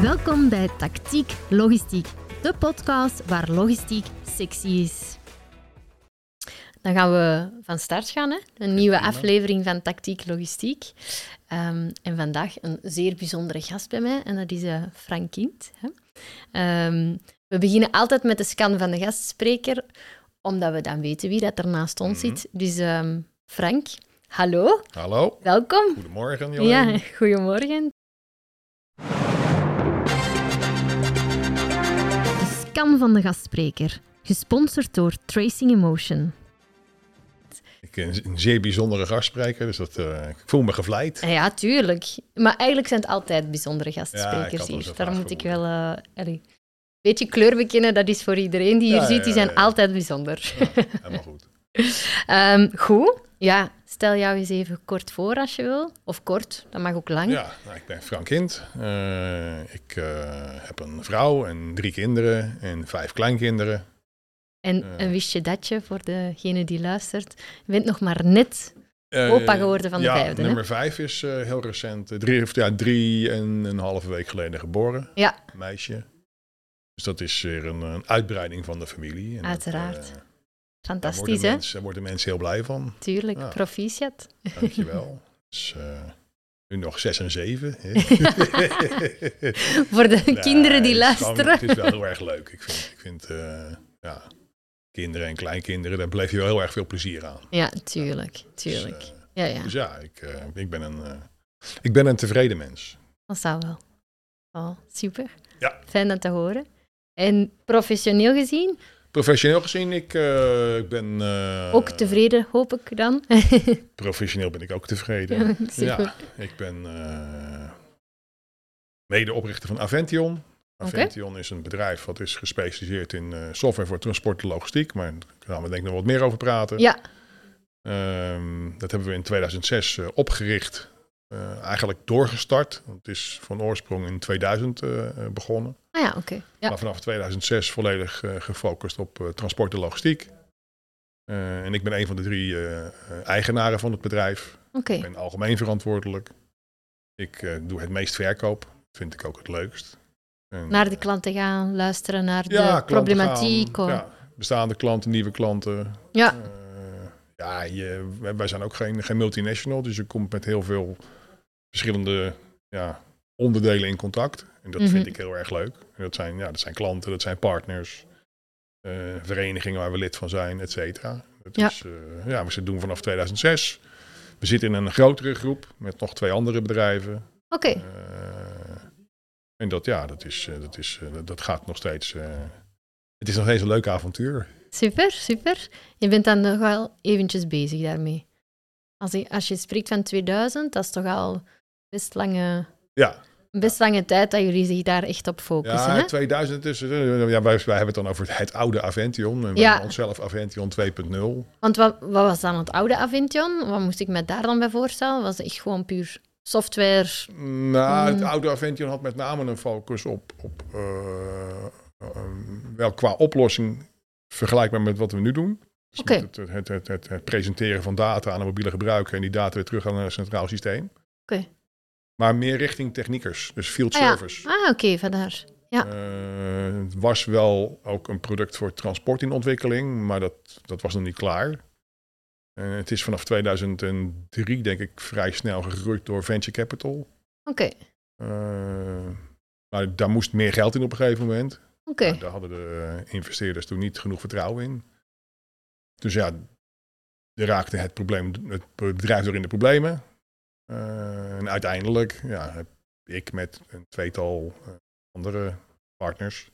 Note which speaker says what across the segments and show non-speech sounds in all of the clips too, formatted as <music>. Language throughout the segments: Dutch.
Speaker 1: Welkom bij Tactiek Logistiek, de podcast waar logistiek sexy is. Dan gaan we van start gaan, hè? een nieuwe aflevering van Tactiek Logistiek. Ehm, en vandaag een zeer bijzondere gast bij mij, en dat is eh, Frank Kind. Hè? Ehm, we beginnen altijd met de scan van de gastspreker, omdat we dan weten wie dat er naast ons zit. Dus ehm, Frank, hallo,
Speaker 2: Hallo,
Speaker 1: welkom.
Speaker 2: goedemorgen
Speaker 1: Ja,
Speaker 2: Jolene.
Speaker 1: goedemorgen. De scan van de gastspreker, gesponsord door Tracing Emotion.
Speaker 2: Ik ben een zeer bijzondere gastspreker, dus dat, eh, ik voel me
Speaker 1: <laughs>
Speaker 2: gevleid.
Speaker 1: Eh, Ja, tuurlijk. Maar eigenlijk zijn het altijd bijzondere
Speaker 2: Ja, ik had
Speaker 1: gastsprekers
Speaker 2: al
Speaker 1: hier.
Speaker 2: zo'n
Speaker 1: Daar
Speaker 2: vraag
Speaker 1: moet ik wel...
Speaker 2: vermoeden.
Speaker 1: eh, allee, Een beetje kleur bekennen, dat is voor iedereen die hier
Speaker 2: Ja,
Speaker 1: zit. Die
Speaker 2: ja, ja,
Speaker 1: zijn
Speaker 2: ja.
Speaker 1: altijd bijzonder.
Speaker 2: Helemaal goed.
Speaker 1: Ehm, goed. Ja, stel jou eens even kort voor als je wil. Of kort, dat mag ook lang.
Speaker 2: Ja, nou, ik ben Frank Kind. Eh, ik eh, heb een vrouw en drie kinderen en vijf kleinkinderen.
Speaker 1: En
Speaker 2: Ja.
Speaker 1: een wist je datje voor degene die luistert. Je bent nog maar net
Speaker 2: Eh,
Speaker 1: Opa geworden van de
Speaker 2: ja,
Speaker 1: vijfde, hè?
Speaker 2: nummer vijf is eh, heel recent. eh, Drie, of, ja, drie en een halve week geleden geboren.
Speaker 1: Ja.
Speaker 2: Meisje. Dus dat is weer een, een uitbreiding van de familie. En dat,
Speaker 1: Uiteraard.
Speaker 2: eh, daar, worden
Speaker 1: Fantastisch, hè?
Speaker 2: mensen, daar worden mensen heel blij van.
Speaker 1: Tuurlijk,
Speaker 2: Ja.
Speaker 1: proficiat. <laughs>
Speaker 2: Dankjewel. dus, eh, nu nog zes en zeven. hè. <laughs>
Speaker 1: Voor de
Speaker 2: Nee,
Speaker 1: <laughs> kinderen die
Speaker 2: het is gewoon-
Speaker 1: luisteren.
Speaker 2: het is wel heel erg leuk. Ik vind, ik vind eh, ja, kinderen en kleinkinderen, daar beleef je wel heel erg veel plezier aan.
Speaker 1: Ja, tuurlijk, tuurlijk.
Speaker 2: Dus, eh,
Speaker 1: Ja, ja,
Speaker 2: dus ja, ik, eh, ik, ben een, eh, ik ben een tevreden mens.
Speaker 1: dat zou wel. Oh, super.
Speaker 2: Ja.
Speaker 1: Fijn dat te horen. En professioneel gezien,
Speaker 2: Professioneel gezien, ik, eh, ik ben... eh,
Speaker 1: ook tevreden, hoop ik dan.
Speaker 2: Professioneel ben ik ook tevreden.
Speaker 1: Ja, <laughs> super.
Speaker 2: Ja, ik ben eh medeoprichter van Avention. Avention is een bedrijf wat is gespecialiseerd in eh, software voor transport en logistiek. Maar daar gaan we denk ik nog wat meer over praten.
Speaker 1: Ja,
Speaker 2: Ehm, dat hebben we in 2006 eh, opgericht. Eh, eigenlijk doorgestart. Want het is van oorsprong in 2000 eh, eh, begonnen.
Speaker 1: ah ja, oké. Ja.
Speaker 2: Maar vanaf 2006 volledig eh, gefocust op eh, transport en logistiek. Eh, en ik ben een van de drie eh, eh, eigenaren van het bedrijf.
Speaker 1: Oké,
Speaker 2: Ik ben algemeen verantwoordelijk. Ik eh, doe het meest verkoop. Dat vind ik ook het leukst. En,
Speaker 1: naar de
Speaker 2: eh,
Speaker 1: klanten gaan, luisteren naar
Speaker 2: ja,
Speaker 1: de
Speaker 2: klanten
Speaker 1: problematiek.
Speaker 2: gaan,
Speaker 1: hoor.
Speaker 2: ja, bestaande klanten, nieuwe klanten.
Speaker 1: Ja.
Speaker 2: Eh, ja, je, wij- wij zijn ook geen, geen multinational. Dus je komt met heel veel verschillende ja, onderdelen in contact. En dat
Speaker 1: Mhm.
Speaker 2: vind ik heel erg leuk. En dat, zijn, ja, dat zijn klanten, dat zijn partners. eh, verenigingen waar we lid van zijn, et cetera. Dat
Speaker 1: Ja.
Speaker 2: Is, eh, ja, we doen vanaf 2006. We zitten in een grotere groep met nog twee andere bedrijven.
Speaker 1: Oké,
Speaker 2: Eh, en dat, ja, dat, is, eh, dat, is, eh, dat- dat gaat nog steeds. eh, het is nog steeds een leuk avontuur.
Speaker 1: super, super. Je bent dan nog wel eventjes bezig daarmee. Als je, als je spreekt van 2000, dat is toch al best lange
Speaker 2: Ja,
Speaker 1: best lange tijd dat jullie zich daar echt op focussen.
Speaker 2: ja
Speaker 1: hè?
Speaker 2: 2000 is. eh, Ja, wij, wij hebben het dan over het oude Avention. En we
Speaker 1: Ja.
Speaker 2: noemen onszelf Avention 2.0.
Speaker 1: Want wat, wat was dan het oude Avention? Wat moest ik me daar dan bij voorstellen? Was het echt gewoon puur software?
Speaker 2: Nou, het
Speaker 1: Mm.
Speaker 2: oude Avention had met name een focus op. op eh, ehm, wel qua oplossing vergelijkbaar met wat we nu doen. Dus
Speaker 1: Oké.
Speaker 2: met het, het, het, het, het presenteren van data aan een mobiele gebruiker en die data weer terug aan een centraal systeem.
Speaker 1: Oké.
Speaker 2: Maar meer richting techniekers, dus field
Speaker 1: Ah ja.
Speaker 2: service.
Speaker 1: Ah, oké, vandaar. ja.
Speaker 2: Eh, het was wel ook een product voor transport in ontwikkeling, maar dat, dat was nog niet klaar. Eh, het is vanaf 2003, denk ik, vrij snel gegroeid door venture capital.
Speaker 1: Oké,
Speaker 2: Eh, maar daar moest meer geld in op een gegeven moment.
Speaker 1: oké.
Speaker 2: Maar daar hadden de eh, investeerders toen niet genoeg vertrouwen in. Dus ja, er raakte het, probleem, het bedrijf door in de problemen. Eh, en uiteindelijk ja, heb ik met een tweetal eh, andere partners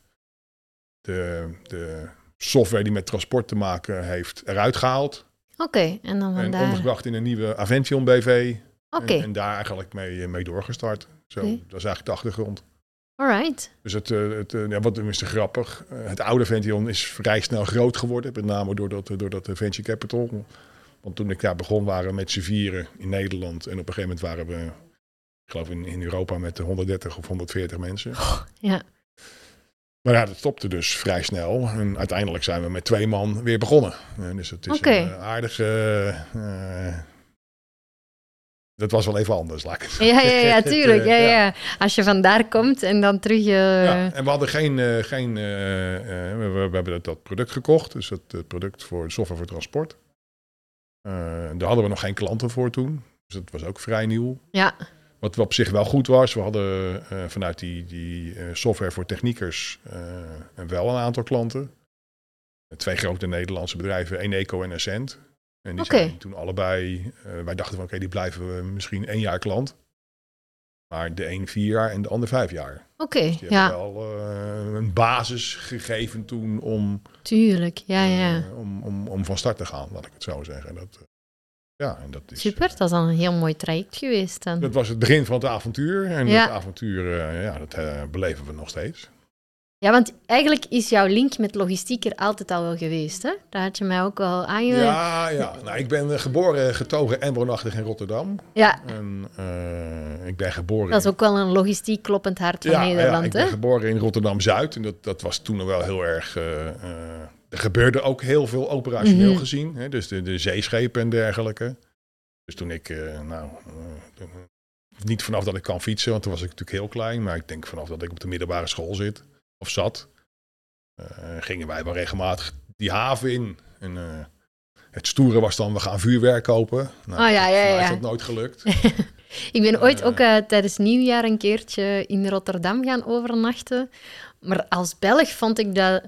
Speaker 2: de, de software die met transport te maken heeft eruit gehaald.
Speaker 1: Oké, en dan
Speaker 2: En
Speaker 1: vandaar. Oké,
Speaker 2: omgebracht in een nieuwe Avention BV. En, en daar eigenlijk mee, eh, mee doorgestart. Zo,
Speaker 1: Oké.
Speaker 2: Dat is eigenlijk de achtergrond.
Speaker 1: alright.
Speaker 2: Dus het, eh, het, eh, ja, wat is er grappig? eh, Het oude Vention is vrij snel groot geworden. Met name door dat, eh, door dat venture capital. Want toen ik daar begon waren we met z'n vieren in Nederland. En op een gegeven moment waren we, ik geloof in, in Europa, met 130 of 140 mensen.
Speaker 1: Ja,
Speaker 2: Maar ja, dat stopte dus vrij snel. En uiteindelijk zijn we met twee man weer begonnen. Eh, dus het is
Speaker 1: Oké.
Speaker 2: een eh, aardige eh, Dat was wel even anders, laat ik het zo
Speaker 1: Ja, ja, ja,
Speaker 2: <laughs> zeggen.
Speaker 1: tuurlijk. Ja,
Speaker 2: Eh,
Speaker 1: ja. Als je vandaar komt en dan terug... eh,
Speaker 2: Ja, en we hadden geen. eh, geen eh, eh, we, we- we hebben dat, dat product gekocht, dus dat eh, product voor software voor transport. Eh, daar hadden we nog geen klanten voor toen, dus dat was ook vrij nieuw.
Speaker 1: Ja.
Speaker 2: Wat op zich wel goed was, we hadden eh, vanuit die, die eh, software voor techniekers eh, wel een aantal klanten. Twee grote Nederlandse bedrijven, Eneco en Essent. En die
Speaker 1: Oké.
Speaker 2: zijn toen allebei, eh, wij dachten van oké, die blijven we misschien één jaar klant. Maar de een vier jaar en de ander vijf jaar.
Speaker 1: Oké,
Speaker 2: Die
Speaker 1: ja,
Speaker 2: hebben wel eh, een basis gegeven toen om,
Speaker 1: tuurlijk. Ja, ja.
Speaker 2: eh, om, om, om van start te gaan, laat ik het zo zeggen. Dat, eh, ja, en dat is,
Speaker 1: Super, dat is dan een heel mooi traject geweest dan.
Speaker 2: Dat was het begin van het avontuur. En
Speaker 1: Ja.
Speaker 2: dat avontuur, eh, ja, dat eh, beleven we nog steeds.
Speaker 1: Ja, want eigenlijk is jouw link met logistiek er altijd al wel geweest, hè? Daar had je mij ook al aan je...
Speaker 2: Ja, ja. Nou, ik ben eh, geboren, getogen en woonachtig in Rotterdam.
Speaker 1: Ja,
Speaker 2: En eh, ik ben geboren...
Speaker 1: dat is ook wel een logistiek kloppend hart van
Speaker 2: ja, ja, ik
Speaker 1: Nederland,
Speaker 2: ben
Speaker 1: hè?
Speaker 2: geboren in Rotterdam-Zuid. En dat, dat was toen nog wel heel erg... eh, eh, er gebeurde ook heel veel operationeel
Speaker 1: Mhm.
Speaker 2: gezien. Hè, dus de, de zeeschepen en dergelijke. Dus toen ik, eh, nou... eh, toen- niet vanaf dat ik kan fietsen, want toen was ik natuurlijk heel klein. Maar ik denk vanaf dat ik op de middelbare school zit, of zat... eh, gingen wij wel regelmatig die haven in. En eh, het stoere was dan, we gaan vuurwerk kopen. Nou,
Speaker 1: Oh, ja, ja,
Speaker 2: voor mij is
Speaker 1: ja.
Speaker 2: dat nooit gelukt.
Speaker 1: <laughs> Ik ben ooit
Speaker 2: Eh.
Speaker 1: ook eh, tijdens nieuwjaar een keertje in Rotterdam gaan overnachten. Maar als Belg vond ik dat...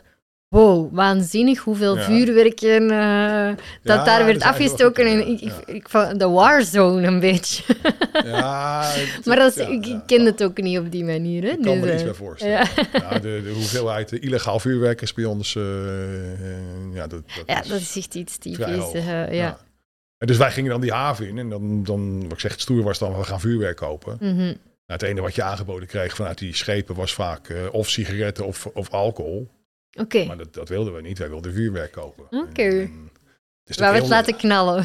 Speaker 1: Wow, waanzinnig hoeveel
Speaker 2: Ja.
Speaker 1: vuurwerk en, eh, dat
Speaker 2: Ja,
Speaker 1: daar
Speaker 2: dat
Speaker 1: werd
Speaker 2: is eigenlijk wel
Speaker 1: afgestoken.
Speaker 2: goed,
Speaker 1: en ik,
Speaker 2: ja,
Speaker 1: ik, ik vond de warzone een beetje.
Speaker 2: <laughs> Ja, het-
Speaker 1: <laughs> Maar dat is,
Speaker 2: ja,
Speaker 1: ik, ik
Speaker 2: ja.
Speaker 1: ken het ook niet op die manier. Hè?
Speaker 2: Ik kan me
Speaker 1: Dus,
Speaker 2: er iets
Speaker 1: eh,
Speaker 2: bij voorstellen.
Speaker 1: ja.
Speaker 2: Ja. de, de hoeveelheid eh, illegaal vuurwerk is bij ons... eh, eh, ja, dat, dat
Speaker 1: Ja,
Speaker 2: is
Speaker 1: dat is echt iets
Speaker 2: vrij
Speaker 1: typisch.
Speaker 2: hoog.
Speaker 1: eh, ja.
Speaker 2: ja. En Dus wij gingen dan die haven in en dan, dan wat ik zeg, het stoer was dan, we gaan vuurwerk kopen. Nou,
Speaker 1: Mhm.
Speaker 2: het ene wat je aangeboden kreeg vanuit die schepen was vaak eh, of sigaretten of, of alcohol.
Speaker 1: Oké,
Speaker 2: Maar dat, dat wilden we niet, wij wilden vuurwerk kopen.
Speaker 1: Oké.
Speaker 2: En- en- dus het is
Speaker 1: waar we het
Speaker 2: natuurlijk
Speaker 1: laten knallen.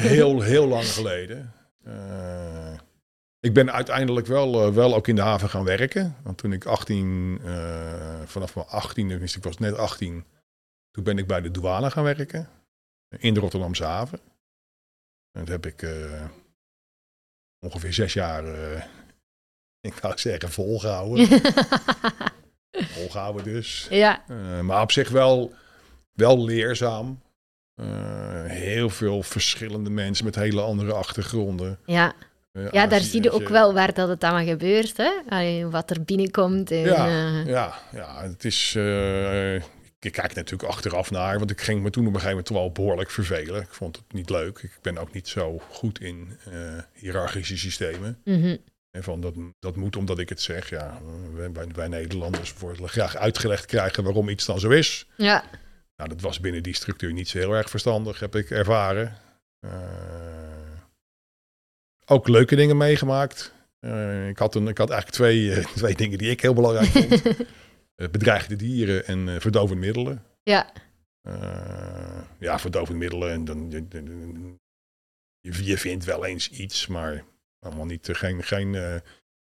Speaker 2: heel, heel, heel lang geleden. Eh, ik ben uiteindelijk wel, eh, wel ook in de haven gaan werken. Want toen ik 18, eh, vanaf mijn 18e, wist ik was net 18, toen ben ik bij de douane gaan werken. In de Rotterdamse haven. En dat heb ik eh, ongeveer zes jaar, eh, <laughs> ik wou zeggen, volgehouden.
Speaker 1: <laughs>
Speaker 2: volgehouden dus.
Speaker 1: ja,
Speaker 2: Eh, maar op zich wel, wel leerzaam. Eh, heel veel verschillende mensen met hele andere achtergronden.
Speaker 1: ja.
Speaker 2: Eh,
Speaker 1: ja, daar
Speaker 2: Azië-
Speaker 1: zie je ook wel waar dat het allemaal gebeurt. Hè? Allee, wat er binnenkomt. En,
Speaker 2: Ja,
Speaker 1: eh,
Speaker 2: Ja, ja het is. eh, ik kijk er natuurlijk achteraf naar, want ik ging me toen op een gegeven moment wel behoorlijk vervelen. Ik vond het niet leuk. Ik ben ook niet zo goed in eh hiërarchische systemen.
Speaker 1: mhm.
Speaker 2: En van dat, dat moet omdat ik het zeg. Ja, wij, wij- wij Nederlanders worden graag uitgelegd krijgen waarom iets dan zo is.
Speaker 1: ja.
Speaker 2: Nou, dat was binnen die structuur niet zo heel erg verstandig, heb ik ervaren. Eh, ook leuke dingen meegemaakt. Eh, ik, had een, ik had eigenlijk twee, eh, <laughs> twee dingen die ik heel belangrijk
Speaker 1: <laughs>
Speaker 2: vond. Eh, bedreigde dieren en eh, verdovende middelen.
Speaker 1: Ja.
Speaker 2: Eh, ja, verdovende middelen. En dan, je, je- je vindt wel eens iets, maar allemaal niet, eh, geen, geen, eh,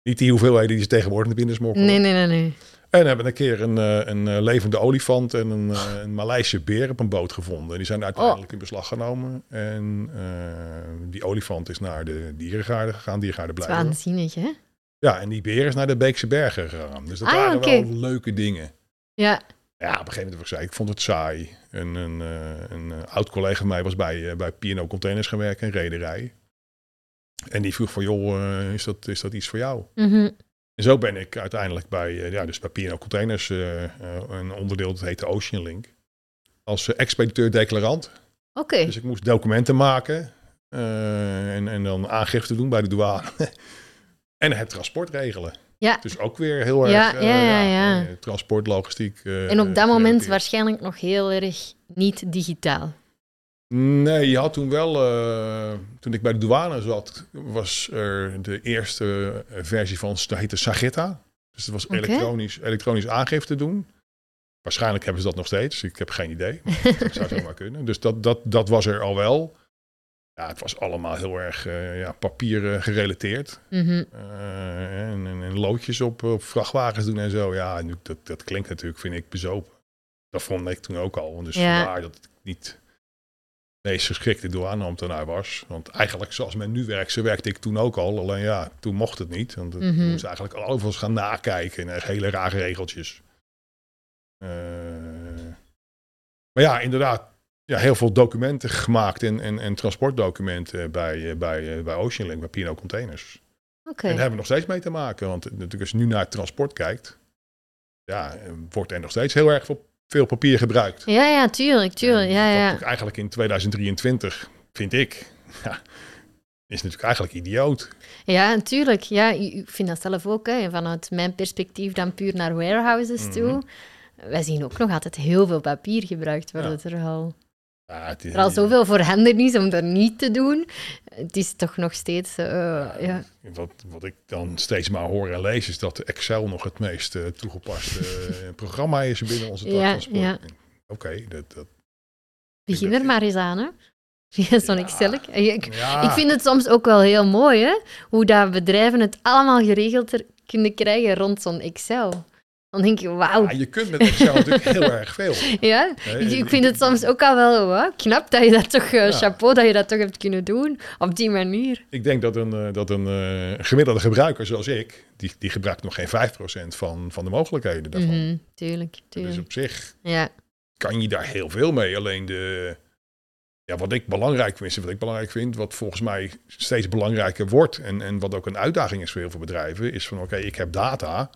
Speaker 2: niet die hoeveelheden die ze tegenwoordig naar binnen smokkelen.
Speaker 1: nee, nee, nee, nee.
Speaker 2: En hebben een keer een, eh, een eh, levende olifant en een, eh, een Maleisje beer op een boot gevonden. En die zijn
Speaker 1: Oh.
Speaker 2: uiteindelijk in beslag genomen. En eh, die olifant is naar de dierengaarde gegaan, dierengaarde
Speaker 1: Het is
Speaker 2: blijven.
Speaker 1: waanzinnig, hè?
Speaker 2: Ja, en die beer is naar de Beekse Bergen gegaan. Dus dat
Speaker 1: Ah, ja,
Speaker 2: waren
Speaker 1: oké.
Speaker 2: wel leuke dingen.
Speaker 1: Ja,
Speaker 2: Ja, op een gegeven moment heb ik zei, ik vond het saai. En een, eh, een eh, oud collega van mij was bij, eh, bij P&O Containers gaan werken, een rederij. En die vroeg van, joh, eh, is, dat, is dat iets voor jou?
Speaker 1: mhm.
Speaker 2: En zo ben ik uiteindelijk bij, eh, ja, dus bij P&O Containers, eh, eh, een onderdeel dat heette Ocean Link, als eh, expediteur-declarant.
Speaker 1: oké.
Speaker 2: Dus ik moest documenten maken eh, en, en dan aangifte doen bij de douane. <laughs> en het transport regelen.
Speaker 1: Ja.
Speaker 2: Dus ook weer heel erg
Speaker 1: Ja,
Speaker 2: eh,
Speaker 1: ja, ja, ja.
Speaker 2: eh, transport, logistiek. eh,
Speaker 1: En op dat
Speaker 2: eh,
Speaker 1: moment
Speaker 2: gerelateerd.
Speaker 1: waarschijnlijk nog heel erg niet digitaal. <laughs>
Speaker 2: Nee, je had toen wel, eh, toen ik bij de douane zat, was er de eerste eh, versie van, dat heette Sagitta. Dus het was
Speaker 1: Oké.
Speaker 2: elektronisch, elektronisch aangifte doen. Waarschijnlijk hebben ze dat nog steeds, ik heb geen idee. Maar dat zou zomaar kunnen. Dus dat, dat, dat was er al wel. Ja, het was allemaal heel erg eh, ja, papieren gerelateerd.
Speaker 1: Mhm.
Speaker 2: Eh, en, en, en loodjes op, op vrachtwagens doen en zo. Ja, nu, dat, dat klinkt natuurlijk, vind ik, bezopen. Dat vond ik toen ook al. Dus
Speaker 1: Ja.
Speaker 2: vandaar dat ik niet... meest geschikte douaneambtenaar was. Want eigenlijk zoals men nu werkt, zo werkte ik toen ook al. Alleen ja, toen mocht het niet. Want het
Speaker 1: Mhm.
Speaker 2: moest eigenlijk al overal gaan nakijken en echt hele rare regeltjes. Eh, maar ja, inderdaad, ja, heel veel documenten gemaakt en, en, en transportdocumenten bij, eh, bij, eh, bij Oceanlink, bij P&O Containers.
Speaker 1: Oké.
Speaker 2: En daar hebben we nog steeds mee te maken. Want natuurlijk als je nu naar het transport kijkt, ja, eh, wordt er nog steeds heel erg veel, veel papier gebruikt.
Speaker 1: Ja, ja, tuurlijk, tuurlijk.
Speaker 2: En
Speaker 1: Ja,
Speaker 2: wat
Speaker 1: ja.
Speaker 2: ook Eigenlijk in 2023, vind ik, ja, is natuurlijk eigenlijk idioot.
Speaker 1: ja, tuurlijk. Ja, ik ik vind dat zelf ook. Hè. Vanuit mijn perspectief dan puur naar warehouses toe.
Speaker 2: Mhm.
Speaker 1: Wij zien ook nog altijd heel veel papier gebruikt worden er al.
Speaker 2: Ja, het is,
Speaker 1: Er al zoveel voorhanden is om dat niet te doen. Het is toch nog steeds... eh, ja.
Speaker 2: Wat, wat ik dan steeds maar hoor en lees, is dat Excel nog het meest eh, toegepaste eh, programma is binnen onze
Speaker 1: <laughs> Ja,
Speaker 2: transport.
Speaker 1: ja.
Speaker 2: Oké, dat... dat
Speaker 1: Begin er maar eens aan, hè. <laughs> Ja, Zo'n
Speaker 2: Ja. Ah.
Speaker 1: Excel. Ik,
Speaker 2: ja,
Speaker 1: ik vind het soms ook wel heel mooi, hè. Hoe dat bedrijven het allemaal geregeld er- kunnen krijgen rond zo'n Excel. Dan denk je, wauw.
Speaker 2: ja, je kunt met Excel natuurlijk heel erg
Speaker 1: <laughs>
Speaker 2: veel.
Speaker 1: Ja,
Speaker 2: Nee,
Speaker 1: ik, ik
Speaker 2: ik-
Speaker 1: vind het soms ook al wel wauw, knap dat je dat toch... eh,
Speaker 2: Eh, Ja.
Speaker 1: Chapeau dat je dat toch hebt kunnen doen. Op die manier.
Speaker 2: Ik denk dat een, eh, dat een eh, gemiddelde gebruiker zoals ik, die, die gebruikt nog geen 5% van, van de mogelijkheden daarvan.
Speaker 1: Mhm, tuurlijk,
Speaker 2: Dus
Speaker 1: tuurlijk.
Speaker 2: op zich
Speaker 1: Ja.
Speaker 2: kan je daar heel veel mee. Alleen de, ja, wat ik belangrijk vind, wat ik belangrijk vind, wat volgens mij steeds belangrijker wordt en, en wat ook een uitdaging is voor heel veel bedrijven, is van oké, ik heb data.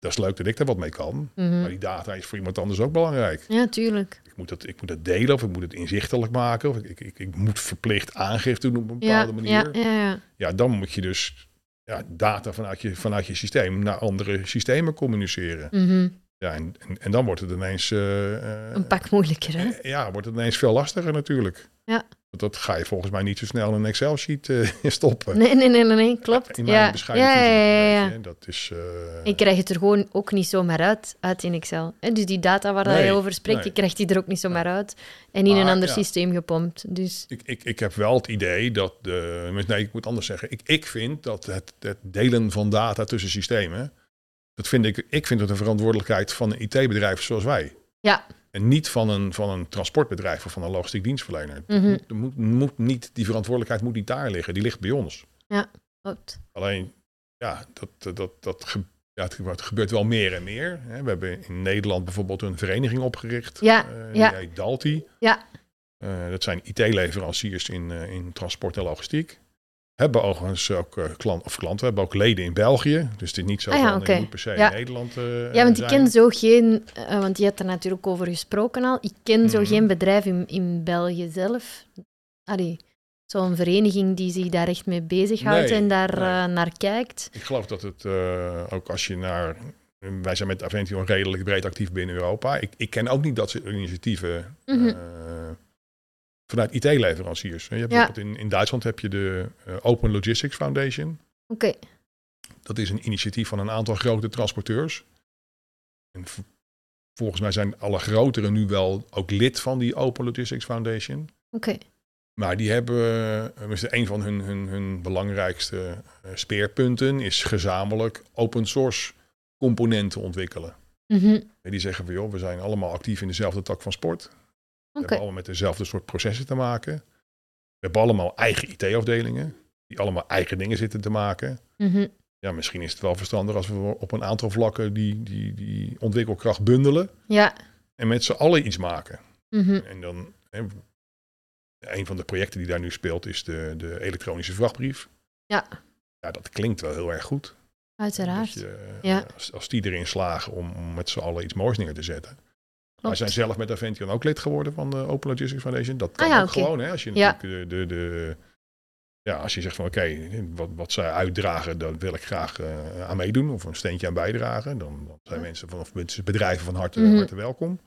Speaker 2: Dat is leuk dat ik daar wat mee kan.
Speaker 1: mhm.
Speaker 2: Maar die data is voor iemand anders ook belangrijk.
Speaker 1: Ja, tuurlijk.
Speaker 2: Ik moet dat, ik moet dat delen of ik moet het inzichtelijk maken. Of ik, ik, ik, ik moet verplicht aangifte doen op een
Speaker 1: Ja,
Speaker 2: bepaalde manier.
Speaker 1: ja,
Speaker 2: Ja,
Speaker 1: ja, ja.
Speaker 2: dan moet je dus ja, data vanuit je, vanuit je systeem naar andere systemen communiceren.
Speaker 1: Mhm.
Speaker 2: Ja, en, en, en dan wordt het ineens eh, eh,
Speaker 1: Een pak moeilijker, hè.
Speaker 2: eh, Ja, wordt het ineens veel lastiger natuurlijk.
Speaker 1: Ja.
Speaker 2: Want dat ga je volgens mij niet zo snel in een Excel-sheet eh, <laughs> stoppen.
Speaker 1: Nee, nee, nee, nee, nee, klopt.
Speaker 2: In mijn
Speaker 1: ja.
Speaker 2: bescheiden
Speaker 1: ja,
Speaker 2: visie,
Speaker 1: ja, ja, ja.
Speaker 2: weet je. Dat is... eh,
Speaker 1: En je krijgt het er gewoon ook niet zomaar uit, uit in Excel. hè. Dus die data waar dat
Speaker 2: Nee,
Speaker 1: je over spreekt,
Speaker 2: nee.
Speaker 1: je krijgt die er ook niet zomaar uit. En in een
Speaker 2: Maar,
Speaker 1: ander
Speaker 2: ja.
Speaker 1: systeem gepompt. Dus
Speaker 2: ik, ik, ik heb wel het idee dat de... Nee, ik moet anders zeggen. Ik, ik vind dat het, het delen van data tussen systemen... Dat vind ik, ik vind dat een verantwoordelijkheid van een IT-bedrijf zoals wij.
Speaker 1: ja,
Speaker 2: En niet van een, van een transportbedrijf of van een logistiek dienstverlener.
Speaker 1: Mhm.
Speaker 2: Moet- moet, moet niet, die verantwoordelijkheid moet niet daar liggen. Die ligt bij ons.
Speaker 1: klopt.
Speaker 2: Alleen, ja, dat, dat, dat, dat ge- ja, het, gebeurt, het gebeurt wel meer en meer. Hè. We hebben in Nederland bijvoorbeeld een vereniging opgericht.
Speaker 1: Ja,
Speaker 2: eh,
Speaker 1: ja.
Speaker 2: Die heet Dalti.
Speaker 1: Ja.
Speaker 2: Eh, dat zijn IT-leveranciers in, eh, in transport en logistiek. Hebben overigens ook eh, klant, of klanten, hebben ook leden in België. Dus het is niet zo
Speaker 1: Ah ja,
Speaker 2: van, je
Speaker 1: oké.
Speaker 2: moet per se
Speaker 1: Ja.
Speaker 2: in Nederland eh,
Speaker 1: Ja, want ik
Speaker 2: zijn.
Speaker 1: ken zo geen, eh, want je hebt er natuurlijk over gesproken al, ik ken zo
Speaker 2: Mhm.
Speaker 1: geen bedrijf in, in België zelf. Allee, zo'n vereniging die zich daar echt mee bezighoudt
Speaker 2: Nee,
Speaker 1: en daar
Speaker 2: nee.
Speaker 1: eh, naar kijkt.
Speaker 2: Ik geloof dat het eh, ook als je naar... Wij zijn met Aventio redelijk breed actief binnen Europa. Ik, ik ken ook niet dat soort initiatieven
Speaker 1: Mhm.
Speaker 2: eh, vanuit IT-leveranciers. Je hebt
Speaker 1: Ja.
Speaker 2: bijvoorbeeld in, in Duitsland heb je de eh, Open Logistics Foundation.
Speaker 1: Oké,
Speaker 2: Dat is een initiatief van een aantal grote transporteurs. En v- volgens mij zijn alle grotere nu wel ook lid van die Open Logistics Foundation.
Speaker 1: oké.
Speaker 2: Maar die hebben, eh, dus een van hun, hun, hun belangrijkste eh, speerpunten is gezamenlijk open source componenten ontwikkelen.
Speaker 1: Mhm.
Speaker 2: En die zeggen van joh, we zijn allemaal actief in dezelfde tak van sport. We
Speaker 1: Oké,
Speaker 2: hebben allemaal met dezelfde soort processen te maken. We hebben allemaal eigen IT-afdelingen, die allemaal eigen dingen zitten te maken.
Speaker 1: Mhm.
Speaker 2: Ja, misschien is het wel verstandig als we op een aantal vlakken die, die, die ontwikkelkracht bundelen
Speaker 1: ja.
Speaker 2: en met z'n allen iets maken.
Speaker 1: Mhm.
Speaker 2: En dan, hè, een van de projecten die daar nu speelt is de, de elektronische vrachtbrief.
Speaker 1: Ja.
Speaker 2: Ja, dat klinkt wel heel erg goed.
Speaker 1: Uiteraard.
Speaker 2: Dat je, eh,
Speaker 1: Ja.
Speaker 2: als, als die erin slagen om, om met z'n allen iets moois neer te zetten. Wij
Speaker 1: Klopt.
Speaker 2: zijn zelf met Avention ook lid geworden van de Open Logistics Foundation. Dat kan
Speaker 1: Ah ja,
Speaker 2: ook
Speaker 1: oké.
Speaker 2: gewoon. Hè, als je
Speaker 1: Ja.
Speaker 2: natuurlijk de, de, de, ja, als je zegt van oké, wat, wat zij uitdragen, daar wil ik graag eh, aan meedoen of een steentje aan bijdragen. Dan, dan zijn
Speaker 1: Ja.
Speaker 2: mensen van, of mensen, bedrijven van harte,
Speaker 1: Mhm.
Speaker 2: harte welkom.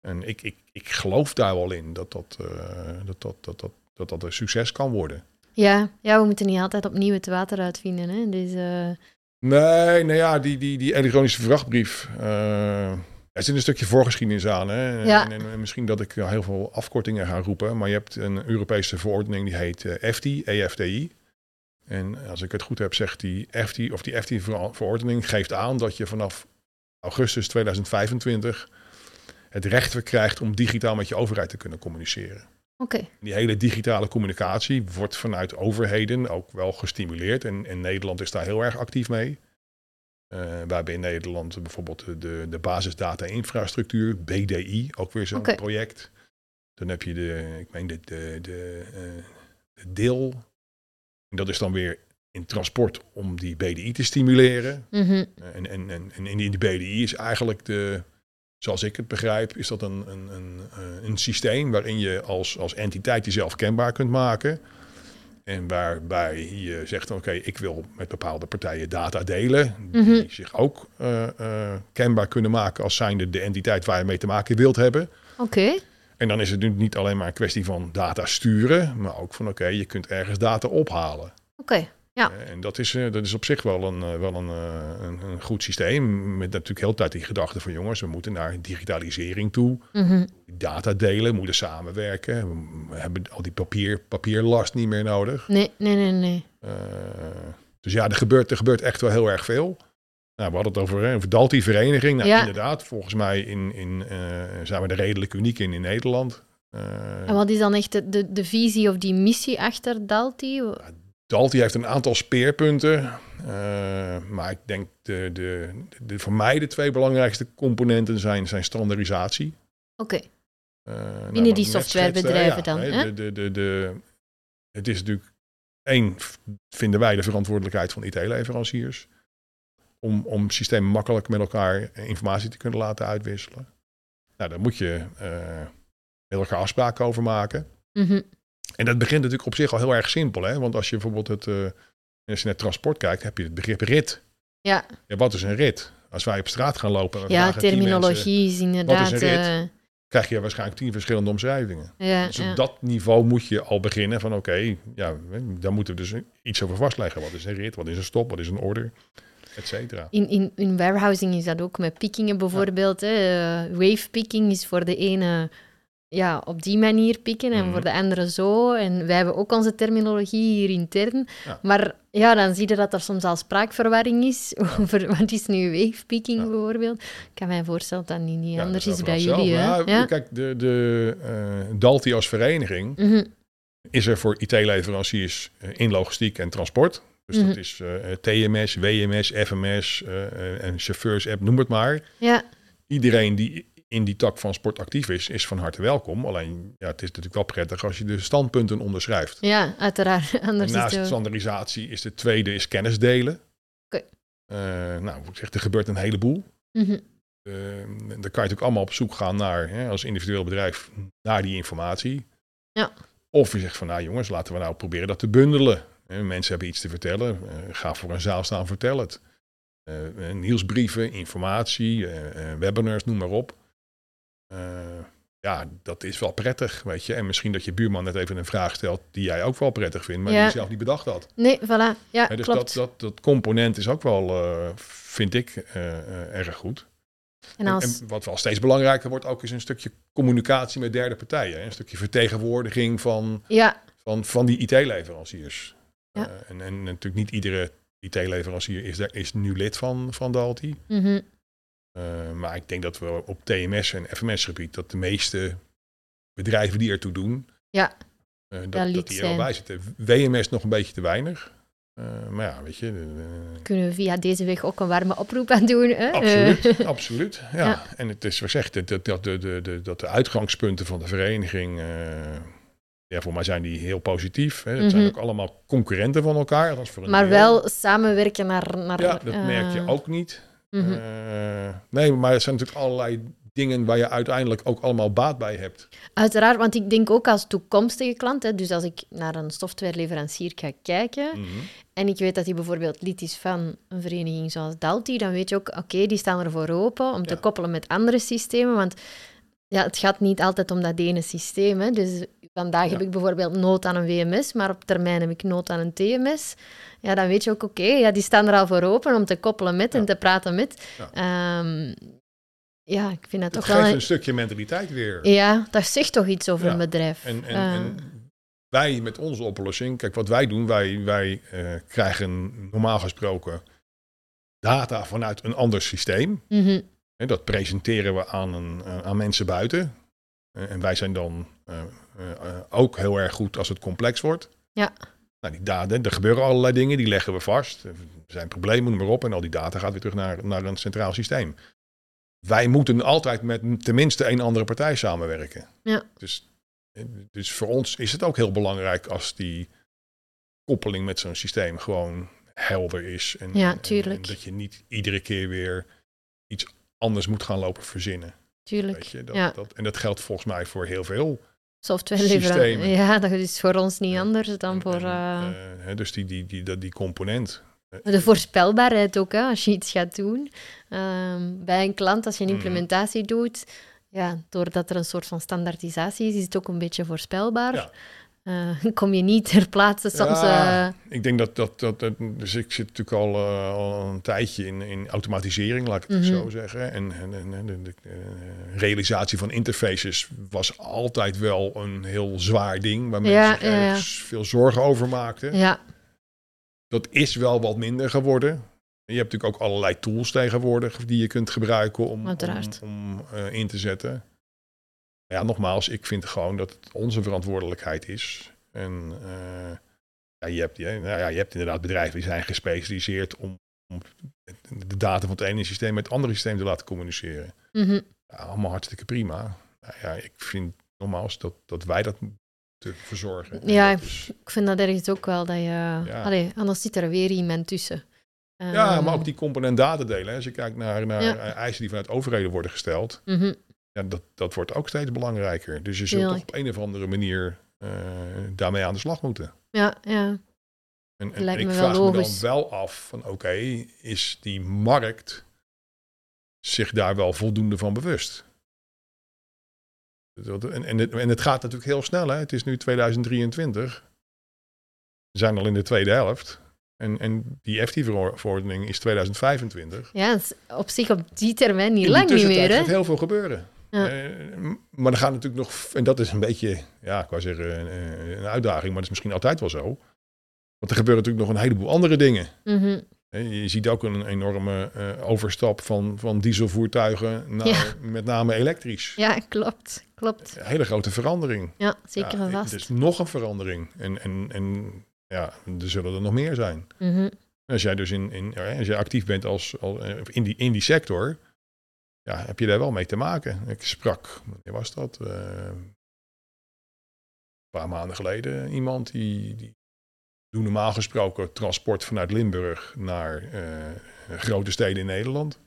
Speaker 2: En ik, ik, ik geloof daar wel in dat dat, eh, dat, dat, dat, dat, dat, dat een succes kan worden.
Speaker 1: Ja, ja, we moeten niet altijd opnieuw het water uitvinden. Hè? Dus, eh,
Speaker 2: Nee, nou ja, die, die, die elektronische vrachtbrief. eh, er zit een stukje voorgeschiedenis aan. Hè?
Speaker 1: Ja.
Speaker 2: En, en- en misschien dat ik heel veel afkortingen ga roepen. Maar je hebt een Europese verordening die heet eh, EFTI, EFTI. En als ik het goed heb, zegt die EFTI, of die EFTI-verordening geeft aan dat je vanaf augustus 2025 het recht weer krijgt om digitaal met je overheid te kunnen communiceren.
Speaker 1: Oké.
Speaker 2: Die hele digitale communicatie wordt vanuit overheden ook wel gestimuleerd. En, en Nederland is daar heel erg actief mee. Eh, wij hebben in Nederland bijvoorbeeld de- de, de basisdata-infrastructuur, BDI, ook weer zo'n
Speaker 1: Oké.
Speaker 2: project. Dan heb je de, ik meen de, de, de, eh, de DIL. En dat is dan weer in transport om die BDI te stimuleren.
Speaker 1: Mhm.
Speaker 2: En, en, en, en in die BDI is eigenlijk de, zoals ik het begrijp, is dat een, een, een, eh, een systeem waarin je als, als entiteit jezelf kenbaar kunt maken. En waarbij je zegt, oké, ik wil met bepaalde partijen data delen, die
Speaker 1: Mhm.
Speaker 2: zich ook eh, eh, kenbaar kunnen maken als zijnde de entiteit waar je mee te maken wilt hebben.
Speaker 1: Oké.
Speaker 2: En dan is het nu niet alleen maar een kwestie van data sturen, maar ook van oké, je kunt ergens data ophalen.
Speaker 1: Oké. Ja.
Speaker 2: Eh, En dat is, eh, dat is op zich wel, een, eh, wel een, eh, een, een goed systeem. Met natuurlijk heel de tijd die gedachte van jongens, we moeten naar digitalisering toe.
Speaker 1: Mhm.
Speaker 2: Data delen, moeten samenwerken. We- We hebben al die papier, papierlast niet meer nodig.
Speaker 1: Nee, nee, nee, nee.
Speaker 2: Eh, dus ja, er gebeurt, er gebeurt echt wel heel erg veel. Nou, we hadden het over, eh, over Dalti-vereniging. Nou,
Speaker 1: Ja.
Speaker 2: inderdaad, volgens mij in, in, eh, zijn we er redelijk uniek in in Nederland. Eh,
Speaker 1: En wat is dan echt de, de, de visie of die missie achter Dalti?
Speaker 2: Dalti heeft een aantal speerpunten. eh, maar ik denk de, de, de, voor mij de twee belangrijkste componenten zijn, zijn standaardisatie.
Speaker 1: Oké.
Speaker 2: Eh, nou,
Speaker 1: die
Speaker 2: wat ik net
Speaker 1: softwarebedrijven
Speaker 2: schetste,
Speaker 1: dan, hè?
Speaker 2: De, de, de, de, het is natuurlijk één, v- vinden wij de verantwoordelijkheid van IT-leveranciers. Om, om systemen makkelijk met elkaar eh, informatie te kunnen laten uitwisselen. Nou, daar moet je eh, met elkaar afspraken over maken.
Speaker 1: Mhm.
Speaker 2: En dat begint natuurlijk op zich al heel erg simpel. Hè? Want als je bijvoorbeeld het, eh, als je naar het transport kijkt, heb je het begrip rit.
Speaker 1: Ja.
Speaker 2: Ja, wat is een rit? Als wij op straat gaan lopen, en we
Speaker 1: Ja,
Speaker 2: vragen tien mensen,
Speaker 1: terminologie is inderdaad.
Speaker 2: rit?
Speaker 1: eh,
Speaker 2: krijg je waarschijnlijk tien verschillende omschrijvingen.
Speaker 1: ja,
Speaker 2: Dus
Speaker 1: ja.
Speaker 2: op dat niveau moet je al beginnen van oké, ja, daar moeten we dus iets over vastleggen. Wat is een rit? Wat is een stop? Wat is een order? Et cetera.
Speaker 1: In, in, in warehousing is dat ook met pickingen bijvoorbeeld. hè. Eh, wave picking is voor de ene ja, op die manier pikken en
Speaker 2: Mhm.
Speaker 1: voor de andere zo. En wij hebben ook onze terminologie hier intern.
Speaker 2: Ja.
Speaker 1: Maar ja, dan zie je dat er soms al spraakverwarring is <laughs> over wat is nu wave picking
Speaker 2: Ja.
Speaker 1: bijvoorbeeld. Ik kan mij voorstellen dat dat niet, niet
Speaker 2: Ja, dat
Speaker 1: anders
Speaker 2: is
Speaker 1: is bij
Speaker 2: overal
Speaker 1: jullie. Hè?
Speaker 2: hetzelfde.
Speaker 1: Ja.
Speaker 2: Ja, Kijk, de, de eh, Dalti als vereniging
Speaker 1: Mhm.
Speaker 2: is er voor IT-leveranciers eh, in logistiek en transport. Dus
Speaker 1: Mhm.
Speaker 2: dat is eh, TMS, WMS, FMS eh, eh, en chauffeurs-app, noem het maar.
Speaker 1: ja.
Speaker 2: Iedereen die in die tak van sport actief is, is van harte welkom. Alleen, ja, het is natuurlijk wel prettig als je de standpunten onderschrijft.
Speaker 1: ja, uiteraard. <laughs>
Speaker 2: En
Speaker 1: Anders is
Speaker 2: naast
Speaker 1: het wel-
Speaker 2: standaardisatie is de tweede is kennis delen.
Speaker 1: Oké.
Speaker 2: Eh, nou, ik zeg, er gebeurt een heleboel.
Speaker 1: Mhm.
Speaker 2: Eh, dan kan je natuurlijk allemaal op zoek gaan naar, hè, als individueel bedrijf, naar die informatie.
Speaker 1: Ja.
Speaker 2: Of je zegt van, nou jongens, laten we nou proberen dat te bundelen. Eh, mensen hebben iets te vertellen, eh, ga voor een zaal staan, vertel het. Eh, eh, nieuwsbrieven, informatie, eh, eh, webinars, noem maar op. Eh, ja, dat is wel prettig, weet je. En misschien dat je buurman net even een vraag stelt die jij ook wel prettig vindt, maar
Speaker 1: Ja.
Speaker 2: die je zelf niet bedacht had.
Speaker 1: Nee, voilà. Ja,
Speaker 2: Hè, dus
Speaker 1: klopt.
Speaker 2: dat, dat, dat component is ook wel, eh, vind ik, eh, eh, erg goed.
Speaker 1: en
Speaker 2: En-
Speaker 1: als...
Speaker 2: En wat wel steeds belangrijker wordt ook is een stukje communicatie met derde partijen. hè. Een stukje vertegenwoordiging van,
Speaker 1: ja,
Speaker 2: van, van die IT-leveranciers.
Speaker 1: Ja.
Speaker 2: Eh, en, en natuurlijk niet iedere IT-leverancier is, daar, is nu lid van, van Dalti.
Speaker 1: mhm.
Speaker 2: Eh, maar ik denk dat we op TMS en FMS-gebied dat de meeste bedrijven die ertoe doen,
Speaker 1: Ja.
Speaker 2: eh, dat,
Speaker 1: Daar
Speaker 2: dat,
Speaker 1: lid
Speaker 2: die er wel
Speaker 1: zijn.
Speaker 2: bij zitten. WMS nog een beetje te weinig. Eh, maar ja, weet je, eh,
Speaker 1: kunnen we via deze weg ook een warme oproep aan doen. Hè?
Speaker 2: Absoluut,
Speaker 1: <laughs> Eh,
Speaker 2: absoluut. Ja.
Speaker 1: Ja.
Speaker 2: En het is gezegd dat, dat, dat, de, de, de, dat de uitgangspunten van de vereniging, eh, ja, voor mij zijn die heel positief. Hè. Het zijn
Speaker 1: Mhm.
Speaker 2: ook allemaal concurrenten van elkaar. althans voor een
Speaker 1: maar
Speaker 2: deel.
Speaker 1: wel samenwerken naar... naar
Speaker 2: Ja, dat
Speaker 1: eh,
Speaker 2: merk je ook niet.
Speaker 1: mhm.
Speaker 2: Eh, nee, maar er zijn natuurlijk allerlei dingen waar je uiteindelijk ook allemaal baat bij hebt.
Speaker 1: Uiteraard, want ik denk ook als toekomstige klant, hè, dus als ik naar een softwareleverancier ga kijken
Speaker 2: Mhm.
Speaker 1: en ik weet dat die bijvoorbeeld lid is van een vereniging zoals Dalti, dan weet je ook, oké, die staan ervoor open om te
Speaker 2: Ja.
Speaker 1: koppelen met andere systemen, want ja, het gaat niet altijd om dat ene systeem. Hè. Dus vandaag heb
Speaker 2: Ja.
Speaker 1: ik bijvoorbeeld nood aan een WMS, maar op termijn heb ik nood aan een TMS. Ja, dan weet je ook, oké, ja, die staan er al voor open om te koppelen met en
Speaker 2: Ja.
Speaker 1: te praten met. Ehm, ja, ik vind dat,
Speaker 2: Het
Speaker 1: toch wel...
Speaker 2: geeft
Speaker 1: een-
Speaker 2: een stukje mentaliteit weer.
Speaker 1: Ja, dat zegt toch iets over
Speaker 2: Ja,
Speaker 1: een bedrijf.
Speaker 2: En, en,
Speaker 1: Eh,
Speaker 2: en wij met onze oplossing, kijk wat wij doen, wij, wij eh, krijgen normaal gesproken data vanuit een ander systeem.
Speaker 1: mhm.
Speaker 2: Hè, dat presenteren we aan, een, eh, aan mensen buiten. Eh, en wij zijn dan eh, eh, eh, ook heel erg goed als het complex wordt.
Speaker 1: Ja.
Speaker 2: Nou, die data, er gebeuren allerlei dingen, die leggen we vast. Eh, Er zijn problemen, noem maar op. En al die data gaat weer terug naar, naar een centraal systeem. Wij moeten altijd met tenminste één andere partij samenwerken.
Speaker 1: Ja.
Speaker 2: Dus, eh, dus voor ons is het ook heel belangrijk als die koppeling met zo'n systeem gewoon helder is. En,
Speaker 1: Ja,
Speaker 2: en- en-
Speaker 1: tuurlijk.
Speaker 2: en dat je niet iedere keer weer iets anders moet gaan lopen verzinnen.
Speaker 1: tuurlijk.
Speaker 2: Weet je, dat,
Speaker 1: ja.
Speaker 2: dat, en dat geldt volgens mij voor heel veel.
Speaker 1: Software leveren.
Speaker 2: systemen.
Speaker 1: Ja, dat is voor ons niet
Speaker 2: Ja.
Speaker 1: anders dan
Speaker 2: En-
Speaker 1: voor
Speaker 2: en,
Speaker 1: eh,
Speaker 2: eh, hè, dus die, die, die, dat die component.
Speaker 1: de voorspelbaarheid ook, hè, als je iets gaat doen. Ehm, bij een klant, als je een
Speaker 2: Mhm.
Speaker 1: implementatie doet, ja, doordat er een soort van standaardisatie is, is het ook een beetje voorspelbaar.
Speaker 2: Ja.
Speaker 1: Eh, <laughs> kom je niet ter plaatse soms.
Speaker 2: Ja.
Speaker 1: eh,
Speaker 2: Ik denk dat dat, dat, dat- Dus ik zit natuurlijk al, eh, al een tijdje in, in automatisering, laat ik het
Speaker 1: Mhm.
Speaker 2: zo zeggen. En, en, en- en de, de- eh, realisatie van interfaces was altijd wel een heel zwaar ding. Waar mensen
Speaker 1: Ja,
Speaker 2: zich
Speaker 1: ja, ja.
Speaker 2: ergens veel zorgen over maakten.
Speaker 1: ja,
Speaker 2: Dat is wel wat minder geworden. Je hebt natuurlijk ook allerlei tools tegenwoordig die je kunt gebruiken om, om,
Speaker 1: Uiteraard.
Speaker 2: om, eh, in te zetten. Ja, nogmaals, ik vind gewoon dat het onze verantwoordelijkheid is. En eh, ja, je, hebt, je, nou ja, je hebt inderdaad bedrijven die zijn gespecialiseerd om, om de data van het ene systeem met het andere systeem te laten communiceren.
Speaker 1: mhm.
Speaker 2: Ja, allemaal hartstikke prima. Nou ja, ik vind nogmaals dat, dat wij dat moeten verzorgen. En
Speaker 1: Ja,
Speaker 2: dat is-
Speaker 1: ik vind dat ergens ook wel dat je.
Speaker 2: Ja.
Speaker 1: Allee, anders zit er weer iemand tussen.
Speaker 2: Ja,
Speaker 1: Ehm,
Speaker 2: maar ook die component datadelen. hè. Als je kijkt naar, naar
Speaker 1: Ja.
Speaker 2: eh, eisen die vanuit overheden worden gesteld,
Speaker 1: mhm.
Speaker 2: ja, dat, dat wordt ook steeds belangrijker. Dus je zult
Speaker 1: Ja.
Speaker 2: toch op een of andere manier eh, daarmee aan de slag moeten.
Speaker 1: Ja, ja,
Speaker 2: En, en
Speaker 1: Lijkt
Speaker 2: ik
Speaker 1: me wel
Speaker 2: vraag me dan
Speaker 1: logisch.
Speaker 2: wel af van oké, is die markt zich daar wel voldoende van bewust? Dat- En, en, het, en het gaat natuurlijk heel snel. Hè? Het is nu 2023. We zijn al in de tweede helft. En, en die FT-verordening is 2025.
Speaker 1: ja dat is op zich op die termijn niet
Speaker 2: In die
Speaker 1: lang niet
Speaker 2: tussentijd
Speaker 1: meer. Hè?
Speaker 2: gaat heel veel gebeuren.
Speaker 1: Ja.
Speaker 2: Eh, m- maar er gaat natuurlijk nog, en dat is een beetje, ja, ik wou zeggen een, eh, een uitdaging, maar dat is misschien altijd wel zo. Want er gebeuren natuurlijk nog een heleboel andere dingen.
Speaker 1: Mhm.
Speaker 2: Hè, Je ziet ook een enorme eh, overstap van, van dieselvoertuigen naar
Speaker 1: Ja.
Speaker 2: <laughs> met name elektrisch.
Speaker 1: Ja, klopt. Klopt.
Speaker 2: Een hele grote verandering.
Speaker 1: Ja, zeker
Speaker 2: ja, eh, dus
Speaker 1: en vast.
Speaker 2: Er is nog een verandering. En, en, en ja, er zullen er nog meer zijn.
Speaker 1: Mhm.
Speaker 2: En Als jij dus in, in, eh, als jij actief bent als, als, eh, in, die, in die sector, ja, heb je daar wel mee te maken. Ik sprak, wanneer was dat? Eh, een paar maanden geleden iemand die, die doet normaal gesproken transport vanuit Limburg naar eh, grote steden in Nederland.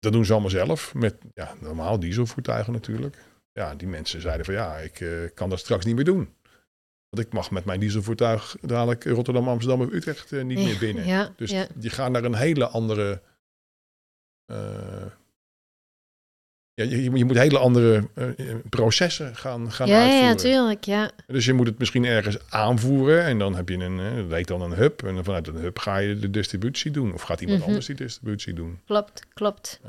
Speaker 2: Dat doen ze allemaal zelf, met ja, normaal dieselvoertuigen natuurlijk. Ja, die mensen zeiden van ja, ik eh, kan dat straks niet meer doen. Want ik mag met mijn dieselvoertuig dadelijk Rotterdam, Amsterdam of Utrecht eh, niet meer binnen.
Speaker 1: Ja,
Speaker 2: Dus
Speaker 1: ja.
Speaker 2: die gaan naar een hele andere. eh, ja, je, je moet- je moet hele andere eh, processen gaan, gaan
Speaker 1: ja, ja, ja,
Speaker 2: uitvoeren.
Speaker 1: tuurlijk. Ja.
Speaker 2: dus je moet het misschien ergens aanvoeren en dan heb je een, eh, dat heet dan een hub. En dan vanuit een hub ga je de distributie doen. Of gaat iemand
Speaker 1: Mhm.
Speaker 2: anders die distributie doen?
Speaker 1: Klopt, klopt.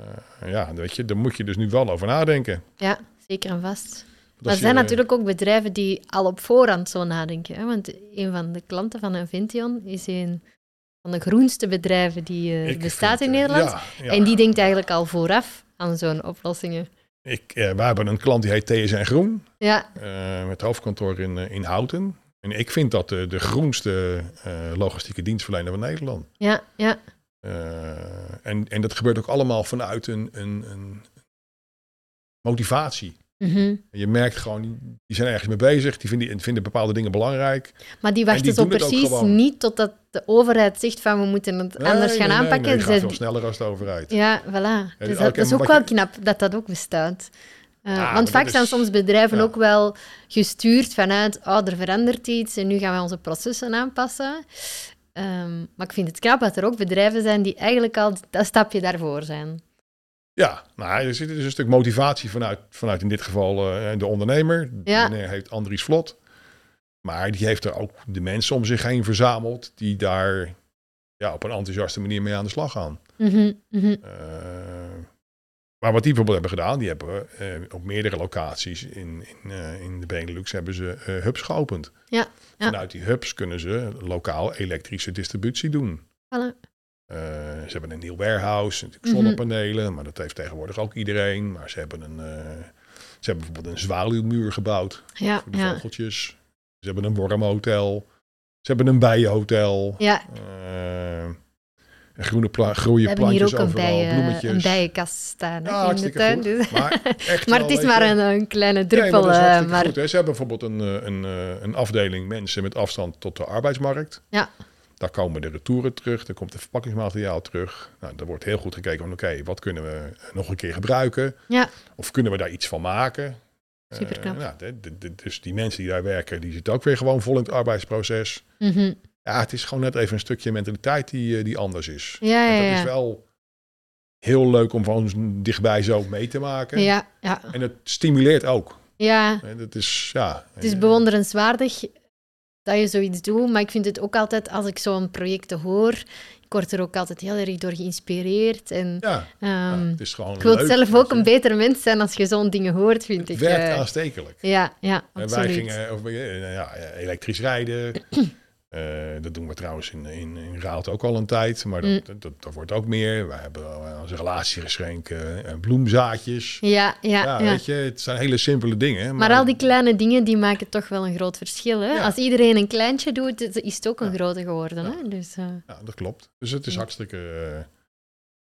Speaker 2: Eh, ja, weet je, daar moet je dus nu wel over nadenken. Want
Speaker 1: Ja, zeker en vast.
Speaker 2: als
Speaker 1: Maar er
Speaker 2: je-
Speaker 1: zijn natuurlijk ook bedrijven die al op voorhand zo nadenken. Hè? Want een van de klanten van Invention is een van de groenste bedrijven die eh,
Speaker 2: Ik
Speaker 1: bestaat
Speaker 2: vind,
Speaker 1: in
Speaker 2: eh,
Speaker 1: Nederland.
Speaker 2: ja, ja.
Speaker 1: En die denkt eigenlijk al vooraf aan zo'n oplossingen.
Speaker 2: Ik, eh, wij hebben een klant die heet TSN Groen.
Speaker 1: Ja,
Speaker 2: eh, met hoofdkantoor in, eh, in Houten. En ik vind dat de, de groenste eh, logistieke dienstverlener van Nederland.
Speaker 1: ja, ja.
Speaker 2: Eh, en, en dat gebeurt ook allemaal vanuit een, een, een motivatie.
Speaker 1: Mhm.
Speaker 2: Je merkt gewoon, die zijn ergens mee bezig, die vinden, vinden bepaalde dingen belangrijk.
Speaker 1: Maar die
Speaker 2: die
Speaker 1: wachten zo
Speaker 2: doen het ook
Speaker 1: precies
Speaker 2: gewoon.
Speaker 1: niet totdat de overheid zegt van we moeten het anders gaan aanpakken.
Speaker 2: Nee, nee, gaat
Speaker 1: Ze-
Speaker 2: veel sneller als de overheid.
Speaker 1: Ja, voilà.
Speaker 2: Ja,
Speaker 1: dus
Speaker 2: oké,
Speaker 1: dat, dat is
Speaker 2: maar
Speaker 1: ook
Speaker 2: wat
Speaker 1: wel
Speaker 2: je-
Speaker 1: knap dat dat ook bestaat. Uh,
Speaker 2: Ja, Ah, maar
Speaker 1: want
Speaker 2: dat
Speaker 1: vaak
Speaker 2: is-
Speaker 1: zijn soms bedrijven
Speaker 2: ja.
Speaker 1: ook wel gestuurd vanuit, oh, er verandert iets en nu gaan wij onze processen aanpassen. Ehm, maar ik vind het knap dat er ook bedrijven zijn die eigenlijk al dat stapje daarvoor zijn.
Speaker 2: Ja, nou, er zit dus een stuk motivatie vanuit, vanuit in dit geval eh, de ondernemer.
Speaker 1: Ja.
Speaker 2: Die meneer heet Andries Vlot. Maar die heeft er ook de mensen om zich heen verzameld die daar ja, op een enthousiaste manier mee aan de slag gaan.
Speaker 1: Mhm, mhm.
Speaker 2: Eh, maar wat die bijvoorbeeld hebben gedaan, die hebben eh, op meerdere locaties in, in, eh, in de Benelux hebben ze eh, hubs geopend.
Speaker 1: Ja, ja.
Speaker 2: Vanuit die hubs kunnen ze lokaal elektrische distributie doen.
Speaker 1: Voilà.
Speaker 2: Eh, ze hebben een nieuw warehouse, natuurlijk
Speaker 1: Mhm.
Speaker 2: zonnepanelen, maar dat heeft tegenwoordig ook iedereen. Maar ze hebben een, eh, Ze hebben bijvoorbeeld een zwaluwmuur gebouwd
Speaker 1: Ja,
Speaker 2: voor de
Speaker 1: ja.
Speaker 2: vogeltjes. Ze hebben een wormhotel. Ze hebben een bijenhotel.
Speaker 1: ja.
Speaker 2: Eh, en groene pla- groeien
Speaker 1: We hebben hier
Speaker 2: plantjes
Speaker 1: ook een,
Speaker 2: overal,
Speaker 1: bijen,
Speaker 2: bloemetjes.
Speaker 1: een bijenkast staan hè,
Speaker 2: Ja,
Speaker 1: in de
Speaker 2: hartstikke
Speaker 1: tuin.
Speaker 2: goed.
Speaker 1: dus-
Speaker 2: Maar
Speaker 1: <laughs>
Speaker 2: echt
Speaker 1: maar
Speaker 2: wel,
Speaker 1: het is
Speaker 2: weet
Speaker 1: maar
Speaker 2: je.
Speaker 1: een, een kleine
Speaker 2: Nee, maar
Speaker 1: druppel.
Speaker 2: dat is
Speaker 1: eh,
Speaker 2: hartstikke
Speaker 1: maar
Speaker 2: goed, hè. Ze hebben bijvoorbeeld een, eh, een, eh, een afdeling mensen met afstand tot de arbeidsmarkt.
Speaker 1: Ja.
Speaker 2: Daar komen de retouren terug, daar komt het verpakkingsmateriaal terug. Nou, daar wordt heel goed gekeken van oké, wat kunnen we nog een keer gebruiken?
Speaker 1: Ja.
Speaker 2: Of kunnen we daar iets van maken?
Speaker 1: Superknap.
Speaker 2: Eh, nou, de- de- de- dus die mensen die daar werken, die zitten ook weer gewoon vol in het arbeidsproces.
Speaker 1: Mhm.
Speaker 2: Ja, het is gewoon net even een stukje mentaliteit die, eh, die anders is.
Speaker 1: Ja,
Speaker 2: En
Speaker 1: ja,
Speaker 2: dat
Speaker 1: ja.
Speaker 2: is wel heel leuk om gewoon dichtbij zo mee te maken.
Speaker 1: Ja, ja.
Speaker 2: En het stimuleert ook.
Speaker 1: ja,
Speaker 2: En dat is, ja,
Speaker 1: het is bewonderenswaardig dat je zoiets doet. Maar ik vind het ook altijd, als ik zo'n projecten hoor, ik word er ook altijd heel erg door geïnspireerd. En,
Speaker 2: ja, ja,
Speaker 1: ehm,
Speaker 2: het is gewoon
Speaker 1: ik wil
Speaker 2: leuk,
Speaker 1: zelf
Speaker 2: weet
Speaker 1: ook
Speaker 2: je.
Speaker 1: een beter mens zijn als je zo'n dingen hoort, vind ik.
Speaker 2: Het werkt
Speaker 1: eh.
Speaker 2: aanstekelijk.
Speaker 1: ja, ja,
Speaker 2: En wij
Speaker 1: absoluut.
Speaker 2: gingen of, eh, ja, elektrisch rijden.
Speaker 1: <clears throat>
Speaker 2: Eh, dat doen we trouwens in, in, in Raalte ook al een tijd. Maar
Speaker 1: Mm.
Speaker 2: dat, dat, dat, wordt ook meer. We hebben eh, aan onze relatiegeschenken en bloemzaadjes.
Speaker 1: Ja, ja,
Speaker 2: Ja,
Speaker 1: ja.
Speaker 2: weet je, het zijn hele simpele dingen. Maar,
Speaker 1: Maar al die kleine dingen die maken toch wel een groot verschil. Hè?
Speaker 2: Ja.
Speaker 1: Als iedereen een kleintje doet, is is het ook een
Speaker 2: Ja.
Speaker 1: grote geworden. Hè? Dus, eh,
Speaker 2: Ja, dat klopt. Dus het is hartstikke, eh,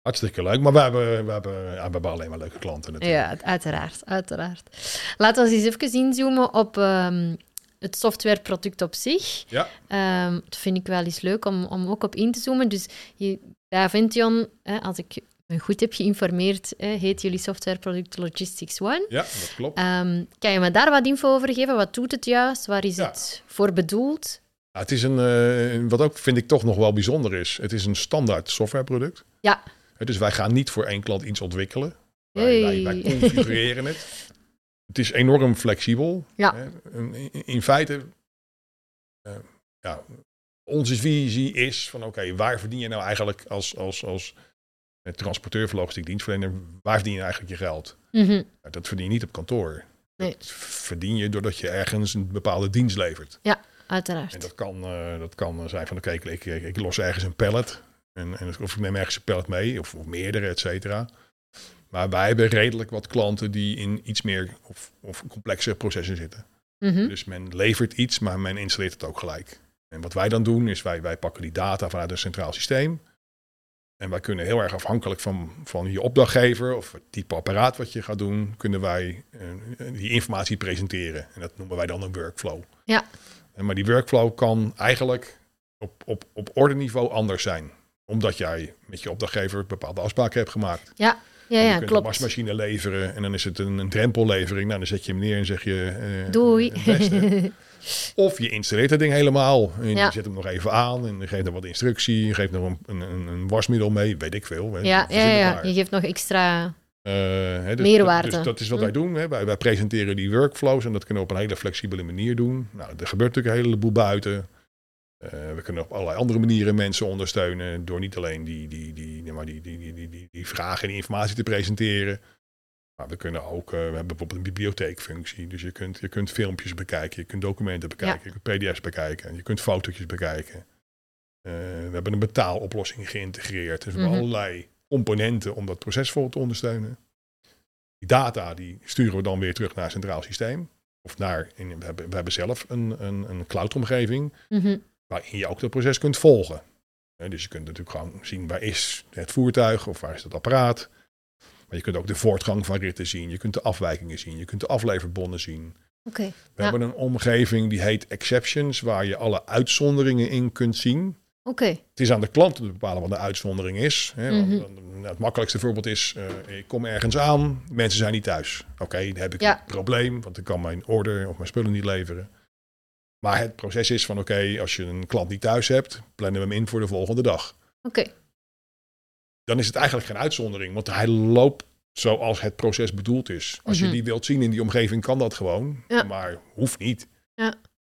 Speaker 2: hartstikke leuk. Maar we hebben, we, hebben, ja, we hebben alleen maar leuke klanten natuurlijk.
Speaker 1: ja, uiteraard, uiteraard. Laten we eens even inzoomen op ehm, het softwareproduct op zich.
Speaker 2: Ja.
Speaker 1: Ehm, dat vind ik wel eens leuk om, om ook op in te zoomen. Dus je, bij Avention, hè, als ik me goed heb geïnformeerd, hè, heet jullie softwareproduct Logistics One.
Speaker 2: Ja, dat klopt.
Speaker 1: Ehm, kan je me daar wat info over geven? Wat doet het juist? Waar is
Speaker 2: Ja.
Speaker 1: het voor bedoeld?
Speaker 2: Ja, het is een, eh, wat ook vind ik toch nog wel bijzonder is, het is een standaard softwareproduct.
Speaker 1: Ja.
Speaker 2: Eh, Dus wij gaan niet voor één klant iets ontwikkelen.
Speaker 1: Hey.
Speaker 2: Wij, wij, wij configureren het. Het is enorm flexibel.
Speaker 1: Ja.
Speaker 2: Eh, In, in- in feite, eh, ja, onze visie is van oké, waar verdien je nou eigenlijk als, als, als eh, transporteur van logistiek dienstverlener, waar verdien je eigenlijk je
Speaker 1: <laughs>
Speaker 2: geld?
Speaker 1: Mhm.
Speaker 2: Ja, Dat verdien je niet op kantoor.
Speaker 1: Nee.
Speaker 2: Dat verdien je doordat je ergens een bepaalde dienst levert.
Speaker 1: Uiteraard.
Speaker 2: En dat kan, eh, dat kan eh, zijn van, oké, ik- ik, ik, ik los ergens een pallet. En, en, of ik neem ergens een pallet mee, of, of meerdere, et cetera. Maar wij hebben redelijk wat klanten die in iets meer of, of complexere processen zitten.
Speaker 1: Mhm.
Speaker 2: Dus men levert iets, maar men installeert het ook gelijk. En wat wij dan doen, is wij, wij pakken die data vanuit een centraal systeem. En wij kunnen heel erg afhankelijk van, van je opdrachtgever of het type apparaat wat je gaat doen, kunnen wij eh, die informatie presenteren. En dat noemen wij dan een workflow.
Speaker 1: Ja.
Speaker 2: En maar die workflow kan eigenlijk op, op, op ordeniveau anders zijn. Omdat jij met je opdrachtgever bepaalde afspraken hebt gemaakt.
Speaker 1: Ja,
Speaker 2: En je
Speaker 1: ja,
Speaker 2: kunt
Speaker 1: klopt.
Speaker 2: een wasmachine leveren en dan is het een, een drempellevering. Nou, dan zet je hem neer en zeg je... eh,
Speaker 1: Doei.
Speaker 2: het beste.
Speaker 1: <laughs>
Speaker 2: Of je installeert dat ding helemaal. En
Speaker 1: Ja.
Speaker 2: je zet hem nog even aan en je geeft nog wat instructie. Je geeft nog een, een, een- een wasmiddel mee, weet ik veel. hè.
Speaker 1: ja,
Speaker 2: Verzin
Speaker 1: ja,
Speaker 2: het
Speaker 1: ja,
Speaker 2: maar.
Speaker 1: je geeft nog extra.
Speaker 2: Eh, hè, dus,
Speaker 1: Meerwaarde.
Speaker 2: Dus dat is wat wij doen. Hè. Wij, wij presenteren die workflows en dat kunnen we op een hele flexibele manier doen. Nou, er gebeurt natuurlijk een heleboel buiten. Eh, we kunnen op allerlei andere manieren mensen ondersteunen. Door niet alleen die, die, die, nee, maar die, die, die, die, die, die vragen en die informatie te presenteren. Maar we kunnen ook, eh, we hebben bijvoorbeeld een bibliotheekfunctie. Dus je kunt, je kunt filmpjes bekijken, je kunt documenten bekijken, je kunt pdf's bekijken, je kunt fotootjes bekijken. Eh, we hebben een betaaloplossing geïntegreerd. Dus we
Speaker 1: Mhm.
Speaker 2: hebben allerlei componenten om dat proces voor te ondersteunen. Die data die sturen we dan weer terug naar het centraal systeem. Of naar, in, we, hebben, we hebben zelf een, een, een cloud-omgeving
Speaker 1: Mhm.
Speaker 2: waarin je ook dat proces kunt volgen. Hè, dus je kunt natuurlijk gewoon zien waar is het voertuig of waar is dat apparaat. Maar je kunt ook de voortgang van ritten zien, je kunt de afwijkingen zien, je kunt de afleverbonnen zien.
Speaker 1: Oké. Ja.
Speaker 2: We hebben een omgeving die heet exceptions, waar je alle uitzonderingen in kunt zien.
Speaker 1: Oké.
Speaker 2: Het is aan de klant om te bepalen wat de uitzondering is. Hè. Want,
Speaker 1: Mhm.
Speaker 2: dan- nou, het makkelijkste voorbeeld is, eh, ik kom ergens aan, mensen zijn niet thuis. Oké, dan heb ik
Speaker 1: Ja.
Speaker 2: een probleem, want ik kan mijn order of mijn spullen niet leveren. Maar het proces is van, oké, als je een klant niet thuis hebt, plannen we hem in voor de volgende dag.
Speaker 1: Oké.
Speaker 2: Dan is het eigenlijk geen uitzondering, want hij loopt zoals het proces bedoeld is. Als
Speaker 1: Mhm.
Speaker 2: je die wilt zien in die omgeving, kan dat gewoon,
Speaker 1: Ja.
Speaker 2: maar hoeft niet.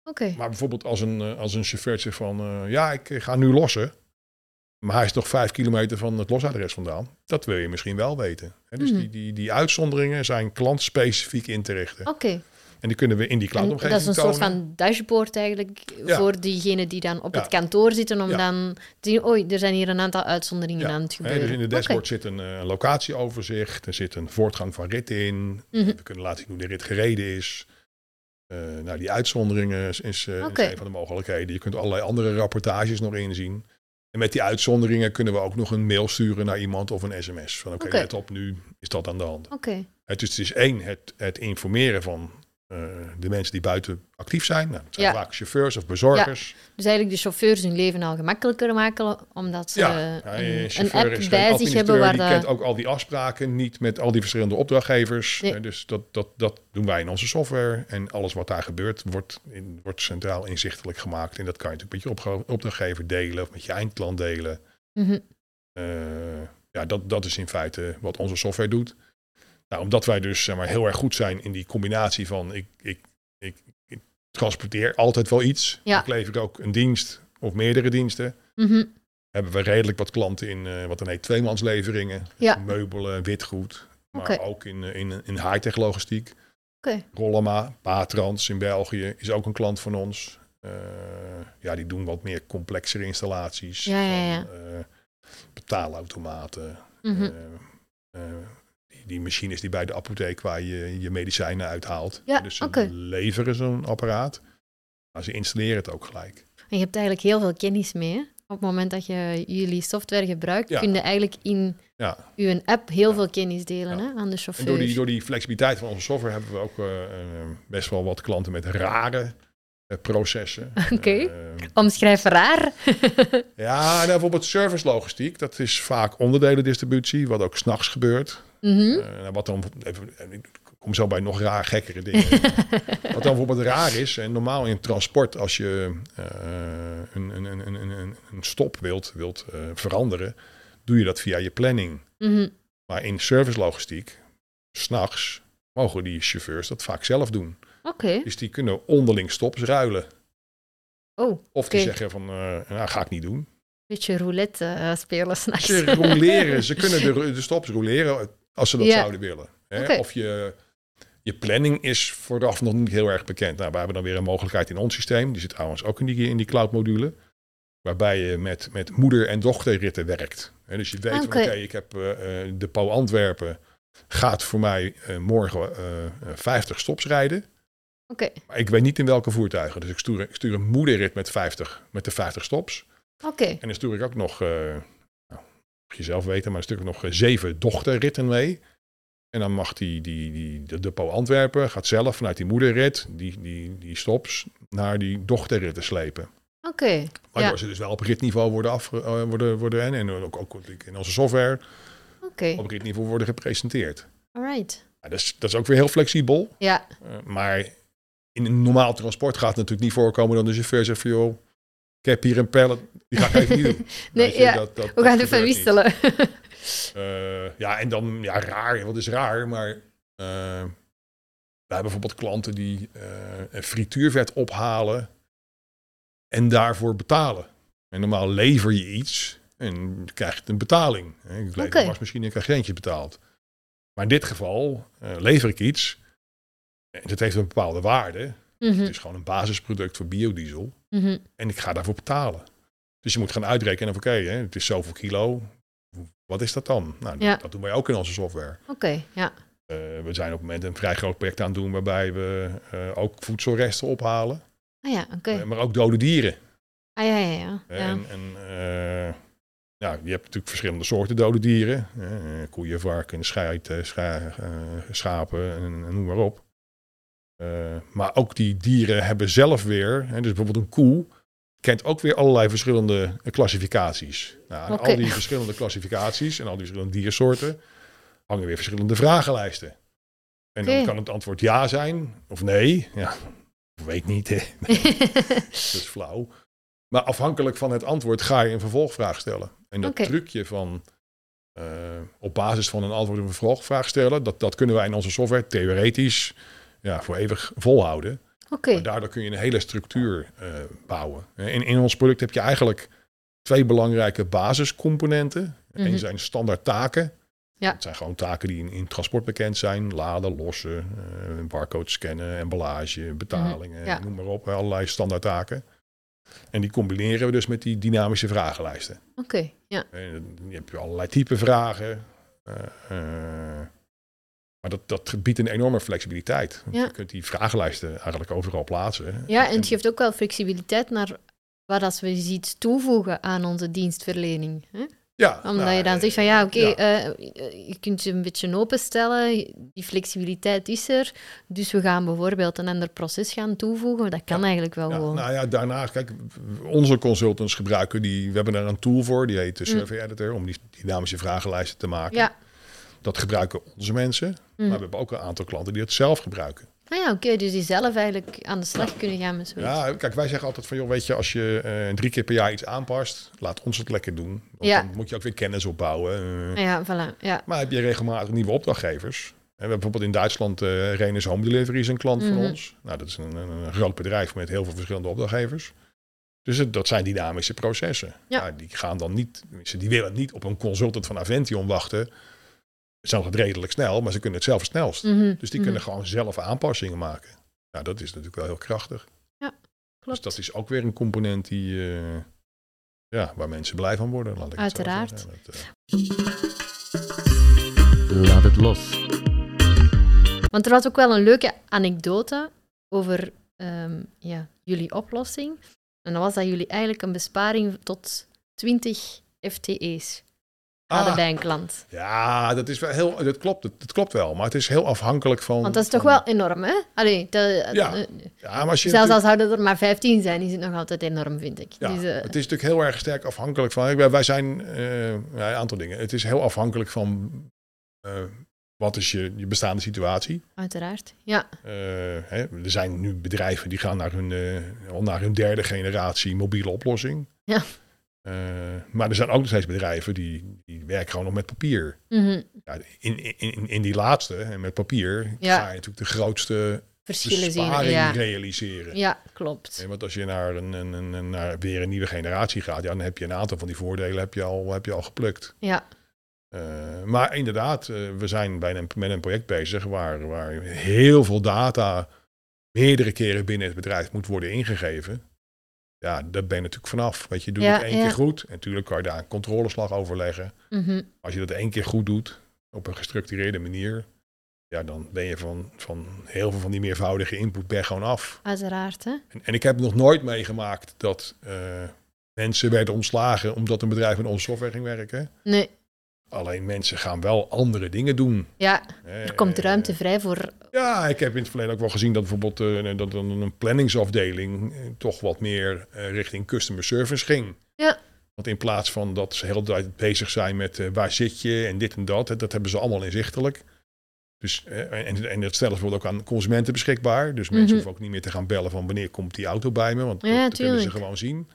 Speaker 1: Oké.
Speaker 2: Maar bijvoorbeeld als een, eh, als een chauffeur zegt van, eh, ja, ik eh, ga nu lossen. Maar hij is nog vijf kilometer van het losadres vandaan. Dat wil je misschien wel weten. Hè, dus
Speaker 1: Mhm.
Speaker 2: die, die, die uitzonderingen zijn klantspecifiek in te richten.
Speaker 1: Oké.
Speaker 2: En die kunnen we in die
Speaker 1: En
Speaker 2: cloudomgeving
Speaker 1: dat is een soort
Speaker 2: eh, tonen.
Speaker 1: van dashboard eigenlijk
Speaker 2: Ja.
Speaker 1: voor diegenen die dan op
Speaker 2: Ja.
Speaker 1: het kantoor zitten, om
Speaker 2: Ja.
Speaker 1: dan te zien, oei, er zijn hier een aantal uitzonderingen
Speaker 2: Ja.
Speaker 1: aan het
Speaker 2: Hè,
Speaker 1: gebeuren.
Speaker 2: dus in de
Speaker 1: Oké.
Speaker 2: dashboard zit een eh, locatieoverzicht, er zit een voortgang van rit in.
Speaker 1: Mhm.
Speaker 2: We kunnen laten zien hoe de rit gereden is. Eh, nou, die uitzonderingen is, is, eh, is
Speaker 1: Oké.
Speaker 2: een van de mogelijkheden. Je kunt allerlei andere rapportages nog inzien. En met die uitzonderingen kunnen we ook nog een mail sturen naar iemand of een sms. Van oké,
Speaker 1: Oké.
Speaker 2: let op, nu is dat aan de hand.
Speaker 1: Oké,
Speaker 2: Het, dus het is één, het, het informeren van eh, de mensen die buiten actief zijn. Nou, dat zijn
Speaker 1: Ja.
Speaker 2: vaak chauffeurs of bezorgers.
Speaker 1: dus eigenlijk de chauffeurs hun leven al gemakkelijker maken, omdat ze
Speaker 2: Ja,
Speaker 1: eh,
Speaker 2: hij
Speaker 1: een,
Speaker 2: is
Speaker 1: een
Speaker 2: chauffeur,
Speaker 1: app
Speaker 2: is geen
Speaker 1: bij zich hebben
Speaker 2: administrateur,
Speaker 1: waar
Speaker 2: die
Speaker 1: de-
Speaker 2: kent ook al die afspraken niet met al die verschillende opdrachtgevers.
Speaker 1: Nee.
Speaker 2: Eh, Dus dat, dat, dat doen wij in onze software. En alles wat daar gebeurt, wordt, in, wordt centraal inzichtelijk gemaakt. En dat kan je natuurlijk met je opge- opdrachtgever delen of met je eindklant delen.
Speaker 1: Mhm.
Speaker 2: Eh, ja, dat, dat is in feite wat onze software doet. Nou, omdat wij dus zeg maar, heel erg goed zijn in die combinatie van ik, ik, ik, ik transporteer altijd wel iets.
Speaker 1: Ja.
Speaker 2: Ik lever ook een dienst of meerdere diensten.
Speaker 1: Mhm.
Speaker 2: Hebben we redelijk wat klanten in eh, wat dan heet tweemansleveringen. Dus
Speaker 1: Ja.
Speaker 2: Meubelen, witgoed. Maar
Speaker 1: Oké.
Speaker 2: ook in, eh, in, in high-tech logistiek.
Speaker 1: Oké.
Speaker 2: Rollama, Patrans in België is ook een klant van ons. Eh, ja, die doen wat meer complexere installaties.
Speaker 1: Ja, ja, ja.
Speaker 2: Van, eh, betaalautomaten.
Speaker 1: Mhm.
Speaker 2: Eh, eh, die, die machines die bij de apotheek waar je je medicijnen uithaalt.
Speaker 1: Ja,
Speaker 2: dus ze
Speaker 1: oké.
Speaker 2: leveren zo'n apparaat. Maar ze installeren het ook gelijk.
Speaker 1: En je hebt eigenlijk heel veel kennis mee. hè? Op het moment dat je jullie software gebruikt,
Speaker 2: Ja.
Speaker 1: kun je eigenlijk in
Speaker 2: Ja.
Speaker 1: je app heel
Speaker 2: Ja.
Speaker 1: veel kennis delen
Speaker 2: Ja.
Speaker 1: hè, aan de
Speaker 2: En
Speaker 1: chauffeur.
Speaker 2: door die, door die flexibiliteit van onze software hebben we ook eh, eh, best wel wat klanten met rare eh, processen.
Speaker 1: Oké.
Speaker 2: Eh,
Speaker 1: Omschrijf raar.
Speaker 2: ja, nou, bijvoorbeeld service logistiek. Dat is vaak onderdelendistributie, wat ook s'nachts gebeurt.
Speaker 1: Mhm.
Speaker 2: Eh, nou, wat dan, even- ik kom zo bij nog raar gekkere dingen. wat dan bijvoorbeeld raar is, en normaal in transport, als je eh, een, een, een, een, een, een stop wilt, wilt eh, veranderen, doe je dat via je planning.
Speaker 1: Mhm.
Speaker 2: Maar in servicelogistiek, s'nachts, mogen die chauffeurs dat vaak zelf doen.
Speaker 1: Oké.
Speaker 2: Dus die kunnen onderling stops ruilen.
Speaker 1: Oh,
Speaker 2: Of die
Speaker 1: Oké.
Speaker 2: zeggen van, eh nou ga ik niet doen.
Speaker 1: beetje roulette eh, spelen s'nachts.
Speaker 2: Ze roleren, ze kunnen de, ru- de stops roleren als ze dat
Speaker 1: Ja.
Speaker 2: zouden willen. Hè?
Speaker 1: Oké.
Speaker 2: Of je, je planning is vooraf nog niet heel erg bekend. Nou, we hebben dan weer een mogelijkheid in ons systeem. Die zit trouwens ook in die, in die cloud module. Waarbij je met, met moeder- en dochterritten werkt. Hè? Dus je weet, van, oké,
Speaker 1: Oké.
Speaker 2: ik heb eh, eh, de PO Antwerpen gaat voor mij eh, morgen eh, eh, 50 stops rijden.
Speaker 1: <laughs> Oké.
Speaker 2: Maar ik weet niet in welke voertuigen. Dus ik stuur, ik stuur een moederrit met, 50, met de 50 stops.
Speaker 1: Oké.
Speaker 2: En dan stuur ik ook nog, eh nou, mag je zelf weten, maar dan stuur ik nog eh, zeven dochterritten mee. En dan mag die, die, die de depot Antwerpen, gaat zelf vanuit die moederrit, die, die, die stops, naar die dochterritten slepen.
Speaker 1: Oké.
Speaker 2: Waardoor
Speaker 1: Ja.
Speaker 2: ze dus wel op ritniveau worden, af, eh, worden, worden en, en ook, ook natuurlijk in onze software
Speaker 1: Oké.
Speaker 2: op ritniveau worden gepresenteerd.
Speaker 1: Alright.
Speaker 2: Ja, dat, is, dat is ook weer heel flexibel,
Speaker 1: Ja.
Speaker 2: eh, maar in een normaal transport gaat het natuurlijk niet voorkomen dat de chauffeur zegt van joh, ik heb hier een pallet, die ga ik even niet doen.
Speaker 1: <laughs> Nee,
Speaker 2: Weet je,
Speaker 1: ja.
Speaker 2: dat- dat-
Speaker 1: We
Speaker 2: dat
Speaker 1: gaan
Speaker 2: gebeurt
Speaker 1: even
Speaker 2: niet. <laughs>
Speaker 1: wisselen.
Speaker 2: Eh, ja, en dan, ja, raar. Wat is raar? Maar eh, wij hebben bijvoorbeeld klanten die eh, een frituurvet ophalen en daarvoor betalen. En normaal lever je iets en krijg je een betaling. Ik lever
Speaker 1: Oké.
Speaker 2: een wasmachine en krijg je eentje betaald. Maar in dit geval eh, lever ik iets. En dat heeft een bepaalde waarde.
Speaker 1: Mhm.
Speaker 2: Het is gewoon een basisproduct voor biodiesel.
Speaker 1: Mhm.
Speaker 2: En ik ga daarvoor betalen. Dus je moet gaan uitrekenen van oké, hè, het is zoveel kilo. Wat is dat dan? Nou, dat-
Speaker 1: Ja.
Speaker 2: dat doen wij ook in onze software.
Speaker 1: Oké. Ja.
Speaker 2: Eh, we zijn op het moment een vrij groot project aan het doen waarbij we eh, ook voedselresten ophalen.
Speaker 1: Ah ja, oké.
Speaker 2: eh, maar ook dode dieren.
Speaker 1: Ah ja, ja, ja.
Speaker 2: hè.
Speaker 1: ja.
Speaker 2: En, en eh, ja, je hebt natuurlijk verschillende soorten dode dieren. hè. Eh, koeien, varken, scheiden, scha- eh, schapen en, en noem maar op. Eh, maar ook die dieren hebben zelf weer, hè, dus bijvoorbeeld een koe, kent ook weer allerlei verschillende eh, klassificaties. Nou, aan
Speaker 1: Oké.
Speaker 2: al die verschillende klassificaties en al die verschillende diersoorten hangen weer verschillende vragenlijsten. En dan
Speaker 1: Oké.
Speaker 2: kan het antwoord ja zijn of nee. Ja, weet niet. Hè. Dat is flauw. Maar afhankelijk van het antwoord ga je een vervolgvraag stellen. En dat
Speaker 1: Oké.
Speaker 2: trucje van eh, op basis van een antwoord een vervolgvraag stellen, dat, dat kunnen wij in onze software theoretisch ja, voor eeuwig volhouden.
Speaker 1: <laughs> Oké.
Speaker 2: Maar daardoor kun je een hele structuur eh, bouwen. In, in ons product heb je eigenlijk twee belangrijke basiscomponenten.
Speaker 1: Mhm.
Speaker 2: Eén zijn standaard taken
Speaker 1: Ja.
Speaker 2: Het zijn gewoon taken die in, in transport bekend zijn. Laden, lossen, eh barcode scannen, emballage, betalingen,
Speaker 1: Mhm, ja.
Speaker 2: noem maar op. Allerlei standaard taken. En die combineren we dus met die dynamische vragenlijsten.
Speaker 1: Oké, ja.
Speaker 2: En Je hebt allerlei type vragen. Eh, eh, maar dat, dat biedt een enorme flexibiliteit. Want
Speaker 1: Ja.
Speaker 2: Je kunt die vragenlijsten eigenlijk overal plaatsen.
Speaker 1: Ja, en het geeft ook wel flexibiliteit naar wat als we eens iets toevoegen aan onze dienstverlening. Hè?
Speaker 2: ja,
Speaker 1: Omdat
Speaker 2: nou,
Speaker 1: je dan
Speaker 2: eh,
Speaker 1: zegt van ja, oké,
Speaker 2: ja.
Speaker 1: eh, eh, je kunt je een beetje openstellen, die flexibiliteit is er, dus we gaan bijvoorbeeld een ander proces gaan toevoegen. Dat kan eigenlijk wel
Speaker 2: ja,
Speaker 1: gewoon.
Speaker 2: nou ja, daarnaast, kijk, onze consultants gebruiken die, we hebben daar een tool voor, die heet de Survey Editor, om die dynamische vragenlijsten te maken.
Speaker 1: Mm. ja, Mm.
Speaker 2: Dat gebruiken onze mensen, maar we hebben ook een aantal klanten die het zelf gebruiken.
Speaker 1: ah, ja oké, dus die zelf eigenlijk aan de slag kunnen gaan met zoiets.
Speaker 2: Ja, kijk, wij zeggen altijd van, joh, weet je, als je eh, drie keer per jaar iets aanpast, laat ons het lekker doen. Want
Speaker 1: Ja.
Speaker 2: Dan moet je ook weer kennis opbouwen. eh.
Speaker 1: Ah ja, voilà. Ja.
Speaker 2: Maar heb je regelmatig nieuwe opdrachtgevers? En we hebben bijvoorbeeld in Duitsland eh Renus Home Delivery is een klant
Speaker 1: Mhm.
Speaker 2: van ons. Nou, dat is een, een, een groot bedrijf met heel veel verschillende opdrachtgevers. Dus het- dat zijn dynamische processen.
Speaker 1: Ja.
Speaker 2: Nou, die gaan dan niet, tenminste, die willen niet op een consultant van Avention wachten. Ze zijn het redelijk snel, maar ze kunnen het zelf het snelst.
Speaker 1: Mhm,
Speaker 2: Dus die
Speaker 1: mhm,
Speaker 2: kunnen gewoon zelf aanpassingen maken. Nou, dat is natuurlijk wel heel krachtig.
Speaker 1: klopt.
Speaker 2: Dus dat is ook weer een component die, eh, ja, waar mensen blij van worden. Laat ik het zo
Speaker 1: Uiteraard.
Speaker 2: zeggen. Dat, eh,
Speaker 3: Laat het los.
Speaker 1: Want er was ook wel een leuke anekdote over ehm, ja, jullie oplossing. En dat was dat jullie eigenlijk een besparing tot 20 FTE's hadden
Speaker 2: ah,
Speaker 1: bij een klant.
Speaker 2: Ja, dat is wel heel. Dat klopt, dat, dat klopt wel. Maar het is heel afhankelijk van.
Speaker 1: Want dat is toch
Speaker 2: van-
Speaker 1: wel enorm, hè? Allee, dat-
Speaker 2: Ja,
Speaker 1: eh,
Speaker 2: Ja, maar als je
Speaker 1: zelfs
Speaker 2: natuurlijk-
Speaker 1: als zouden er maar 15 zijn, is het nog altijd enorm, vind ik.
Speaker 2: ja,
Speaker 1: Dus, eh,
Speaker 2: het is natuurlijk heel erg sterk afhankelijk van. Wij, wij zijn eh, ja, een aantal dingen. Het is heel afhankelijk van eh, wat is je, je bestaande situatie.
Speaker 1: Uiteraard. Ja,
Speaker 2: Eh, hè, er zijn nu bedrijven die gaan naar hun, eh, al naar hun derde generatie mobiele oplossing.
Speaker 1: Ja.
Speaker 2: Eh, maar er zijn ook nog steeds bedrijven die, die werken gewoon nog met papier.
Speaker 1: Mhm.
Speaker 2: Ja, in, in, in- in die laatste, hè, met papier,
Speaker 1: Ja.
Speaker 2: ga je natuurlijk de grootste
Speaker 1: verschillen zien. we,
Speaker 2: besparing
Speaker 1: Ja.
Speaker 2: realiseren.
Speaker 1: ja, klopt.
Speaker 2: Nee, want als je naar, een, een, een- een- naar weer een nieuwe generatie gaat, ja, dan heb je een aantal van die voordelen heb je al, heb je al geplukt.
Speaker 1: Ja,
Speaker 2: Eh, maar inderdaad, eh, we zijn bij een, met een project bezig waar, waar heel veel data meerdere keren binnen het bedrijf moet worden ingegeven. Ja, daar ben je natuurlijk vanaf. Weet je, doe je
Speaker 1: Ja,
Speaker 2: het één
Speaker 1: ja.
Speaker 2: keer goed. En natuurlijk kan je daar een controleslag over leggen.
Speaker 1: mhm.
Speaker 2: Als je dat één keer goed doet, op een gestructureerde manier, ja, dan ben je van, van heel veel van die meervoudige input ben je gewoon af.
Speaker 1: uiteraard, hè?
Speaker 2: En, en ik heb nog nooit meegemaakt dat eh, mensen werden ontslagen omdat een bedrijf met onze software ging werken.
Speaker 1: Nee,
Speaker 2: Alleen mensen gaan wel andere dingen doen.
Speaker 1: ja,
Speaker 2: Eh,
Speaker 1: er komt
Speaker 2: eh,
Speaker 1: ruimte vrij voor...
Speaker 2: Ja, ik heb in het verleden ook wel gezien dat bijvoorbeeld eh, dat een, een planningsafdeling eh, toch wat meer eh, richting customer service ging.
Speaker 1: Ja.
Speaker 2: Want in plaats van dat ze heel de tijd bezig zijn met eh, waar zit je en dit en dat, hè, dat hebben ze allemaal inzichtelijk. Dus, eh, en, en dat stellen ze bijvoorbeeld ook aan consumenten beschikbaar. Dus mensen
Speaker 1: Mhm.
Speaker 2: hoeven ook niet meer te gaan bellen van wanneer komt die auto bij me, want
Speaker 1: Ja,
Speaker 2: dat, dat kunnen ze
Speaker 1: tuurlijk.
Speaker 2: gewoon zien.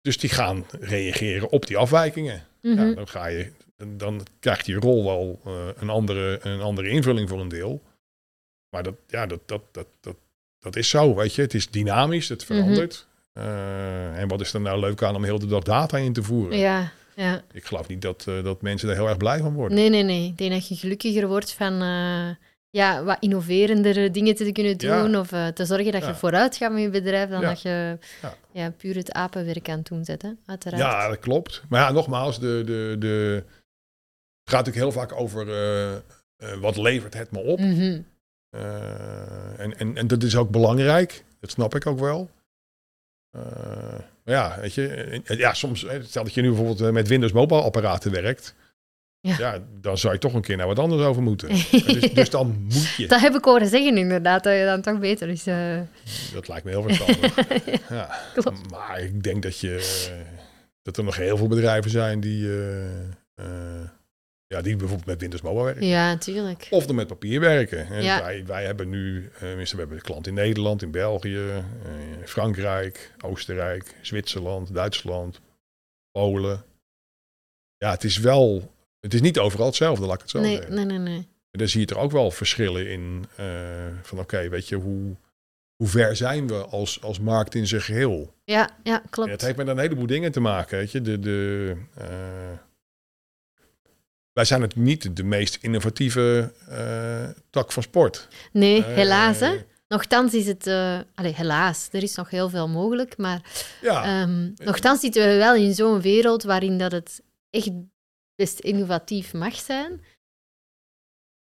Speaker 2: Dus die gaan reageren op die afwijkingen.
Speaker 1: Mhm.
Speaker 2: Ja, dan, ga je, dan, dan krijgt je rol wel eh, een, andere, een andere invulling voor een deel. Maar dat, ja, dat, dat, dat, dat, dat is zo, weet je. Het is dynamisch, het
Speaker 1: Mhm.
Speaker 2: verandert. Eh, en wat is er nou leuk aan om heel de dag data in te voeren?
Speaker 1: ja, ja.
Speaker 2: Ik geloof niet dat, eh, dat mensen daar heel erg blij van worden.
Speaker 1: Nee, nee, nee. Ik denk dat je gelukkiger wordt van eh, ja, wat innoverendere dingen te kunnen
Speaker 2: Ja.
Speaker 1: doen. Of eh, te zorgen dat
Speaker 2: Ja.
Speaker 1: je vooruit gaat met je bedrijf. Dan
Speaker 2: Ja.
Speaker 1: dat je
Speaker 2: Ja.
Speaker 1: ja. puur het apenwerk aan het doen zet, hè? Uiteraard.
Speaker 2: Ja, dat klopt. Maar ja, nogmaals, de, de, de, het gaat natuurlijk heel vaak over eh, eh, wat levert het me op.
Speaker 1: Mhm.
Speaker 2: Eh, en, en, en dat is ook belangrijk. Dat snap ik ook wel. Eh, maar ja, weet je. eh, eh, Ja, soms, eh, stel dat je nu bijvoorbeeld eh, met Windows Mobile apparaten werkt. Ja.
Speaker 1: Ja.
Speaker 2: dan zou je toch een keer naar wat anders over moeten.
Speaker 1: <laughs>
Speaker 2: dus, dus dan moet je.
Speaker 1: Dat heb ik horen zeggen, inderdaad. Dat je dan toch beter is. eh.
Speaker 2: Dat lijkt me heel
Speaker 1: <laughs>
Speaker 2: verstandig. ja.
Speaker 1: Klopt.
Speaker 2: Maar ik denk dat, je, eh, dat er nog heel veel bedrijven zijn die, eh, eh, ja, die bijvoorbeeld met Windows Mobile werken.
Speaker 1: ja, tuurlijk.
Speaker 2: Of dan met papier werken. En
Speaker 1: Ja.
Speaker 2: wij, wij hebben nu, eh, tenminste, we hebben een klant in Nederland, in België, eh, Frankrijk, Oostenrijk, Zwitserland, Duitsland, Polen. Ja, het is wel, het is niet overal hetzelfde, laat ik het zo
Speaker 1: Nee,
Speaker 2: zeggen.
Speaker 1: nee, nee, nee.
Speaker 2: En daar zie je er ook wel verschillen in. eh, van oké, weet je, hoe, hoe ver zijn we als, als markt in zijn geheel?
Speaker 1: Ja, ja,
Speaker 2: En dat
Speaker 1: klopt.
Speaker 2: heeft met een heleboel dingen te maken. Weet je? De, de, eh, Wij zijn het niet de meest innovatieve eh, tak van sport.
Speaker 1: Nee,
Speaker 2: Eh,
Speaker 1: Hm, helaas hè. Nochtans is het... eh allee, helaas, er is nog heel veel mogelijk, maar
Speaker 2: Ja,
Speaker 1: Ehm nochtans zitten we wel in zo'n wereld waarin dat het echt best innovatief mag zijn.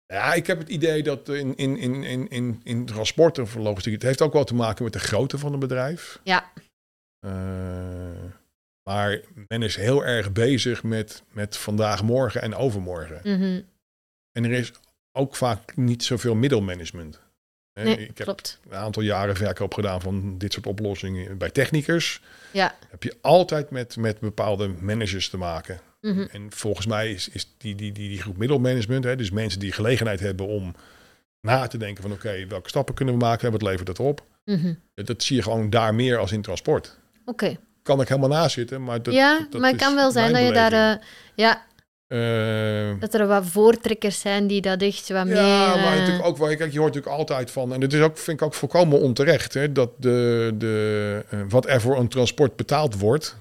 Speaker 2: Ja, ik heb het idee dat in, in, in, in, in, in transport of logistiek, het heeft ook wel te maken met de grootte van een bedrijf.
Speaker 1: Ja.
Speaker 2: Eh, maar men is heel erg bezig met, met vandaag, morgen en overmorgen.
Speaker 1: Mhm.
Speaker 2: En er is ook vaak niet zoveel middelmanagement. Hè,
Speaker 1: Nee,
Speaker 2: ik heb
Speaker 1: klopt.
Speaker 2: een aantal jaren verkoop gedaan van dit soort oplossingen bij technicus.
Speaker 1: Ja.
Speaker 2: Heb je altijd met, met bepaalde managers te maken.
Speaker 1: Mhm.
Speaker 2: En volgens mij is, is die, die, die, die groep middelmanagement, hè, dus mensen die gelegenheid hebben om na te denken van oké, welke stappen kunnen we maken en wat levert dat op?
Speaker 1: Mhm.
Speaker 2: Dat, dat zie je gewoon daar meer als in transport.
Speaker 1: Oké.
Speaker 2: Kan ik helemaal naast zitten, maar dat,
Speaker 1: ja,
Speaker 2: dat- dat
Speaker 1: maar het
Speaker 2: is
Speaker 1: kan wel zijn dat,
Speaker 2: mijn
Speaker 1: je daar,
Speaker 2: beleving.
Speaker 1: eh, ja,
Speaker 2: Eh,
Speaker 1: dat er wat voortrekkers zijn die dat echt wat meer...
Speaker 2: ja, maar
Speaker 1: eh,
Speaker 2: natuurlijk ook wel. Kijk, je hoort natuurlijk altijd van. En dat is ook, vind ik ook volkomen onterecht. Hè, dat de, de, eh, wat er voor een transport betaald wordt,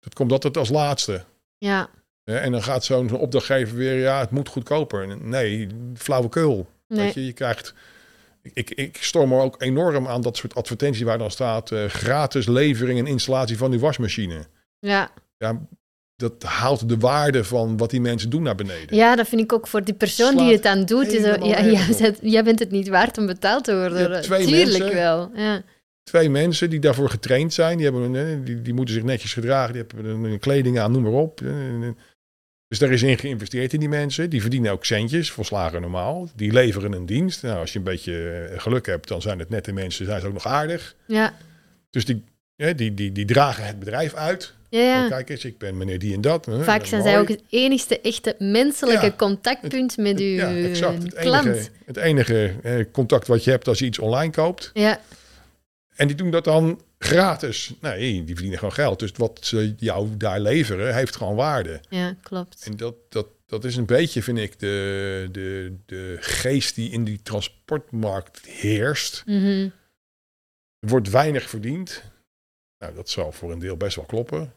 Speaker 2: dat komt altijd als laatste.
Speaker 1: Ja.
Speaker 2: Hè, en dan gaat zo'n opdrachtgever weer, ja, het moet goedkoper. Nee, flauwekul.
Speaker 1: Nee.
Speaker 2: Weet je, je krijgt. Ik, ik storm me ook enorm aan dat soort advertenties waar dan staat eh, gratis levering en installatie van uw wasmachine.
Speaker 1: Ja.
Speaker 2: Ja, dat haalt de waarde van wat die mensen doen naar beneden.
Speaker 1: ja, dat vind ik ook voor die persoon
Speaker 2: Slaat
Speaker 1: die het aan doet. Is dat-
Speaker 2: helemaal
Speaker 1: ja,
Speaker 2: nergens
Speaker 1: jij,
Speaker 2: op.
Speaker 1: zet- jij bent het niet waard om betaald te
Speaker 2: Je
Speaker 1: worden.
Speaker 2: hebt twee
Speaker 1: Tuurlijk
Speaker 2: mensen.
Speaker 1: wel. Ja.
Speaker 2: Twee mensen die daarvoor getraind zijn, die, hebben, een- eh, die, die moeten zich netjes gedragen, die hebben een, een kleding aan, noem maar op. Eh, eh. Dus daar is in geïnvesteerd in die mensen. Die verdienen ook centjes, volslagen normaal. Die leveren een dienst. Nou, als je een beetje eh, geluk hebt, dan zijn het nette mensen, zijn ze ook nog aardig.
Speaker 1: Ja.
Speaker 2: Dus die, eh, die, die, die dragen het bedrijf uit.
Speaker 1: Ja, ja.
Speaker 2: Van, Kijk eens, ik ben meneer die en dat. Huh,
Speaker 1: Vaak
Speaker 2: eh,
Speaker 1: zijn
Speaker 2: mooi.
Speaker 1: zij ook het enigste echte menselijke
Speaker 2: Ja.
Speaker 1: contactpunt met uw eh,
Speaker 2: ja, exact. Het
Speaker 1: klant.
Speaker 2: enige, het enige eh, contact wat je hebt als je iets online koopt.
Speaker 1: Ja,
Speaker 2: En die doen dat dan gratis. Nee, die verdienen gewoon geld. Dus wat ze jou daar leveren, heeft gewoon waarde.
Speaker 1: ja, klopt.
Speaker 2: En dat, dat, dat is een beetje, vind ik, de, de, de geest die in die transportmarkt heerst.
Speaker 1: Mhm.
Speaker 2: Er wordt weinig verdiend. Nou, dat zal voor een deel best wel kloppen.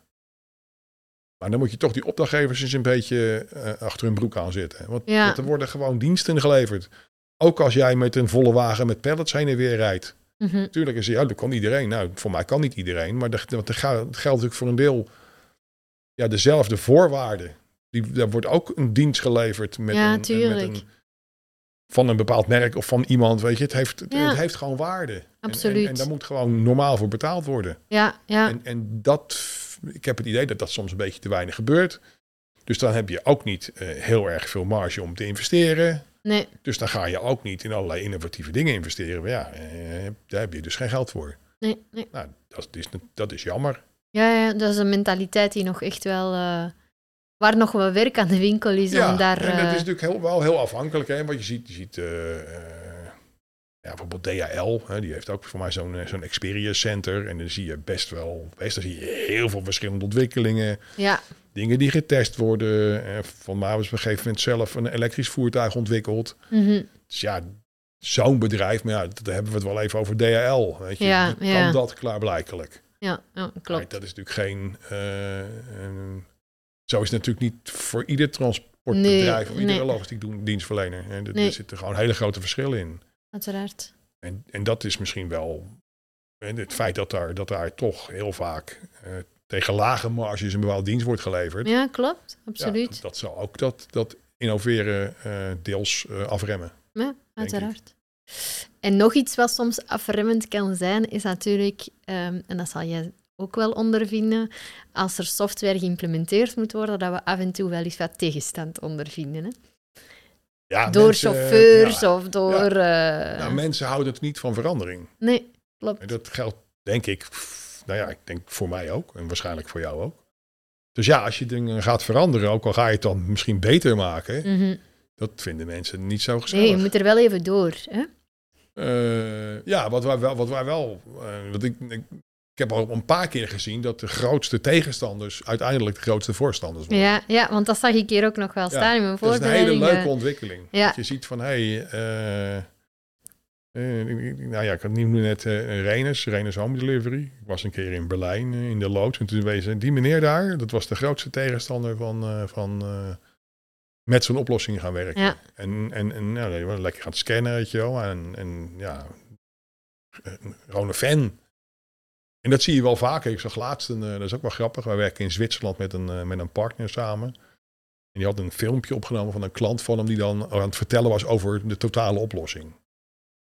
Speaker 2: Maar dan moet je toch die opdrachtgevers eens een beetje eh, achter hun broek aan zitten. Want,
Speaker 1: Ja.
Speaker 2: want er worden gewoon diensten geleverd. Ook als jij met een volle wagen met pallets heen en weer rijdt.
Speaker 1: Mhm.
Speaker 2: Natuurlijk is ja, dat kan iedereen. Nou, voor mij kan niet iedereen. Maar dat, dat ga- dat geldt natuurlijk voor een deel ja, dezelfde voorwaarden. Die, daar wordt ook een dienst geleverd met
Speaker 1: Ja,
Speaker 2: een, met
Speaker 1: tuurlijk.
Speaker 2: een- van een bepaald merk of van iemand. Weet je, het heeft, het,
Speaker 1: Ja.
Speaker 2: het heeft gewoon waarde. En- en- En,
Speaker 1: Absoluut.
Speaker 2: daar moet gewoon normaal voor betaald worden.
Speaker 1: Ja, ja,
Speaker 2: En, en dat, ik heb het idee dat dat soms een beetje te weinig gebeurt. Dus dan heb je ook niet eh, heel erg veel marge om te investeren.
Speaker 1: nee,
Speaker 2: Dus dan ga je ook niet in allerlei innovatieve dingen investeren. Maar ja, eh, daar heb je dus geen geld voor.
Speaker 1: nee, nee.
Speaker 2: Nou, dat is, dat is jammer.
Speaker 1: Ja, ja, dat is een mentaliteit die nog echt wel... eh, waar nog wel werk aan de winkel is om daar...
Speaker 2: en dat
Speaker 1: eh,
Speaker 2: is natuurlijk heel, wel heel afhankelijk. Hè? Want je ziet, je ziet eh, eh, ja, bijvoorbeeld DHL, hè, die heeft ook voor mij zo'n eh, zo'n experience center. En dan zie je best wel, best, dan zie je heel veel verschillende ontwikkelingen.
Speaker 1: ja,
Speaker 2: Dingen die getest worden. Eh, van mij was op een gegeven moment zelf een elektrisch voertuig ontwikkeld.
Speaker 1: mhm.
Speaker 2: Dus ja, zo'n bedrijf, maar ja, daar hebben we het wel even over DHL. Weet je,
Speaker 1: Ja,
Speaker 2: die
Speaker 1: ja.
Speaker 2: kan dat klaarblijkelijk.
Speaker 1: ja, ja,
Speaker 2: Maar
Speaker 1: klopt.
Speaker 2: dat is natuurlijk geen. eh, ehm, zo is het natuurlijk niet voor ieder transportbedrijf of
Speaker 1: Nee,
Speaker 2: iedere
Speaker 1: nee.
Speaker 2: logistiek doen- dienstverlener. En
Speaker 1: Nee.
Speaker 2: Er zitten gewoon hele grote verschillen in.
Speaker 1: Uiteraard.
Speaker 2: En, en dat is misschien wel. En het feit dat daar, dat daar toch heel vaak eh, tegen lage marges een bepaalde dienst wordt geleverd.
Speaker 1: Ja, klopt.
Speaker 2: ja,
Speaker 1: Absoluut.
Speaker 2: dat, dat zal ook dat, dat innoveren eh, deels eh, afremmen.
Speaker 1: Ja, uiteraard. En nog iets wat soms afremmend kan zijn, is natuurlijk, ehm, en dat zal jij ook wel ondervinden, als er software geïmplementeerd moet worden, dat we af en toe wel eens wat tegenstand ondervinden. Hè?
Speaker 2: Ja,
Speaker 1: door
Speaker 2: mensen, eh,
Speaker 1: chauffeurs
Speaker 2: ja.
Speaker 1: of door... eh,
Speaker 2: Nou, mensen houden het niet van verandering.
Speaker 1: nee, klopt.
Speaker 2: En dat geldt, denk ik, f- nou ja, ik denk voor mij ook en waarschijnlijk voor jou ook. Dus ja, als je dingen gaat veranderen, ook al ga je het dan misschien beter maken,
Speaker 1: Mhm.
Speaker 2: dat vinden mensen niet zo gezellig.
Speaker 1: Nee, je moet er wel even door. Hè?
Speaker 2: Eh, ja, wat wij wel, wat wij wel eh, wat ik, ik, ik heb al een paar keer gezien dat de grootste tegenstanders uiteindelijk de grootste voorstanders worden.
Speaker 1: Ja, ja, want dat zag ik hier ook nog wel staan in mijn
Speaker 2: dat is een hele
Speaker 1: voorbereiding.
Speaker 2: leuke ontwikkeling.
Speaker 1: Ja.
Speaker 2: Dat je ziet van, hé, hey, eh, eh, ik- ik- nou ja, ik had het noemde net eh Renus, Renus Home Delivery. Ik was een keer in Berlijn eh, in de loods en toen wees die meneer daar, dat was de grootste tegenstander van, eh, van eh, met zo'n oplossing gaan werken.
Speaker 1: Ja.
Speaker 2: En, en, en ja, dat je wel lekker gaat scannen, weet je wel. En, en ja, eh, gewoon een fan. En dat zie je wel vaker. Ik zag laatst, een, eh, dat is ook wel grappig, wij werken in Zwitserland met een, eh, met een partner samen. En die had een filmpje opgenomen van een klant van hem die dan aan het vertellen was over de totale oplossing.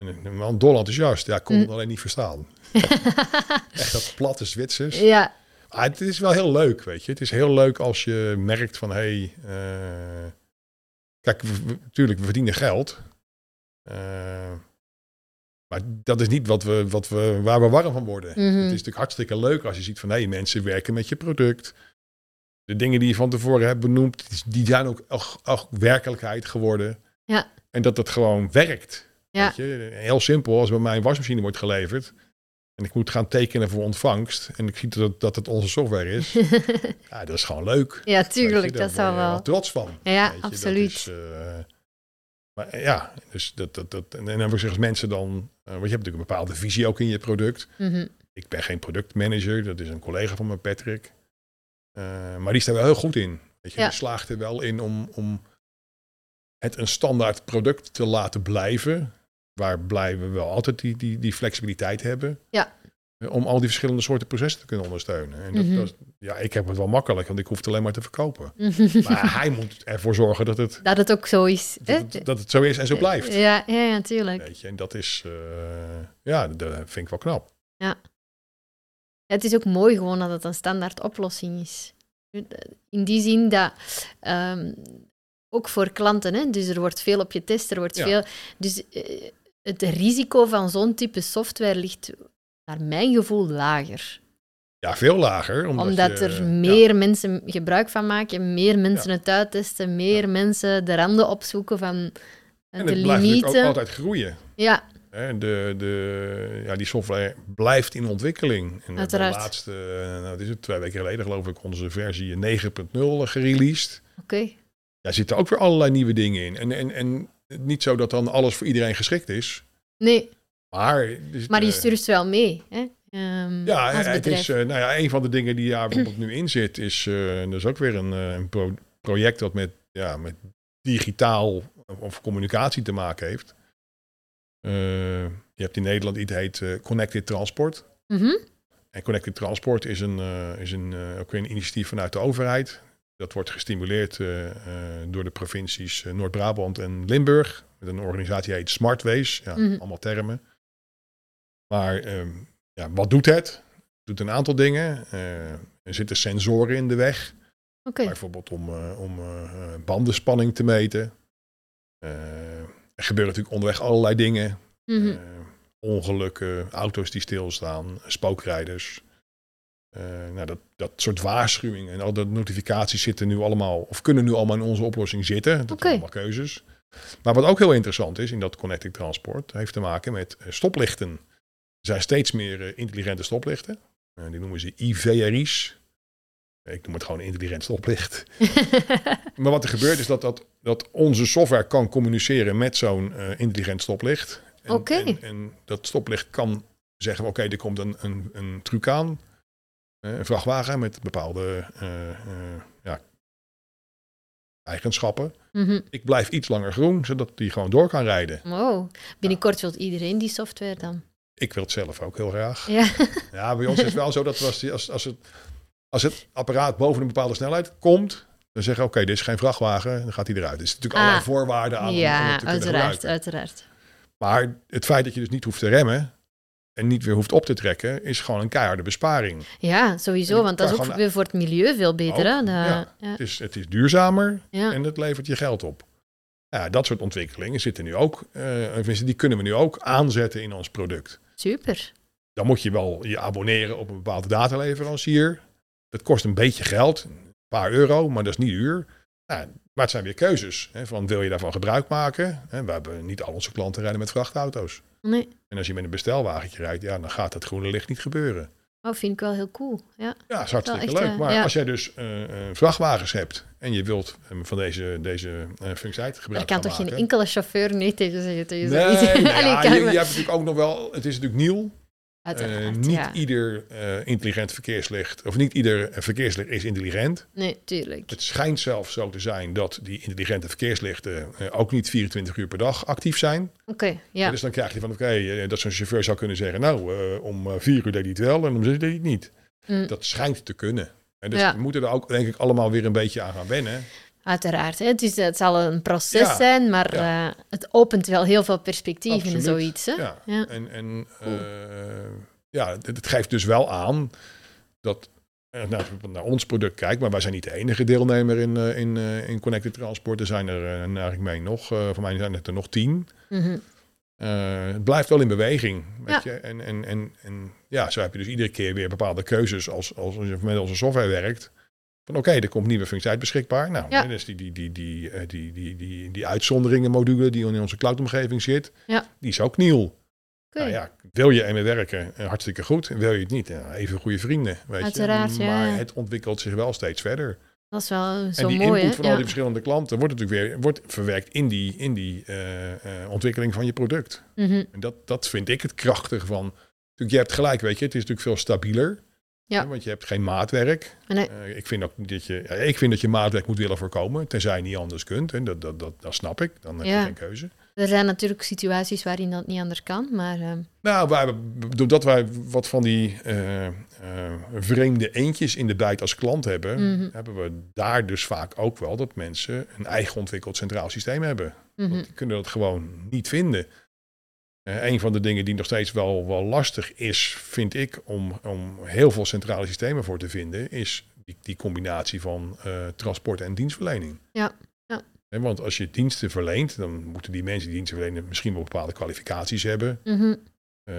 Speaker 2: En een man dol enthousiast, ja, ik kon
Speaker 1: Mm.
Speaker 2: het alleen niet verstaan.
Speaker 1: <laughs>
Speaker 2: Echt dat platte Zwitsers.
Speaker 1: ja,
Speaker 2: Ah, het is wel heel leuk, weet je. Het is heel leuk als je merkt van, hé... Hey, eh, kijk, we- we- natuurlijk, we verdienen geld. Eh, maar dat is niet wat we, wat we, waar we warm van worden.
Speaker 1: Mhm.
Speaker 2: Het is natuurlijk hartstikke leuk als je ziet van... hé, mensen werken met je product. De dingen die je van tevoren hebt benoemd... die zijn ook, ook, ook werkelijkheid geworden.
Speaker 1: Ja.
Speaker 2: En dat dat gewoon werkt.
Speaker 1: Ja.
Speaker 2: Weet je? Heel simpel, als bij mij een wasmachine wordt geleverd... en ik moet gaan tekenen voor ontvangst... en ik zie dat, dat het onze software
Speaker 1: <laughs>
Speaker 2: is... ja, dat is gewoon
Speaker 1: <laughs>
Speaker 2: leuk.
Speaker 1: ja,
Speaker 2: Weet
Speaker 1: tuurlijk,
Speaker 2: je,
Speaker 1: dat
Speaker 2: daar
Speaker 1: zou
Speaker 2: word je
Speaker 1: wel.
Speaker 2: trots van.
Speaker 1: Ja,
Speaker 2: Weet je, dat
Speaker 1: absoluut.
Speaker 2: is, eh, maar eh, ja, dus dat, dat, dat, en, en dan zeggen ze mensen dan, eh, want je hebt natuurlijk een bepaalde visie ook in je product.
Speaker 1: Mhm.
Speaker 2: Ik ben geen productmanager, dat is een collega van me, Patrick. Eh, maar die staat wel heel goed in. Weet je,
Speaker 1: Ja.
Speaker 2: die slaagt er wel in om, om het een standaard product te laten blijven. Waar blijven we wel altijd die, die, die flexibiliteit hebben.
Speaker 1: Ja.
Speaker 2: Eh, Om al die verschillende soorten processen te kunnen ondersteunen. En dat,
Speaker 1: Mhm.
Speaker 2: dat- ja, ik heb het wel makkelijk, want ik hoef het alleen maar te
Speaker 1: <laughs>
Speaker 2: verkopen. Maar hij moet ervoor zorgen dat het,
Speaker 1: dat het ook zo is. hè?
Speaker 2: dat, het- dat het zo is en zo blijft.
Speaker 1: Ja, ja, ja, tuurlijk.
Speaker 2: Weet je, en dat is, eh, ja, dat vind ik wel knap.
Speaker 1: Het is ook mooi gewoon dat het een standaard oplossing is. In die zin dat ehm, ook voor klanten, hè, dus er wordt veel op getest, er wordt
Speaker 2: Ja.
Speaker 1: veel. Dus eh, het risico van zo'n type software ligt naar mijn gevoel lager.
Speaker 2: Ja, veel lager. Omdat,
Speaker 1: Omdat,
Speaker 2: je-
Speaker 1: er
Speaker 2: ja,
Speaker 1: meer mensen gebruik van maken, meer mensen het uittesten, meer
Speaker 2: Ja.
Speaker 1: mensen de randen opzoeken van eh,
Speaker 2: en
Speaker 1: de
Speaker 2: het blijft natuurlijk ook
Speaker 1: limieten.
Speaker 2: altijd groeien.
Speaker 1: Ja,
Speaker 2: Hè, de, de, ja, die software blijft in ontwikkeling. En we hebben
Speaker 1: Uiteraard.
Speaker 2: de laatste, eh, nou, het is het, twee weken geleden geloof ik, onze versie 9.0 gereleased.
Speaker 1: oké.
Speaker 2: Daar zitten ook weer allerlei nieuwe dingen in. En, en, en niet zo dat dan alles voor iedereen geschikt is.
Speaker 1: Nee,
Speaker 2: Maar, eh, er zitten-
Speaker 1: maar je stuurt wel mee. Hè? ehm,
Speaker 2: Ja,
Speaker 1: als
Speaker 2: het
Speaker 1: bedrijf.
Speaker 2: is, eh, nou ja, een van de dingen die daar bijvoorbeeld nu in zit, is eh, en dat is ook weer een, eh, een pro- project dat met, ja, met digitaal of- of communicatie te maken heeft. Eh, je hebt in Nederland iets heet eh, Connected Transport.
Speaker 1: Mhm.
Speaker 2: En Connected Transport is, een, eh, is een, eh, ook weer een initiatief vanuit de overheid. Dat wordt gestimuleerd eh, eh, door de provincies eh, Noord-Brabant en Limburg. Met een organisatie die heet Smartways. Ja,
Speaker 1: Mhm.
Speaker 2: Allemaal termen. Maar ehm, ja, wat doet het? Het doet een aantal dingen. Eh, er zitten sensoren in de weg.
Speaker 1: Oké.
Speaker 2: Bijvoorbeeld om, eh, om eh, eh, bandenspanning te meten. Eh, er gebeuren natuurlijk onderweg allerlei dingen.
Speaker 1: Mhm.
Speaker 2: Eh, ongelukken, auto's die stilstaan, spookrijders. Eh, nou, dat, dat soort waarschuwingen en al dat notificaties zitten nu allemaal, of kunnen nu allemaal in onze oplossing zitten. Dat
Speaker 1: Oké.
Speaker 2: zijn allemaal keuzes. Maar wat ook heel interessant is in dat connected transport, heeft te maken met eh, stoplichten. Er zijn steeds meer eh, intelligente stoplichten. Eh, die noemen ze IVRI's. Ik noem het gewoon intelligent stoplicht. Maar wat er gebeurt is dat, dat, dat onze software kan communiceren met zo'n eh, intelligent stoplicht. En,
Speaker 1: Oké.
Speaker 2: en, en dat stoplicht kan zeggen, oké, er komt een, een, een truc aan. eh, Een vrachtwagen met bepaalde eh, eh, ja, eigenschappen.
Speaker 1: <laughs> Mhm.
Speaker 2: Ik blijf iets langer groen, zodat die gewoon door kan rijden.
Speaker 1: Wow. Binnenkort wil iedereen die software dan.
Speaker 2: Ik wil het zelf ook heel graag.
Speaker 1: Ja.
Speaker 2: Ja, bij ons is het wel zo dat we als, als, als, het, als het apparaat boven een bepaalde snelheid komt, dan zeggen we, oké, dit is geen vrachtwagen, dan gaat hij eruit. Er zitten natuurlijk
Speaker 1: Ah.
Speaker 2: allerlei voorwaarden aan om- om, het
Speaker 1: ja,
Speaker 2: te kunnen
Speaker 1: uiteraard,
Speaker 2: gebruiken.
Speaker 1: uiteraard.
Speaker 2: Maar het feit dat je dus niet hoeft te remmen en niet weer hoeft op te trekken, is gewoon een keiharde besparing.
Speaker 1: Ja,
Speaker 2: En
Speaker 1: sowieso,
Speaker 2: je
Speaker 1: want dat is
Speaker 2: kan
Speaker 1: ook
Speaker 2: gewoon-
Speaker 1: weer voor het milieu veel beter. Hè?
Speaker 2: Ook,
Speaker 1: Dat-
Speaker 2: ja.
Speaker 1: ja.
Speaker 2: Het is, het is duurzamer
Speaker 1: Ja.
Speaker 2: en het levert je geld op. Ja, dat soort ontwikkelingen zitten nu ook, eh, tenminste, die kunnen we nu ook aanzetten in ons product.
Speaker 1: Super.
Speaker 2: dan moet je wel je abonneren op een bepaalde dataleverancier. Dat kost een beetje geld, een paar euro, maar dat is niet duur. Nou, maar het zijn weer keuzes. Hè, van wil je daarvan gebruik maken? Hè, we hebben niet al onze klanten rijden met vrachtauto's.
Speaker 1: Nee,
Speaker 2: En als je met een bestelwagentje rijdt, ja, dan gaat dat groene licht niet gebeuren.
Speaker 1: oh, vind ik wel heel cool. Ja.
Speaker 2: Ja, dat is hartstikke
Speaker 1: echt,
Speaker 2: leuk.
Speaker 1: eh,
Speaker 2: Maar
Speaker 1: ja.
Speaker 2: als jij dus eh, eh, vrachtwagens hebt en je wilt eh, van deze, deze eh functionaliteit
Speaker 1: Daar
Speaker 2: gebruik
Speaker 1: kan
Speaker 2: gaan
Speaker 1: toch
Speaker 2: maken-
Speaker 1: geen enkele chauffeur nee tegen zeggen? Tegen <laughs>
Speaker 2: Nee,
Speaker 1: zoiets?
Speaker 2: nou
Speaker 1: Allee,
Speaker 2: ja,
Speaker 1: kan
Speaker 2: je, je
Speaker 1: wel.
Speaker 2: hebt natuurlijk ook nog wel... Het is natuurlijk nieuw.
Speaker 1: Uiteraard,
Speaker 2: Eh, niet
Speaker 1: ja.
Speaker 2: ieder eh, intelligent verkeerslicht, of niet ieder eh, verkeerslicht is intelligent.
Speaker 1: Nee, tuurlijk.
Speaker 2: Het schijnt zelfs zo te zijn dat die intelligente verkeerslichten eh, ook niet 24 uur per dag actief zijn.
Speaker 1: Oké, ja.
Speaker 2: Dus dan krijg je van, oké, eh, dat zo'n chauffeur zou kunnen zeggen, nou, eh, om eh, vier uur deed hij het wel en om zes uur deed hij het niet.
Speaker 1: Mm.
Speaker 2: Dat schijnt te kunnen. En dus
Speaker 1: Ja.
Speaker 2: we moeten er ook, denk ik, allemaal weer een beetje aan gaan wennen.
Speaker 1: Uiteraard. Hè. Het, is, het zal een proces
Speaker 2: Ja,
Speaker 1: zijn, maar
Speaker 2: ja.
Speaker 1: eh, het opent wel heel veel perspectieven
Speaker 2: Absoluut,
Speaker 1: in zoiets. Hè?
Speaker 2: Ja.
Speaker 1: Ja.
Speaker 2: En, en
Speaker 1: Cool.
Speaker 2: eh, ja, het het geeft dus wel aan dat, eh, nou, als je naar ons product kijkt, maar wij zijn niet de enige deelnemer in, eh, in, eh, in Connected Transport. Er zijn er, eh, naar ik meen, nog, eh voor mij zijn het er nog tien.
Speaker 1: Mhm.
Speaker 2: Eh, het blijft wel in beweging. Weet je? En, en, en, en ja, zo heb je dus iedere keer weer bepaalde keuzes als, als je met onze software werkt. Van oké, er komt nieuwe functie uit beschikbaar. Nou,
Speaker 1: Ja.
Speaker 2: hè, dus die, die, die, die, eh, die, die, die, die uitzonderingenmodule die in onze cloudomgeving zit,
Speaker 1: Ja.
Speaker 2: die is ook nieuw.
Speaker 1: Oké.
Speaker 2: Nou ja, wil je ermee werken, eh, hartstikke goed. En Wil je het niet, eh, even goede vrienden. Weet
Speaker 1: Uiteraard,
Speaker 2: je?
Speaker 1: ja.
Speaker 2: Maar het ontwikkelt zich wel steeds verder.
Speaker 1: Dat is wel eh, zo
Speaker 2: en die
Speaker 1: mooi.
Speaker 2: input
Speaker 1: hè?
Speaker 2: van al
Speaker 1: Ja.
Speaker 2: die verschillende klanten wordt natuurlijk weer wordt verwerkt in die, in die eh, eh, ontwikkeling van je product.
Speaker 1: Mhm.
Speaker 2: En dat, dat vind ik het krachtige van. Natuurlijk, je hebt gelijk, weet je, het is natuurlijk veel stabieler.
Speaker 1: Ja.
Speaker 2: Hè, want je hebt geen maatwerk.
Speaker 1: Nee.
Speaker 2: Eh, ik, vind ook niet dat je, ja, ik vind dat je maatwerk moet willen voorkomen, tenzij je niet anders kunt. En dat, dat, dat, dat snap ik, dan heb
Speaker 1: Ja.
Speaker 2: je geen keuze.
Speaker 1: Er zijn natuurlijk situaties waarin dat niet anders kan, maar eh,
Speaker 2: Nou, wij, doordat wij wat van die eh, eh, vreemde eendjes in de bijt als klant hebben,
Speaker 1: Mhm.
Speaker 2: hebben we daar dus vaak ook wel dat mensen een eigen ontwikkeld centraal systeem hebben.
Speaker 1: mhm.
Speaker 2: Want die kunnen dat gewoon niet vinden. Eh, een van de dingen die nog steeds wel, wel lastig is, vind ik, om, om heel veel centrale systemen voor te vinden, is die, die combinatie van eh, transport en dienstverlening.
Speaker 1: Ja, ja.
Speaker 2: Hè, want als je diensten verleent, dan moeten die mensen die diensten verlenen misschien wel bepaalde kwalificaties hebben.
Speaker 1: Mhm.
Speaker 2: Eh,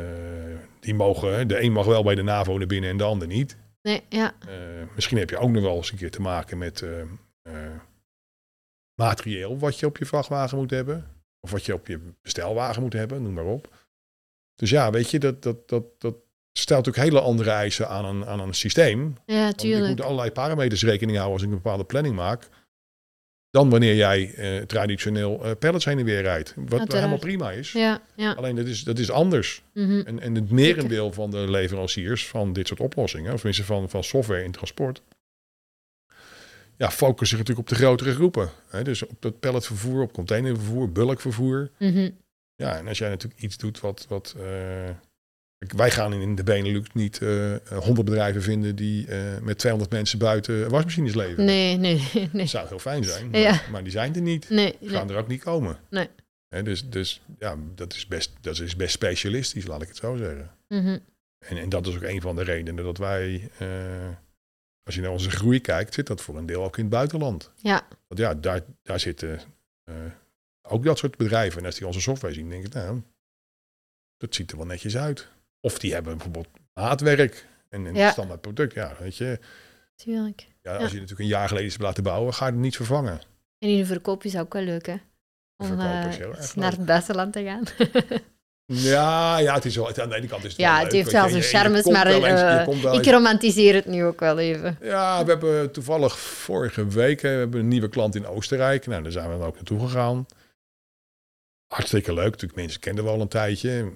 Speaker 2: die mogen, hè, de een mag wel bij de NAVO naar binnen en de ander niet.
Speaker 1: nee, ja.
Speaker 2: Eh, misschien heb je ook nog wel eens een keer te maken met eh, eh, materieel wat je op je vrachtwagen moet hebben. Of wat je op je bestelwagen moet hebben, noem maar op. Dus ja, weet je, dat, dat, dat, dat stelt ook hele andere eisen aan een, aan een systeem. Want
Speaker 1: ja,
Speaker 2: Ik
Speaker 1: tuurlijk.
Speaker 2: moet allerlei parameters rekening houden als ik een bepaalde planning maak. Dan wanneer jij eh, traditioneel eh pallets heen en weer rijdt. Wat
Speaker 1: Uiteraard.
Speaker 2: helemaal prima is.
Speaker 1: Ja, ja.
Speaker 2: Alleen dat is, dat is anders.
Speaker 1: mhm.
Speaker 2: En, en het merendeel van de leveranciers van dit soort oplossingen, of tenminste van, van software in transport, ja, focussen zich natuurlijk op de grotere groepen. Hè? Dus op dat palletvervoer, op containervervoer, bulkvervoer.
Speaker 1: Mhm.
Speaker 2: Ja, en als jij natuurlijk iets doet wat. wat eh, kijk, wij gaan in de Benelux niet eh 100 bedrijven vinden die eh, met 200 mensen buiten wasmachines leveren.
Speaker 1: Nee, nee, <laughs> nee.
Speaker 2: Dat zou heel fijn zijn, maar,
Speaker 1: Ja.
Speaker 2: maar die zijn er niet.
Speaker 1: Nee,
Speaker 2: Die
Speaker 1: nee.
Speaker 2: gaan er ook niet komen.
Speaker 1: Nee.
Speaker 2: Hè, dus dus ja, dat, is best, dat is best specialistisch, laat ik het zo zeggen.
Speaker 1: Mhm.
Speaker 2: En, en dat is ook een van de redenen dat wij, eh, als je naar onze groei kijkt, zit dat voor een deel ook in het buitenland.
Speaker 1: Ja.
Speaker 2: Want ja, daar, daar zitten eh, ook dat soort bedrijven. En als die onze software zien, denk ik, nou, dat ziet er wel netjes uit. Of die hebben bijvoorbeeld maatwerk en een
Speaker 1: Ja.
Speaker 2: standaard product. Ja, weet je,
Speaker 1: Tuurlijk.
Speaker 2: ja, als
Speaker 1: Ja.
Speaker 2: je natuurlijk een jaar geleden is laten bouwen, ga je het niet vervangen.
Speaker 1: En in de verkoop is ook wel leuk, hè? Om
Speaker 2: Verkoop is
Speaker 1: eh,
Speaker 2: heel erg
Speaker 1: eens
Speaker 2: leuk.
Speaker 1: naar het buitenland te
Speaker 2: <laughs>
Speaker 1: gaan.
Speaker 2: Ja, ja, het is wel, het- aan de ene kant is het
Speaker 1: Ja,
Speaker 2: wel
Speaker 1: het
Speaker 2: leuk,
Speaker 1: heeft
Speaker 2: weet je.
Speaker 1: wel zijn
Speaker 2: Je- je
Speaker 1: charmes,
Speaker 2: komt
Speaker 1: maar,
Speaker 2: wel eens- je
Speaker 1: eh,
Speaker 2: komt wel
Speaker 1: Ik
Speaker 2: eens-
Speaker 1: romantiseer het nu ook wel even.
Speaker 2: Ja, we hebben toevallig vorige week eh, we hebben een nieuwe klant in Oostenrijk. Nou, daar zijn we dan ook naartoe gegaan. Hartstikke leuk. Natuurlijk, mensen kenden we al een tijdje.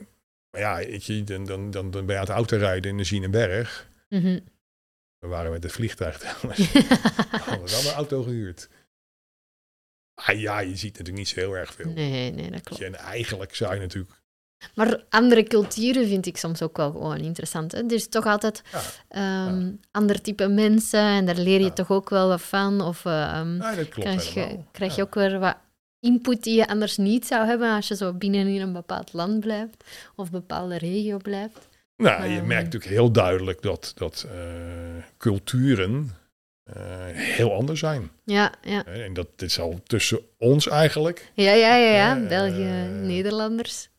Speaker 2: Maar ja, weet je, dan, dan, dan, dan ben je aan het auto rijden in de Zienenberg.
Speaker 1: Mhm.
Speaker 2: We waren met het vliegtuig <laughs> trouwens. We hadden wel
Speaker 1: <laughs>
Speaker 2: een auto gehuurd. Ah ja, je ziet natuurlijk niet zo heel erg veel.
Speaker 1: nee, nee, dat
Speaker 2: Weet
Speaker 1: klopt.
Speaker 2: je, En eigenlijk zou je natuurlijk...
Speaker 1: Maar andere culturen vind ik soms ook wel gewoon interessant. Hè? Er is toch altijd
Speaker 2: Ja,
Speaker 1: ehm, ander type mensen en daar leer je
Speaker 2: Ja.
Speaker 1: toch ook wel wat van. Of eh, ehm,
Speaker 2: Nee, dat klopt
Speaker 1: krijg, je,
Speaker 2: helemaal.
Speaker 1: krijg
Speaker 2: Ja.
Speaker 1: je ook weer wat input die je anders niet zou hebben als je zo binnen in een bepaald land blijft of bepaalde regio blijft.
Speaker 2: Nou, je
Speaker 1: Ehm.
Speaker 2: merkt natuurlijk heel duidelijk dat, dat eh, culturen eh, heel anders zijn.
Speaker 1: Ja, ja,
Speaker 2: Hè, En dat dit is al tussen ons eigenlijk.
Speaker 1: ja, ja, ja, ja.
Speaker 2: Eh,
Speaker 1: België,
Speaker 2: eh,
Speaker 1: Nederlanders.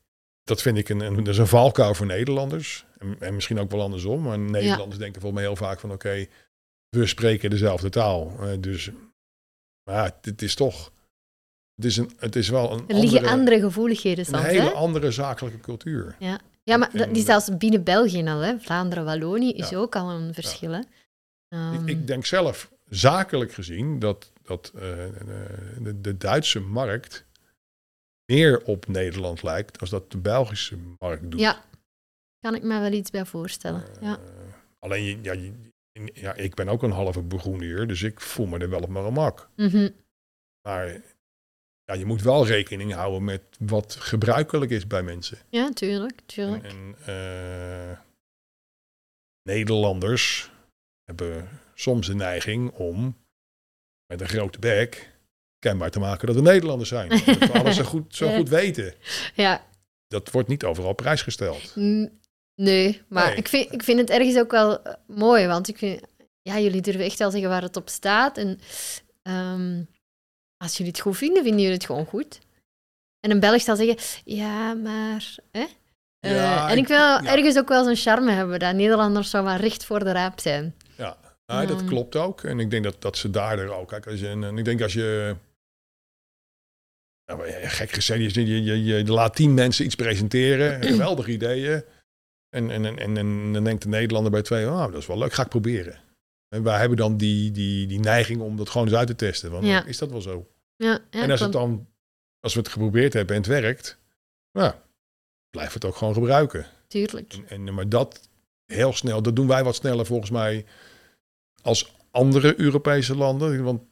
Speaker 2: Dat vind ik een, een, dat is een valkuil voor Nederlanders. En, en misschien ook wel andersom. Maar Nederlanders denken volgens mij heel vaak van oké, we spreken dezelfde taal. Eh, dus, maar het is toch, het is, een, het is wel een,
Speaker 1: Er liggen
Speaker 2: andere,
Speaker 1: andere, gevoeligheden
Speaker 2: een
Speaker 1: soms.
Speaker 2: hele
Speaker 1: hè?
Speaker 2: andere zakelijke cultuur.
Speaker 1: Ja, maar
Speaker 2: en-
Speaker 1: dat is zelfs binnen België al. Hè? Vlaanderen, Wallonië is
Speaker 2: Ja.
Speaker 1: ook al een verschil. Hè? Ehm,
Speaker 2: Ik, ik denk zelf, zakelijk gezien, dat, dat eh, eh, de, de Duitse markt meer op Nederland lijkt als dat de Belgische markt doet.
Speaker 1: Ja, kan ik me wel iets bij voorstellen.
Speaker 2: Eh,
Speaker 1: Ja.
Speaker 2: Alleen, je- ja, je- ja, ik ben ook een halve begroener, dus ik voel me er wel op mijn gemak.
Speaker 1: Mhm.
Speaker 2: Maar ja, je moet wel rekening houden met wat gebruikelijk is bij mensen.
Speaker 1: ja, tuurlijk,
Speaker 2: En,
Speaker 1: tuurlijk.
Speaker 2: en, eh, Nederlanders hebben soms de neiging om met een grote bek kenbaar te maken dat we Nederlanders
Speaker 1: <laughs>
Speaker 2: zijn. Dat we alles zo goed, zo
Speaker 1: Ja.
Speaker 2: goed weten.
Speaker 1: Ja,
Speaker 2: Dat wordt niet overal op prijs gesteld.
Speaker 1: N- Nee, maar
Speaker 2: Nee.
Speaker 1: Ik, vind, ik vind het ergens ook wel eh, mooi, want ik vind, ja, jullie durven echt wel zeggen waar het op staat. En ehm, als jullie het goed vinden, vinden jullie het gewoon goed. En een Belg zal zeggen, ja, maar... Hè? Eh,
Speaker 2: Ja,
Speaker 1: en ik
Speaker 2: ik-
Speaker 1: wil
Speaker 2: ja.
Speaker 1: ergens ook wel zo'n charme hebben, dat Nederlanders zo maar recht voor de raap zijn.
Speaker 2: Ja, dat
Speaker 1: Ja.
Speaker 2: klopt ook. En ik denk dat, dat ze daardoor ook. Kijk, als je, en, en ik denk als je. Nou, ja, gek gezegd, je, je, je, je laat tien mensen iets
Speaker 1: <clears throat>
Speaker 2: presenteren. Geweldige ideeën. En, en, en, en, en dan denkt de Nederlander bij twee: oh, dat is wel leuk, ga ik proberen. En wij hebben dan die, die, die neiging om dat gewoon eens uit te testen. Want
Speaker 1: Ja.
Speaker 2: is dat wel zo?
Speaker 1: Ja, ja,
Speaker 2: en als, het
Speaker 1: klopt.
Speaker 2: dan, als we het geprobeerd hebben en het werkt, nou, blijf het ook gewoon gebruiken.
Speaker 1: tuurlijk.
Speaker 2: En, en- maar dat heel snel, dat doen wij wat sneller volgens mij als andere Europese landen. Want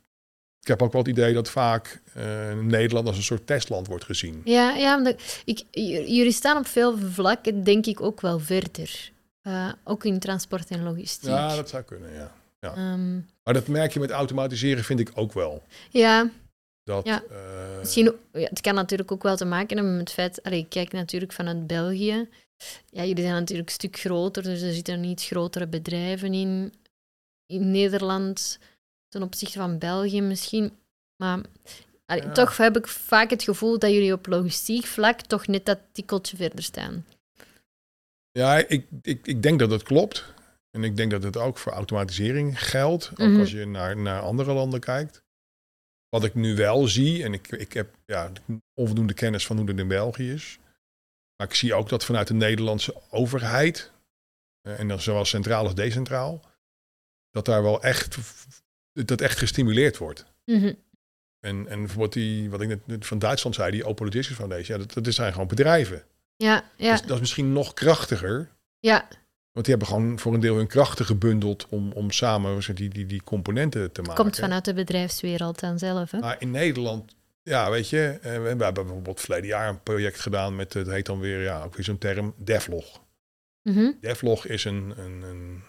Speaker 2: ik heb ook wel het idee dat vaak eh, Nederland als een soort testland wordt gezien.
Speaker 1: Ja, ja omdat ik, j- jullie staan op veel vlakken, denk ik, ook wel verder. Eh, ook in transport en logistiek.
Speaker 2: Ja, dat zou kunnen, ja.
Speaker 1: Ehm,
Speaker 2: Maar dat merk je met automatiseren, vind ik ook wel.
Speaker 1: ja,
Speaker 2: Dat,
Speaker 1: Ja.
Speaker 2: eh,
Speaker 1: Misschien, ook- ja, het kan natuurlijk ook wel te maken hebben met het feit... Allee, ik kijk natuurlijk vanuit België. Ja, jullie zijn natuurlijk een stuk groter, dus er zitten niet grotere bedrijven in. In Nederland ten opzichte van België misschien. Maar allee,
Speaker 2: Ja.
Speaker 1: toch heb ik vaak het gevoel dat jullie op logistiek vlak toch net dat tikkeltje verder staan.
Speaker 2: Ja, ik, ik, ik denk dat dat klopt. En ik denk dat het ook voor automatisering geldt. Ook
Speaker 1: Mhm.
Speaker 2: als je naar, naar andere landen kijkt. Wat ik nu wel zie, en ik, ik heb ja, onvoldoende kennis van hoe dat in België is. Maar ik zie ook dat vanuit de Nederlandse overheid, eh, en dan zowel centraal als decentraal, dat daar wel echt, dat echt gestimuleerd wordt.
Speaker 1: Mhm.
Speaker 2: En, en bijvoorbeeld die, wat ik net- net van Duitsland zei, die Open Logistics Foundation, ja, dat, dat zijn gewoon bedrijven.
Speaker 1: Ja, ja,
Speaker 2: Dat, is, dat is misschien nog krachtiger
Speaker 1: ja,
Speaker 2: want die hebben gewoon voor een deel hun krachten gebundeld om, om samen zeg, die, die, die componenten te maken. Ah.
Speaker 1: komt vanuit de bedrijfswereld dan zelf. Hè?
Speaker 2: Maar in Nederland, ja, weet je, eh, we we hebben bijvoorbeeld verleden jaar een project gedaan met, eh, het heet dan weer, ja, ook weer zo'n term, devlog.
Speaker 1: Mhm.
Speaker 2: Devlog is een, een, een,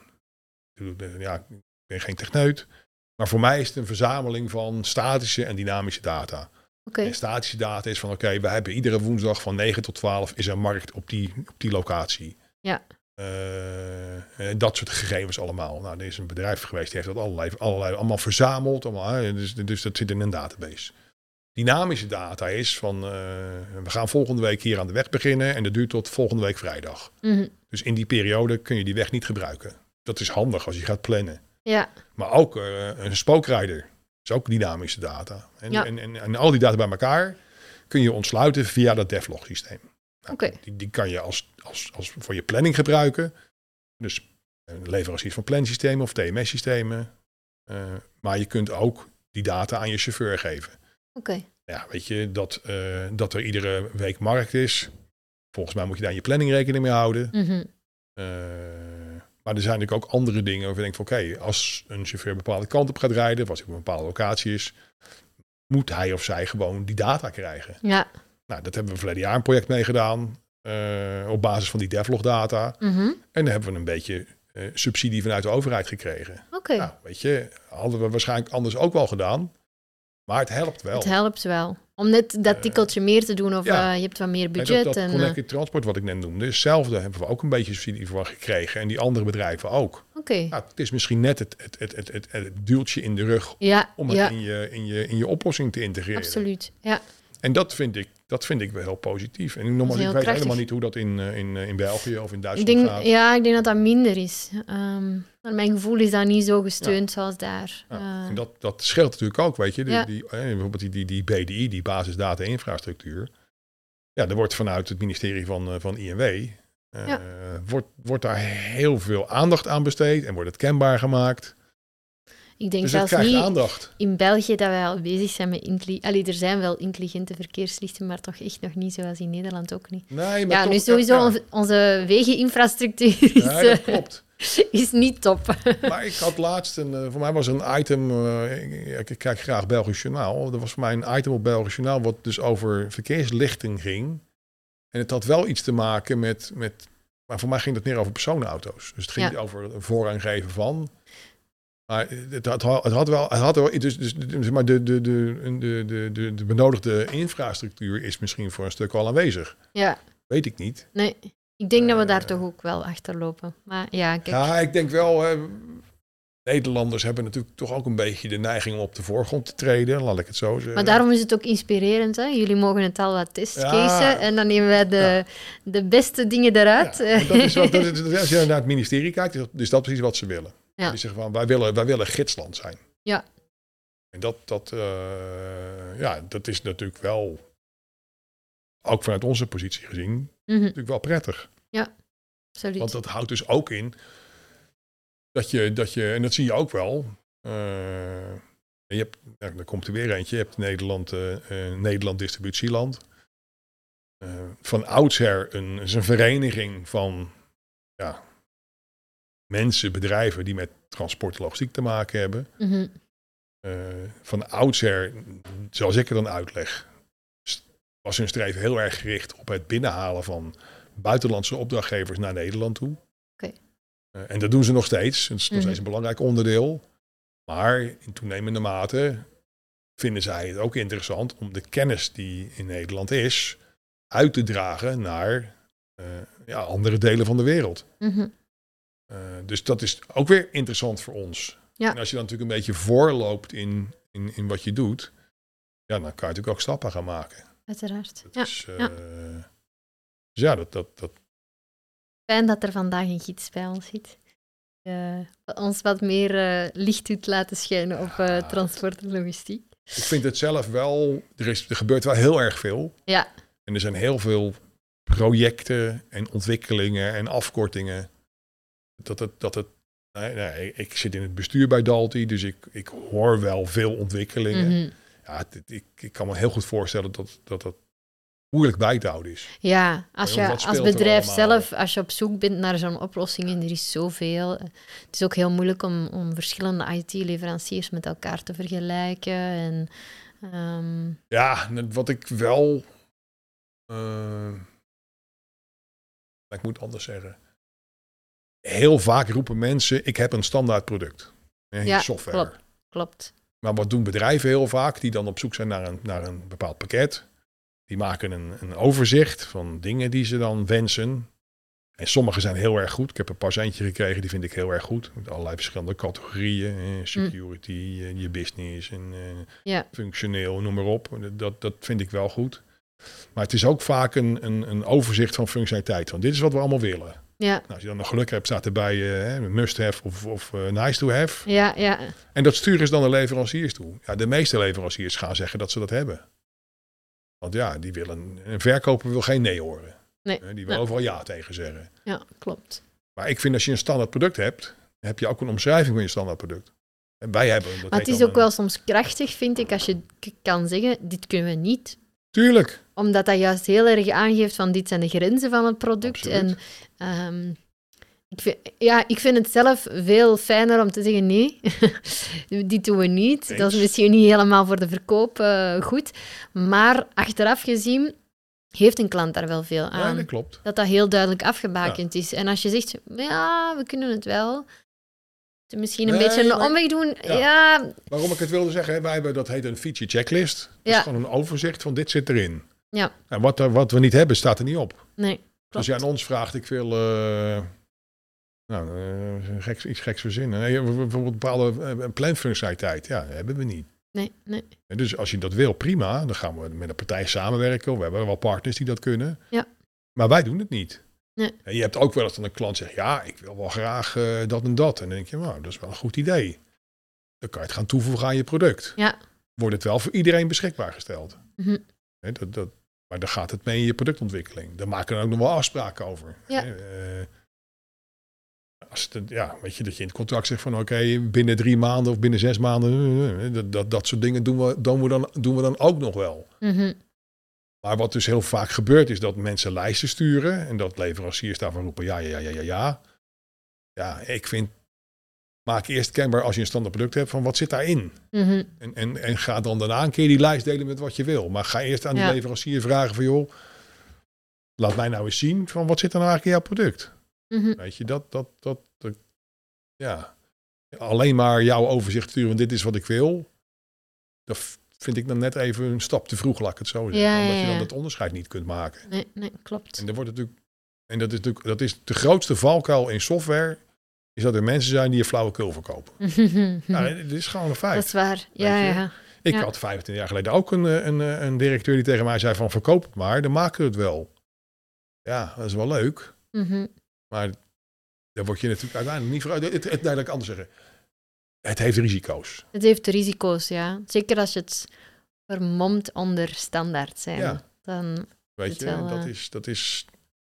Speaker 2: een- ja, ik ben geen techneut, maar voor mij is het een verzameling van statische en dynamische data.
Speaker 1: Oké,
Speaker 2: En statische data is van, oké, we hebben iedere woensdag van 9 tot 12 is er markt op die, op die locatie.
Speaker 1: Ja.
Speaker 2: Eh, en dat soort gegevens allemaal. Nou, er is een bedrijf geweest die heeft dat allerlei, allerlei allemaal verzameld. Allemaal, hè, dus, dus dat zit in een database. Dynamische data is van, eh, we gaan volgende week hier aan de weg beginnen en dat duurt tot volgende week vrijdag.
Speaker 1: Mhm.
Speaker 2: Dus in die periode kun je die weg niet gebruiken. Dat is handig als je gaat plannen.
Speaker 1: ja,
Speaker 2: Maar ook eh, een spookrijder. is ook dynamische data. En,
Speaker 1: Ja.
Speaker 2: en, en, en al die data bij elkaar kun je ontsluiten via dat devlog systeem. Nou,
Speaker 1: Oké.
Speaker 2: die, die kan je als, als, als voor je planning gebruiken. Dus eh, leveranciers van plansystemen of TMS-systemen. Eh, maar je kunt ook die data aan je chauffeur geven.
Speaker 1: oké.
Speaker 2: Ja, weet je, dat, eh, dat er iedere week markt is. Volgens mij moet je daar in je planning rekening mee houden.
Speaker 1: Mhm.
Speaker 2: Eh, maar er zijn natuurlijk ook andere dingen waarvan ik denk van oké, als een chauffeur een bepaalde kant op gaat rijden, of als hij op een bepaalde locatie is, moet hij of zij gewoon die data krijgen.
Speaker 1: Ja,
Speaker 2: Nou, dat hebben we verleden jaar een project mee gedaan, eh, op basis van die devlog data.
Speaker 1: Mhm.
Speaker 2: En daar hebben we een beetje eh, subsidie vanuit de overheid gekregen.
Speaker 1: oké.
Speaker 2: Nou, weet je, hadden we waarschijnlijk anders ook wel gedaan, maar het helpt wel.
Speaker 1: Het helpt wel. Om net dat
Speaker 2: Eh,
Speaker 1: tikkeltje meer te doen of
Speaker 2: ja.
Speaker 1: eh, je hebt wat meer
Speaker 2: En
Speaker 1: budget.
Speaker 2: dat, dat
Speaker 1: en, eh,
Speaker 2: Connected Transport wat ik net noemde, is hetzelfde. Hebben we ook een beetje subsidie voor gekregen en die andere bedrijven ook.
Speaker 1: eh, Oké.
Speaker 2: Nou, het is misschien net het, het, het, het, het, het duwtje in de rug
Speaker 1: Ja,
Speaker 2: om het
Speaker 1: ja
Speaker 2: in, je, in, je, in je oplossing te integreren.
Speaker 1: absoluut. Ja.
Speaker 2: En dat vind ik, dat vind ik wel heel positief. En nogmaals,
Speaker 1: heel
Speaker 2: ik weet
Speaker 1: krachtig.
Speaker 2: helemaal niet hoe dat in, eh, in, eh, in België of in
Speaker 1: Ik
Speaker 2: Duitsland
Speaker 1: denk,
Speaker 2: gaat.
Speaker 1: ja, ik denk dat dat minder is. Ehm, maar mijn gevoel is dat niet zo gesteund zoals daar.
Speaker 2: Ja,
Speaker 1: Eh,
Speaker 2: Nou, En dat, dat scheelt natuurlijk ook, weet je. Die,
Speaker 1: Ja.
Speaker 2: die, eh, bijvoorbeeld die, die, die BDI, die basisdata-infrastructuur. Ja, er wordt vanuit het ministerie van, eh, van INW... eh,
Speaker 1: Ja.
Speaker 2: wordt, wordt daar heel veel aandacht aan besteed en wordt het kenbaar gemaakt.
Speaker 1: ik Ik denk
Speaker 2: Dus dat
Speaker 1: zelfs
Speaker 2: krijgt
Speaker 1: niet
Speaker 2: aandacht.
Speaker 1: in België dat wij al bezig zijn met... intelli- Allee, er zijn wel intelligente verkeerslichten, maar toch echt nog niet zoals in Nederland ook niet.
Speaker 2: Nee, maar
Speaker 1: Ja,
Speaker 2: toch-
Speaker 1: nu sowieso
Speaker 2: ja.
Speaker 1: on- onze wegeninfrastructuur <laughs> is,
Speaker 2: Ja, dat
Speaker 1: eh,
Speaker 2: klopt.
Speaker 1: <laughs> is niet top.
Speaker 2: Maar ik had laatst, een, eh, voor mij was een item, eh, ik- ik, ik kijk graag Belgisch Journaal. Er was voor mij een item op Belgisch Journaal wat dus over verkeerslichting ging. En het had wel iets te maken met, met maar voor mij ging het neer over personenauto's. Dus het ging
Speaker 1: Ja.
Speaker 2: niet over een voorrang geven van. Maar het had, wel- het had wel, het had wel dus, dus, dus- maar de, de, de, de, de, de, de benodigde infrastructuur is misschien voor een stuk al aanwezig.
Speaker 1: Ja,
Speaker 2: Weet ik niet.
Speaker 1: nee. Ik denk dat we daar
Speaker 2: Eh.
Speaker 1: toch ook wel achterlopen. Maar ja, kijk.
Speaker 2: Ja, ik denk wel. eh, Nederlanders hebben natuurlijk toch ook een beetje de neiging om op de voorgrond te treden, laat ik het zo zeggen.
Speaker 1: Maar daarom is het ook inspirerend. Hè? Jullie mogen het al wat testcasen.
Speaker 2: Ja.
Speaker 1: En dan nemen wij de, de beste dingen eruit.
Speaker 2: Ja, want dat is wat, dat is- als je naar het ministerie kijkt, is dat, is dat precies wat ze willen.
Speaker 1: Ja.
Speaker 2: Die zeggen van wij willen, wij willen gidsland zijn.
Speaker 1: Ja.
Speaker 2: En dat, dat, eh, ja, dat is natuurlijk wel, ook vanuit onze positie gezien,
Speaker 1: <laughs> Mhm,
Speaker 2: natuurlijk wel prettig.
Speaker 1: absoluut.
Speaker 2: Want dat houdt dus ook in dat je, dat je en dat zie je ook wel. eh, je hebt, ja, daar komt er weer eentje. Je hebt Nederland, eh, eh, Nederland Distributieland. Eh, van oudsher een, is een vereniging van ja, mensen, bedrijven die met transport en logistiek te maken hebben.
Speaker 1: Mhm,
Speaker 2: Eh, van oudsher, zoals ik het dan uitleg, st- was hun streven heel erg gericht op het binnenhalen van buitenlandse opdrachtgevers naar Nederland toe.
Speaker 1: Oké.
Speaker 2: Eh, en dat doen ze nog steeds. Het is nog
Speaker 1: Mhm.
Speaker 2: steeds een belangrijk onderdeel. Maar in toenemende mate vinden zij het ook interessant om de kennis die in Nederland is uit te dragen naar eh, ja, andere delen van de wereld.
Speaker 1: mhm.
Speaker 2: Eh, dus dat is ook weer interessant voor ons.
Speaker 1: Ja.
Speaker 2: En als je dan natuurlijk een beetje voorloopt in, in, in wat je doet, ja, dan kan je natuurlijk ook stappen gaan maken.
Speaker 1: Uiteraard.
Speaker 2: Dat
Speaker 1: Ja.
Speaker 2: is, eh,
Speaker 1: ja.
Speaker 2: Dus ja, dat, dat, dat,
Speaker 1: Fijn dat er vandaag een gids bij ons zit. Eh, ons wat meer eh, licht doet laten schijnen op eh,
Speaker 2: Ja.
Speaker 1: transport en logistiek.
Speaker 2: ik vind het zelf wel, er, is, er gebeurt wel heel erg veel.
Speaker 1: Ja.
Speaker 2: En er zijn heel veel projecten en ontwikkelingen en afkortingen. Dat het, dat het, nee, nee, ik zit in het bestuur bij Dalti, dus ik, ik hoor wel veel ontwikkelingen.
Speaker 1: Mhm.
Speaker 2: Ja, het- het- ik, ik kan me heel goed voorstellen dat dat, dat moeilijk bij te houden is.
Speaker 1: Ja, als
Speaker 2: Ja,
Speaker 1: je
Speaker 2: want wat
Speaker 1: als
Speaker 2: speelt er
Speaker 1: bedrijf
Speaker 2: allemaal?
Speaker 1: zelf, als je op zoek bent naar zo'n oplossing en er is zoveel. Het is ook heel moeilijk om, om verschillende IT-leveranciers met elkaar te vergelijken. En, ehm,
Speaker 2: Ja, net wat ik wel. eh, ik moet het anders zeggen. Heel vaak roepen mensen: ik heb een standaard product. Ja,
Speaker 1: Ja,
Speaker 2: software.
Speaker 1: klopt. klopt.
Speaker 2: Maar wat doen bedrijven heel vaak? Die dan op zoek zijn naar een, naar een bepaald pakket. Die maken een, een overzicht van dingen die ze dan wensen. En sommige zijn heel erg goed. Ik heb er pas eentje gekregen, die vind ik heel erg goed. Met allerlei verschillende categorieën. eh, Security, eh, je business, en, eh,
Speaker 1: Ja.
Speaker 2: functioneel, noem maar op. Dat, dat vind ik wel goed. Maar het is ook vaak een, een, een overzicht van functionaliteit. Want dit is wat we allemaal willen.
Speaker 1: Ja,
Speaker 2: Nou, als je dan nog geluk hebt, staat erbij eh, must-have of, of eh, nice to have.
Speaker 1: ja, ja.
Speaker 2: En dat sturen ze dan de leveranciers toe. Ja, de meeste leveranciers gaan zeggen dat ze dat hebben. Want ja, die willen, een verkoper wil geen nee horen.
Speaker 1: Nee,
Speaker 2: Eh, Die wil
Speaker 1: nee.
Speaker 2: overal ja tegen zeggen.
Speaker 1: ja klopt.
Speaker 2: Maar ik vind als je een standaard product hebt, dan heb je ook een omschrijving van je standaard product. En wij hebben dat.
Speaker 1: Maar
Speaker 2: heet
Speaker 1: het is
Speaker 2: dan
Speaker 1: ook
Speaker 2: een-
Speaker 1: wel soms krachtig, vind ik, als je k- kan zeggen, dit kunnen we niet.
Speaker 2: Tuurlijk.
Speaker 1: Omdat dat juist heel erg aangeeft van, dit zijn de grenzen van het product.
Speaker 2: Absoluut.
Speaker 1: En ehm, ik, vind, ja, ik vind het zelf veel fijner om te zeggen, nee, <laughs> dit doen we niet. Dat
Speaker 2: Eens.
Speaker 1: is misschien niet helemaal voor de verkoop eh, goed. Maar achteraf gezien heeft een klant daar wel veel aan
Speaker 2: Ja, dat klopt.
Speaker 1: dat dat heel duidelijk afgebakend is. En als je zegt, ja, we kunnen het wel. te Misschien een
Speaker 2: Nee,
Speaker 1: beetje een
Speaker 2: maar-
Speaker 1: omweg doen.
Speaker 2: Ja.
Speaker 1: Ja,
Speaker 2: Waarom ik het wilde zeggen, hè, wij hebben dat heet een feature checklist. Dat is
Speaker 1: Ja.
Speaker 2: gewoon een overzicht van dit zit erin.
Speaker 1: Ja.
Speaker 2: En wat, er- wat we niet hebben, staat er niet op.
Speaker 1: nee.
Speaker 2: Als
Speaker 1: Klopt.
Speaker 2: je aan ons vraagt, ik wil eh, nou, eh, geks, iets geks verzinnen. Nee, bijvoorbeeld bepaalde eh, planfunctionaliteit. Ja, dat hebben we niet.
Speaker 1: Nee, nee.
Speaker 2: En dus als je dat wil, prima. Dan gaan we met een partij samenwerken. We hebben wel partners die dat kunnen.
Speaker 1: Ja.
Speaker 2: Maar wij doen het niet.
Speaker 1: Nee.
Speaker 2: En je hebt ook wel eens dan een klant zegt, ja, ik wil wel graag eh, dat en dat. En dan denk je, nou, dat is wel een goed idee. Dan kan je het gaan toevoegen aan je product.
Speaker 1: Ja.
Speaker 2: Wordt het wel voor iedereen beschikbaar gesteld.
Speaker 1: Mhm.
Speaker 2: Hè, dat, dat, maar dan gaat het mee eh, in je productontwikkeling. Daar maken we ook nog wel afspraken over.
Speaker 1: Ja.
Speaker 2: Hè, eh, Als het, ja, weet je, dat je in het contract zegt van oké, binnen drie maanden of binnen zes maanden, eh, dat, dat, dat soort dingen doen we, doen, we dan, doen we dan ook nog wel.
Speaker 1: Mhm.
Speaker 2: Maar wat dus heel vaak gebeurt is dat mensen lijsten sturen en dat leveranciers daarvan roepen ja, ja, ja, ja, ja, ja. Ja, ik vind, maak eerst kenbaar als je een standaard product hebt van wat zit daarin.
Speaker 1: Mhm.
Speaker 2: En, en, en ga dan daarna een keer die lijst delen met wat je wil. Maar ga eerst aan de
Speaker 1: Ja.
Speaker 2: leverancier vragen van joh, laat mij nou eens zien van wat zit er nou eigenlijk in jouw product.
Speaker 1: Mhm.
Speaker 2: Weet je, dat, dat, dat, dat- ja. Alleen maar jouw overzicht sturen, want dit is wat ik wil. Dat v- vind ik dan net even een stap te vroeg, laat ik het zo zeggen.
Speaker 1: Ja, ja,
Speaker 2: Omdat je dan
Speaker 1: ja.
Speaker 2: dat onderscheid niet kunt maken.
Speaker 1: Nee, nee, klopt.
Speaker 2: En, dan wordt het natuurlijk, en dat, is natuurlijk, dat is de grootste valkuil in software, is dat er mensen zijn die je flauwekul verkopen. Ja, dit is gewoon een feit.
Speaker 1: Mhm. dat is waar. Ja,
Speaker 2: Weet je?
Speaker 1: ja.
Speaker 2: Ik
Speaker 1: Ja.
Speaker 2: had 25 jaar geleden ook een, eh, een, eh, een directeur die tegen mij zei van verkoop het maar, dan maken we het wel. Ja, dat is wel leuk,
Speaker 1: Mhm.
Speaker 2: maar daar word je natuurlijk uiteindelijk niet voor. Het, het, het duidelijk anders zeggen. Het heeft risico's.
Speaker 1: Het heeft risico's, ja. Zeker als je het vermomt onder standaard zijn.
Speaker 2: Ja.
Speaker 1: Dan,
Speaker 2: Weet
Speaker 1: Het
Speaker 2: je,
Speaker 1: wel,
Speaker 2: en dat
Speaker 1: eh.
Speaker 2: is, dat is,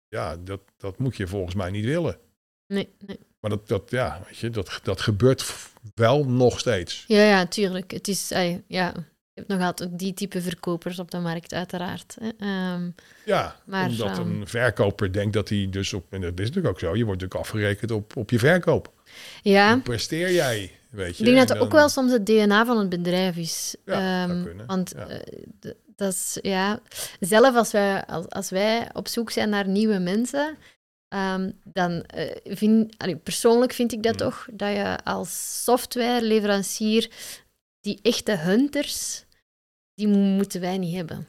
Speaker 2: ja, dat, dat moet je volgens mij niet willen.
Speaker 1: nee, nee.
Speaker 2: Maar dat, dat ja, weet je, dat, dat gebeurt f- wel nog steeds.
Speaker 1: Ja, ja, tuurlijk. Het is, ai, ja. Je hebt nog altijd ook die type verkopers op de markt, uiteraard. hè. Ehm,
Speaker 2: Ja,
Speaker 1: Maar,
Speaker 2: omdat
Speaker 1: ehm,
Speaker 2: een verkoper denkt dat hij dus op, en dat is natuurlijk ook zo, je wordt natuurlijk afgerekend op, op je verkoop.
Speaker 1: ja,
Speaker 2: Hoe presteer jij, weet
Speaker 1: ik
Speaker 2: je.
Speaker 1: denk dat
Speaker 2: En
Speaker 1: het ook
Speaker 2: dan-
Speaker 1: wel soms het DNA van het bedrijf is.
Speaker 2: Ja, zou
Speaker 1: Ehm,
Speaker 2: kunnen,
Speaker 1: Want
Speaker 2: ja.
Speaker 1: eh, d- dat is, ja, zelf als wij, als, als wij op zoek zijn naar nieuwe mensen, ehm, dan eh, vind allee, persoonlijk vind ik dat
Speaker 2: Mm.
Speaker 1: toch, dat je als softwareleverancier die echte hunters, die moeten wij niet hebben.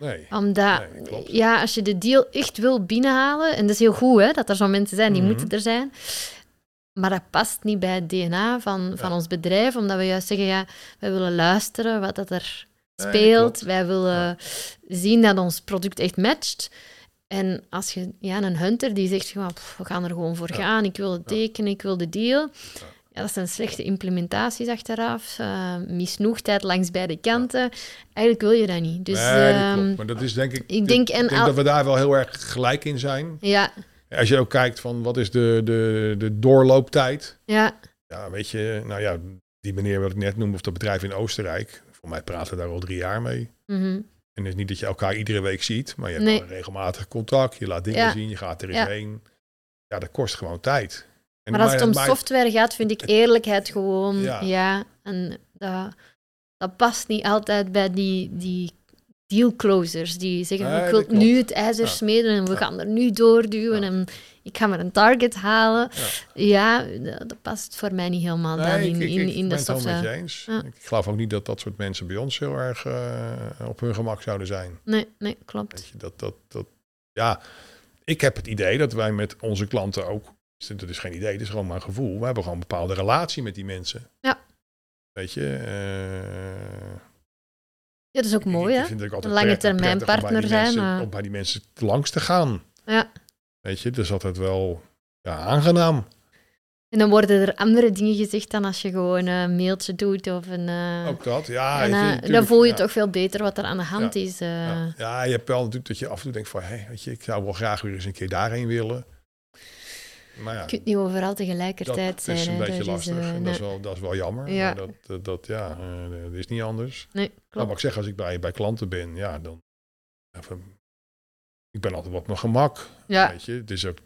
Speaker 2: Nee.
Speaker 1: Omdat,
Speaker 2: Nee, klopt.
Speaker 1: ja, als je de deal echt wil binnenhalen, en dat is heel goed hè, dat er zo'n mensen zijn, die
Speaker 2: Mhm.
Speaker 1: moeten er zijn, maar dat past niet bij het DNA van, van
Speaker 2: Ja.
Speaker 1: ons bedrijf, omdat we juist zeggen, ja, wij willen luisteren wat dat er
Speaker 2: Nee,
Speaker 1: speelt,
Speaker 2: klopt.
Speaker 1: wij willen zien dat ons product echt matcht. En als je, ja, een hunter die zegt, gewoon, "Pff, we gaan er gewoon voor
Speaker 2: Ja.
Speaker 1: gaan, ik wil het
Speaker 2: Ja.
Speaker 1: tekenen, ik wil de deal. Ja, dat zijn slechte implementaties achteraf, eh misnoegdheid langs beide kanten. Eigenlijk wil je dat niet. Dus,
Speaker 2: nee, dat
Speaker 1: ehm,
Speaker 2: klopt. Maar dat is denk ik.
Speaker 1: ik denk en al-
Speaker 2: dat we daar wel heel erg gelijk in zijn.
Speaker 1: Ja,
Speaker 2: Als je ook kijkt van wat is de, de, de doorlooptijd.
Speaker 1: ja,
Speaker 2: Ja, weet je, nou ja, die meneer wat ik net noemde, of dat bedrijf in Oostenrijk. Voor mij praten daar al drie jaar mee.
Speaker 1: mhm,
Speaker 2: En het is niet dat je elkaar iedere week ziet, maar je hebt
Speaker 1: Nee.
Speaker 2: wel een regelmatig contact. Je laat dingen
Speaker 1: Ja.
Speaker 2: zien, je gaat er
Speaker 1: Ja.
Speaker 2: eens heen. Ja, dat kost gewoon tijd. En
Speaker 1: Maar als het om
Speaker 2: maar-
Speaker 1: software gaat, vind
Speaker 2: <laughs>
Speaker 1: ik eerlijkheid gewoon, ja.
Speaker 2: Ja.
Speaker 1: en dat, dat past niet altijd bij die, die dealclosers die zeggen,
Speaker 2: Nee,
Speaker 1: ik wil
Speaker 2: dat klopt.
Speaker 1: nu het ijzer
Speaker 2: Ja.
Speaker 1: smeden en we
Speaker 2: Ja.
Speaker 1: gaan er nu doorduwen
Speaker 2: Ja.
Speaker 1: en ik ga maar een target halen.
Speaker 2: Ja.
Speaker 1: Ja, dat, dat past voor mij niet helemaal dan
Speaker 2: Nee,
Speaker 1: in,
Speaker 2: ik- ik-
Speaker 1: in,
Speaker 2: ik
Speaker 1: in
Speaker 2: ben
Speaker 1: de
Speaker 2: het helemaal
Speaker 1: software.
Speaker 2: met je eens.
Speaker 1: Ja.
Speaker 2: Ik geloof ook niet dat dat soort mensen bij ons heel erg eh, op hun gemak zouden zijn.
Speaker 1: Nee, nee, klopt.
Speaker 2: Weet je, dat, dat, dat, ja, ik heb het idee dat wij met onze klanten ook, dat is geen idee, dat is gewoon maar een gevoel, we hebben gewoon een bepaalde relatie met die mensen.
Speaker 1: Ja.
Speaker 2: Weet je, eh,
Speaker 1: Ja, dat is ook mooi,
Speaker 2: ik
Speaker 1: hè?
Speaker 2: vind het ook altijd
Speaker 1: Een lange
Speaker 2: prettig-
Speaker 1: termijn
Speaker 2: prettig om bij
Speaker 1: partner
Speaker 2: die
Speaker 1: zijn,
Speaker 2: mensen-
Speaker 1: maar-
Speaker 2: Om bij die mensen langs te gaan.
Speaker 1: Ja.
Speaker 2: Weet je, dus altijd wel ja, aangenaam.
Speaker 1: En dan worden er andere dingen gezegd dan als je gewoon een mailtje doet of een... eh,
Speaker 2: Ook Ah, dat, ja.
Speaker 1: en,
Speaker 2: weet je,
Speaker 1: eh, dan
Speaker 2: natuurlijk,
Speaker 1: voel je
Speaker 2: ja.
Speaker 1: toch veel beter wat er aan de hand is. eh.
Speaker 2: Ja. ja, je hebt wel natuurlijk dat je af en toe denkt van, hé, weet je, ik zou wel graag weer eens een keer daarheen willen. Maar ja,
Speaker 1: Je kunt niet overal tegelijkertijd
Speaker 2: dat
Speaker 1: zijn.
Speaker 2: is een
Speaker 1: hè.
Speaker 2: beetje
Speaker 1: Dat
Speaker 2: lastig.
Speaker 1: eh,
Speaker 2: en dat, is wel, dat is wel jammer.
Speaker 1: Ja.
Speaker 2: Maar dat, dat, dat, ja, eh, dat is niet anders.
Speaker 1: nee,
Speaker 2: Nou,
Speaker 1: klopt.
Speaker 2: wat ik zeg, als ik bij, bij klanten ben, ja, dan... Even, ik ben altijd op mijn gemak,
Speaker 1: Ja,
Speaker 2: weet je. Het is ook...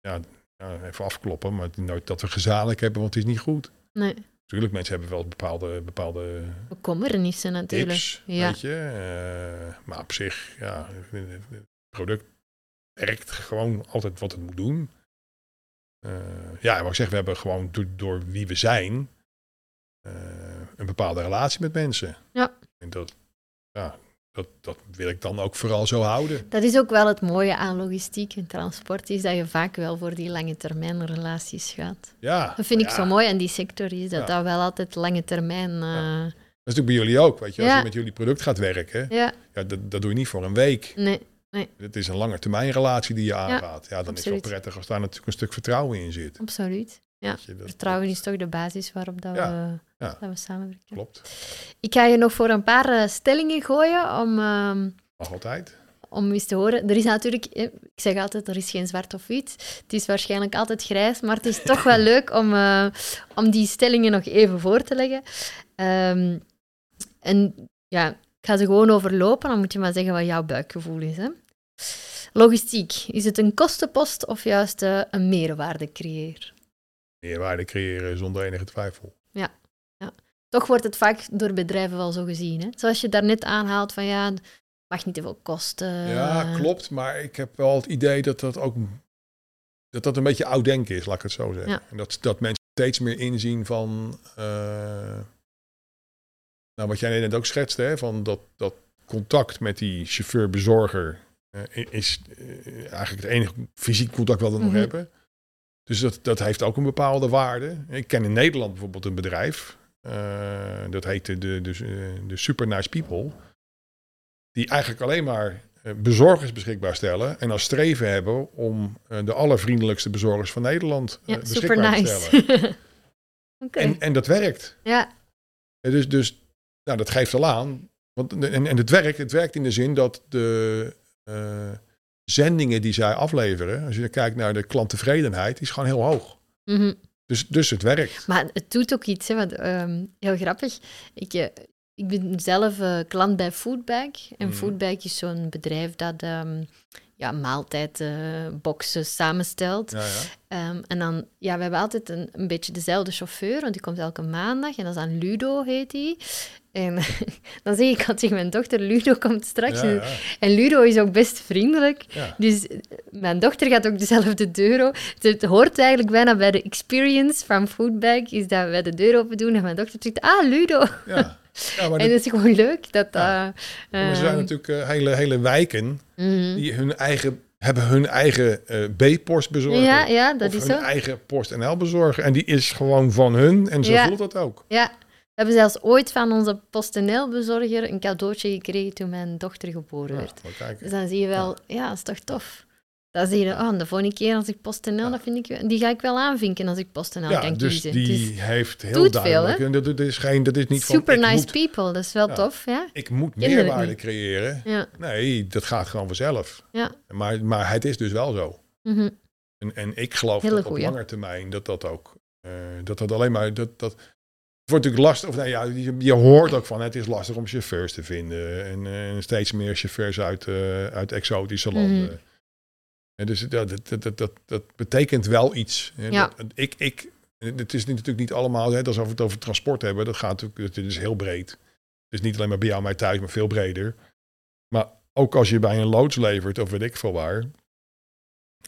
Speaker 2: Ja, ja, even afkloppen, maar het is nooit dat we gezamenlijk hebben, want het is niet goed.
Speaker 1: nee.
Speaker 2: Natuurlijk, mensen hebben wel bepaalde, bepaalde
Speaker 1: Bekommernissen natuurlijk.
Speaker 2: tips,
Speaker 1: ja.
Speaker 2: weet je. eh, maar op zich, ja, het product werkt gewoon altijd wat het moet doen. Eh, ja, en wat ik zeg, we hebben gewoon door, door wie we zijn eh, een bepaalde relatie met mensen.
Speaker 1: Ja.
Speaker 2: En dat, ja, dat, dat wil ik dan ook vooral zo houden.
Speaker 1: Dat is ook wel het mooie aan logistiek en transport, is dat je vaak wel voor die lange termijn relaties gaat.
Speaker 2: Ja,
Speaker 1: Dat vind ik
Speaker 2: ja,
Speaker 1: zo mooi aan die sector, is dat
Speaker 2: Ja.
Speaker 1: dat wel altijd lange termijn... eh, ja.
Speaker 2: Ja. Dat is natuurlijk bij jullie ook, weet je. Als
Speaker 1: Ja.
Speaker 2: je met jullie product gaat werken, ja, dat, dat doe je niet voor een week.
Speaker 1: nee,
Speaker 2: Het is een langetermijnrelatie die je aangaat. Ja, dan is het
Speaker 1: absoluut.
Speaker 2: wel prettig als daar natuurlijk een stuk vertrouwen in zit.
Speaker 1: absoluut.
Speaker 2: Weet je, dat-
Speaker 1: Vertrouwen is toch de basis waarop dat
Speaker 2: Ja,
Speaker 1: we...
Speaker 2: ja.
Speaker 1: Dat we samenwerken.
Speaker 2: Klopt,
Speaker 1: Ik ga je nog voor een paar eh, stellingen gooien om, ehm,
Speaker 2: mag altijd.
Speaker 1: om eens te horen. Er is natuurlijk, eh, ik zeg altijd, er is geen zwart of wit. Het is waarschijnlijk altijd grijs, maar het is toch wel leuk om, eh, om die stellingen nog even voor te leggen. Ehm, en ja, ik ga ze gewoon overlopen, dan moet je maar zeggen wat jouw buikgevoel is. Hè? Logistiek, is het een kostenpost of juist eh, een meerwaarde creëer?
Speaker 2: Meerwaarde creëren zonder enige twijfel.
Speaker 1: Toch wordt het vaak door bedrijven wel zo gezien. Hè? Zoals je daarnet aanhaalt van ja, het mag niet te veel kosten. Ah.
Speaker 2: Ja, klopt. Maar ik heb wel het idee dat dat ook dat dat een beetje oud denken is, laat ik het zo zeggen.
Speaker 1: Ja.
Speaker 2: En dat, dat mensen steeds meer inzien van eh, nou, wat jij net ook schetste, hè, van dat, dat contact met die chauffeur-bezorger eh, i- is eh, eigenlijk het enige fysiek contact wat we
Speaker 1: Mhm.
Speaker 2: nog hebben. Dus dat, dat heeft ook een bepaalde waarde. Ik ken in Nederland bijvoorbeeld een bedrijf, eh, dat heette de, de, de Super Nice People, die eigenlijk alleen maar eh, bezorgers beschikbaar stellen en als streven hebben om eh, de allervriendelijkste bezorgers van Nederland eh,
Speaker 1: Ja, super
Speaker 2: beschikbaar te
Speaker 1: nice. <laughs>
Speaker 2: stellen.
Speaker 1: Oké.
Speaker 2: En, en dat werkt.
Speaker 1: Ja,
Speaker 2: Eh, Dus, dus nou, dat geeft al aan. Want, en, en het werkt, het werkt in de zin dat de eh, zendingen die zij afleveren, als je dan kijkt naar de klanttevredenheid, die is gewoon heel hoog.
Speaker 1: mhm.
Speaker 2: Dus, dus het werkt.
Speaker 1: maar het doet ook iets, hè, want, ehm, heel grappig. Ik, eh, ik ben zelf eh, klant bij Foodbike. En
Speaker 2: Mhm.
Speaker 1: Foodbike is zo'n bedrijf dat ehm ja, maaltijdboxen samenstelt.
Speaker 2: Ja, ja.
Speaker 1: Ehm, en dan, ja, we hebben altijd een, een beetje dezelfde chauffeur, want die komt elke maandag. En dat is aan Ludo, heet die. En <laughs> dan zeg ik altijd tegen mijn dochter, Ludo komt straks.
Speaker 2: Ja,
Speaker 1: En-
Speaker 2: ja,
Speaker 1: En Ludo is ook best vriendelijk.
Speaker 2: ja.
Speaker 1: Dus eh, mijn dochter gaat ook dezelfde deur open. Het hoort eigenlijk bijna bij de experience van Foodbag, is dat wij de deur open doen en mijn dochter zegt, ah, Ludo.
Speaker 2: ja.
Speaker 1: <laughs>
Speaker 2: Ja, maar,
Speaker 1: en
Speaker 2: dit-
Speaker 1: dat is gewoon leuk dat dat...
Speaker 2: Oh, Ja. maar er zijn
Speaker 1: ehm,
Speaker 2: natuurlijk eh, hele, hele wijken
Speaker 1: mhm.
Speaker 2: die hun eigen, hebben hun eigen eh, B-post bezorger.
Speaker 1: ja, ja, dat
Speaker 2: of
Speaker 1: is
Speaker 2: hun
Speaker 1: zo.
Speaker 2: eigen Post NL bezorger. En die is gewoon van hun. En zo
Speaker 1: Ja.
Speaker 2: voelt dat ook.
Speaker 1: Ja. We hebben zelfs ooit van onze PostNL-bezorger een cadeautje gekregen toen mijn dochter geboren
Speaker 2: Ja,
Speaker 1: werd.
Speaker 2: maar kijk.
Speaker 1: Dus dan zie je wel, ja, dat is toch tof. Dan zie je, oh, de volgende keer als ik PostNL,
Speaker 2: Ja.
Speaker 1: dat vind ik, wel- die ga ik wel aanvinken als ik PostNL
Speaker 2: ja,
Speaker 1: kan
Speaker 2: dus
Speaker 1: kiezen.
Speaker 2: die
Speaker 1: Dus
Speaker 2: heeft heel
Speaker 1: doet veel,
Speaker 2: duidelijk.
Speaker 1: hè?
Speaker 2: en dat, dat is geen, dat is niet
Speaker 1: super
Speaker 2: van, ik
Speaker 1: nice
Speaker 2: moet,
Speaker 1: people, dat is wel
Speaker 2: Ja.
Speaker 1: tof, ja.
Speaker 2: ik moet
Speaker 1: Kinderen
Speaker 2: meerwaarde
Speaker 1: niet.
Speaker 2: creëren.
Speaker 1: Ja,
Speaker 2: Nee, dat gaat gewoon vanzelf.
Speaker 1: ja.
Speaker 2: Maar, maar het is dus wel zo.
Speaker 1: Mhm.
Speaker 2: En, en ik geloof
Speaker 1: Hele
Speaker 2: dat op
Speaker 1: goeie.
Speaker 2: lange termijn dat dat ook, eh, dat dat alleen maar, dat, dat het wordt natuurlijk lastig. Of nou ja, je, je hoort ook van, het is lastig om chauffeurs te vinden. En, eh, en steeds meer chauffeurs uit, eh, uit exotische
Speaker 1: Mhm.
Speaker 2: landen. En dus dat, dat, dat, dat, dat betekent wel iets. hè.
Speaker 1: Ja.
Speaker 2: Dat- ik, ik, het is natuurlijk niet allemaal, hè, dat is als we het over transport hebben, dat gaat natuurlijk, het is heel breed. Het is niet alleen maar bij jou, mij thuis, maar veel breder. Maar ook als je bij een loods levert, of weet ik veel waar,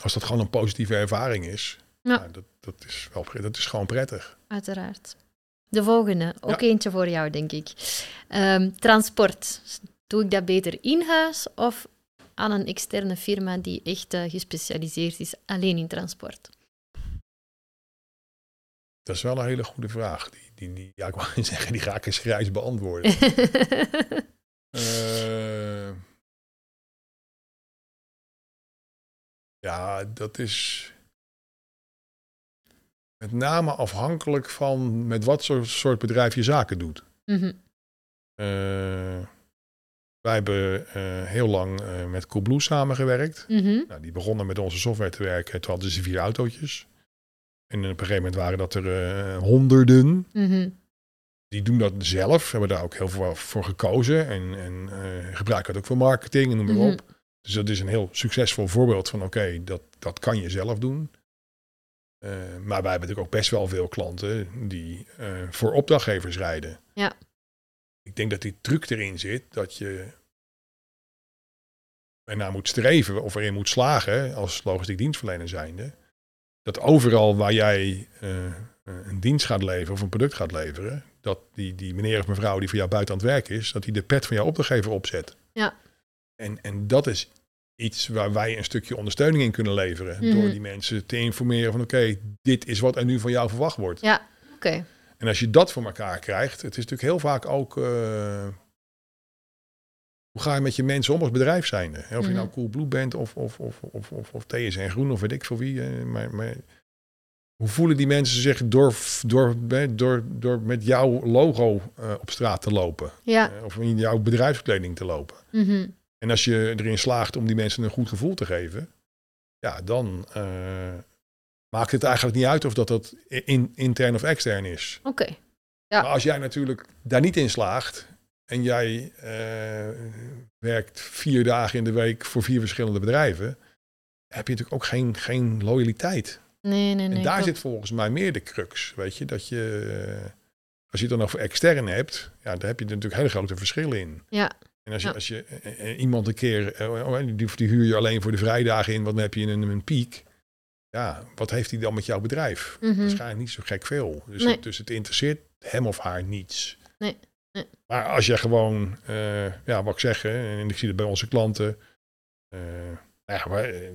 Speaker 2: als dat gewoon een positieve ervaring is,
Speaker 1: Ja.
Speaker 2: nou, dat, dat, is wel, pre- dat is gewoon prettig.
Speaker 1: Uiteraard. De volgende, ook
Speaker 2: Ja.
Speaker 1: eentje voor jou, denk ik. Ehm, transport. Doe ik dat beter in huis of aan een externe firma die echt eh, gespecialiseerd is alleen in transport?
Speaker 2: Dat is wel een hele goede vraag. Die, die, die, ja, ik wou <laughs> zeggen, die ga ik eens grijs
Speaker 1: <laughs>
Speaker 2: beantwoorden. Eh, ja, dat is met name afhankelijk van met wat soort, soort bedrijf je zaken doet.
Speaker 1: Mhm.
Speaker 2: Eh, wij hebben eh, heel lang eh, met Coolblue samengewerkt.
Speaker 1: Mhm.
Speaker 2: Nou, die begonnen met onze software te werken. Toen hadden ze vier autootjes. En op een gegeven moment waren dat er eh, honderden.
Speaker 1: Mhm.
Speaker 2: Die doen dat zelf. Hebben daar ook heel veel voor gekozen. En, en eh, gebruiken het ook voor marketing en noem maar
Speaker 1: Mhm.
Speaker 2: op. Dus dat is een heel succesvol voorbeeld van oké, dat, dat kan je zelf doen. Eh, maar wij hebben natuurlijk ook best wel veel klanten die eh, voor opdrachtgevers rijden.
Speaker 1: Ja.
Speaker 2: Ik denk dat die truc erin zit dat je ernaar moet streven of erin moet slagen als logistiek dienstverlener zijnde. Dat overal waar jij eh, eh, een dienst gaat leveren of een product gaat leveren, dat die, die meneer of mevrouw die voor jou buiten aan het werk is, dat die de pet van jouw opdrachtgever opzet.
Speaker 1: Ja.
Speaker 2: En, en dat is iets waar wij een stukje ondersteuning in kunnen leveren.
Speaker 1: Mhm.
Speaker 2: Door die mensen te informeren van oké, dit is wat er nu van jou verwacht wordt.
Speaker 1: Ja, oké.
Speaker 2: En als je dat voor elkaar krijgt, het is natuurlijk heel vaak ook... eh, hoe ga je met je mensen om als bedrijf zijnde? Hè, Of je nou
Speaker 1: Mhm.
Speaker 2: Coolblue bent of, of, of, of, of, of TSN Groen of weet ik veel wie. eh, Maar, maar hoe voelen die mensen zich door, door, door, door, met jouw logo eh, op straat te lopen?
Speaker 1: Ja.
Speaker 2: Eh, Of in jouw bedrijfskleding te lopen?
Speaker 1: Mhm.
Speaker 2: En als je erin slaagt om die mensen een goed gevoel te geven, ja, dan eh, maakt het eigenlijk niet uit of dat, dat in, intern of extern is.
Speaker 1: Oké. Ja.
Speaker 2: Maar als jij natuurlijk daar niet in slaagt en jij eh, werkt vier dagen in de week voor vier verschillende bedrijven, heb je natuurlijk ook geen, geen loyaliteit.
Speaker 1: Nee, nee, nee.
Speaker 2: en daar
Speaker 1: klopt.
Speaker 2: zit volgens mij meer de crux, weet je, dat je eh, als je het dan over extern hebt, ja, daar heb je natuurlijk hele grote verschillen in.
Speaker 1: Ja.
Speaker 2: En als je,
Speaker 1: Ja.
Speaker 2: als je eh, eh, iemand een keer, eh, oh, eh, die, die huur je alleen voor de vrijdagen in, want dan heb je een, een piek. Ja, wat heeft hij dan met jouw bedrijf?
Speaker 1: Mhm.
Speaker 2: waarschijnlijk niet zo gek veel. Dus,
Speaker 1: Nee.
Speaker 2: het, dus het interesseert hem of haar niets.
Speaker 1: Nee, nee.
Speaker 2: Maar als je gewoon, eh, ja, wat ik zeg, hè, en ik zie dat bij onze klanten. eh, nou ja, maar, eh,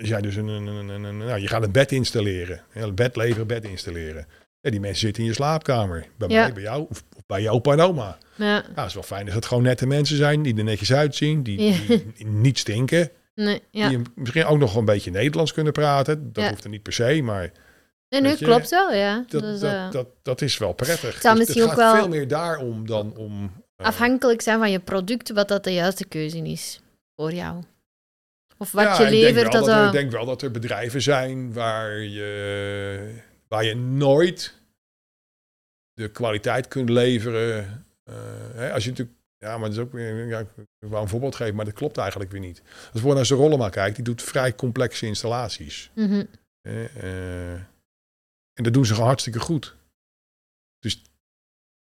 Speaker 2: als jij dus een, een, een, een- een- nou, je gaat een bed installeren. hè, Een bed leveren, bed installeren. Ja, die mensen zitten in je slaapkamer. Bij
Speaker 1: Ja.
Speaker 2: mij, bij jou, of, of bij jouw opa en oma.
Speaker 1: Ja.
Speaker 2: Ja, het is wel fijn dat het gewoon nette mensen zijn, die er netjes uitzien, die,
Speaker 1: Ja.
Speaker 2: die niet stinken
Speaker 1: Nee, ja.
Speaker 2: die misschien ook nog een beetje Nederlands kunnen praten. Dat
Speaker 1: Ja.
Speaker 2: hoeft er niet per se, maar
Speaker 1: Nee, nee,
Speaker 2: weet je,
Speaker 1: klopt wel, ja.
Speaker 2: dat,
Speaker 1: Dus, eh,
Speaker 2: dat, dat, dat is wel prettig. Dus
Speaker 1: zou misschien
Speaker 2: het
Speaker 1: ook
Speaker 2: gaat
Speaker 1: wel-
Speaker 2: veel meer daarom dan om... eh,
Speaker 1: afhankelijk zijn van je product, wat dat de juiste keuze is voor jou. Of wat
Speaker 2: ja,
Speaker 1: je
Speaker 2: ik denk
Speaker 1: levert,
Speaker 2: wel
Speaker 1: dat...
Speaker 2: er-
Speaker 1: eh,
Speaker 2: Ik denk wel dat er bedrijven zijn waar je, waar je nooit de kwaliteit kunt leveren. eh, hè, als je natuurlijk... Ja, maar dat is ook weer... Ja, ik wou een voorbeeld geven, maar dat klopt eigenlijk weer niet. Als je bijvoorbeeld naar zijn Rollema kijkt, die doet vrij complexe installaties.
Speaker 1: mhm.
Speaker 2: Eh, eh, en dat doen ze gewoon hartstikke goed. Dus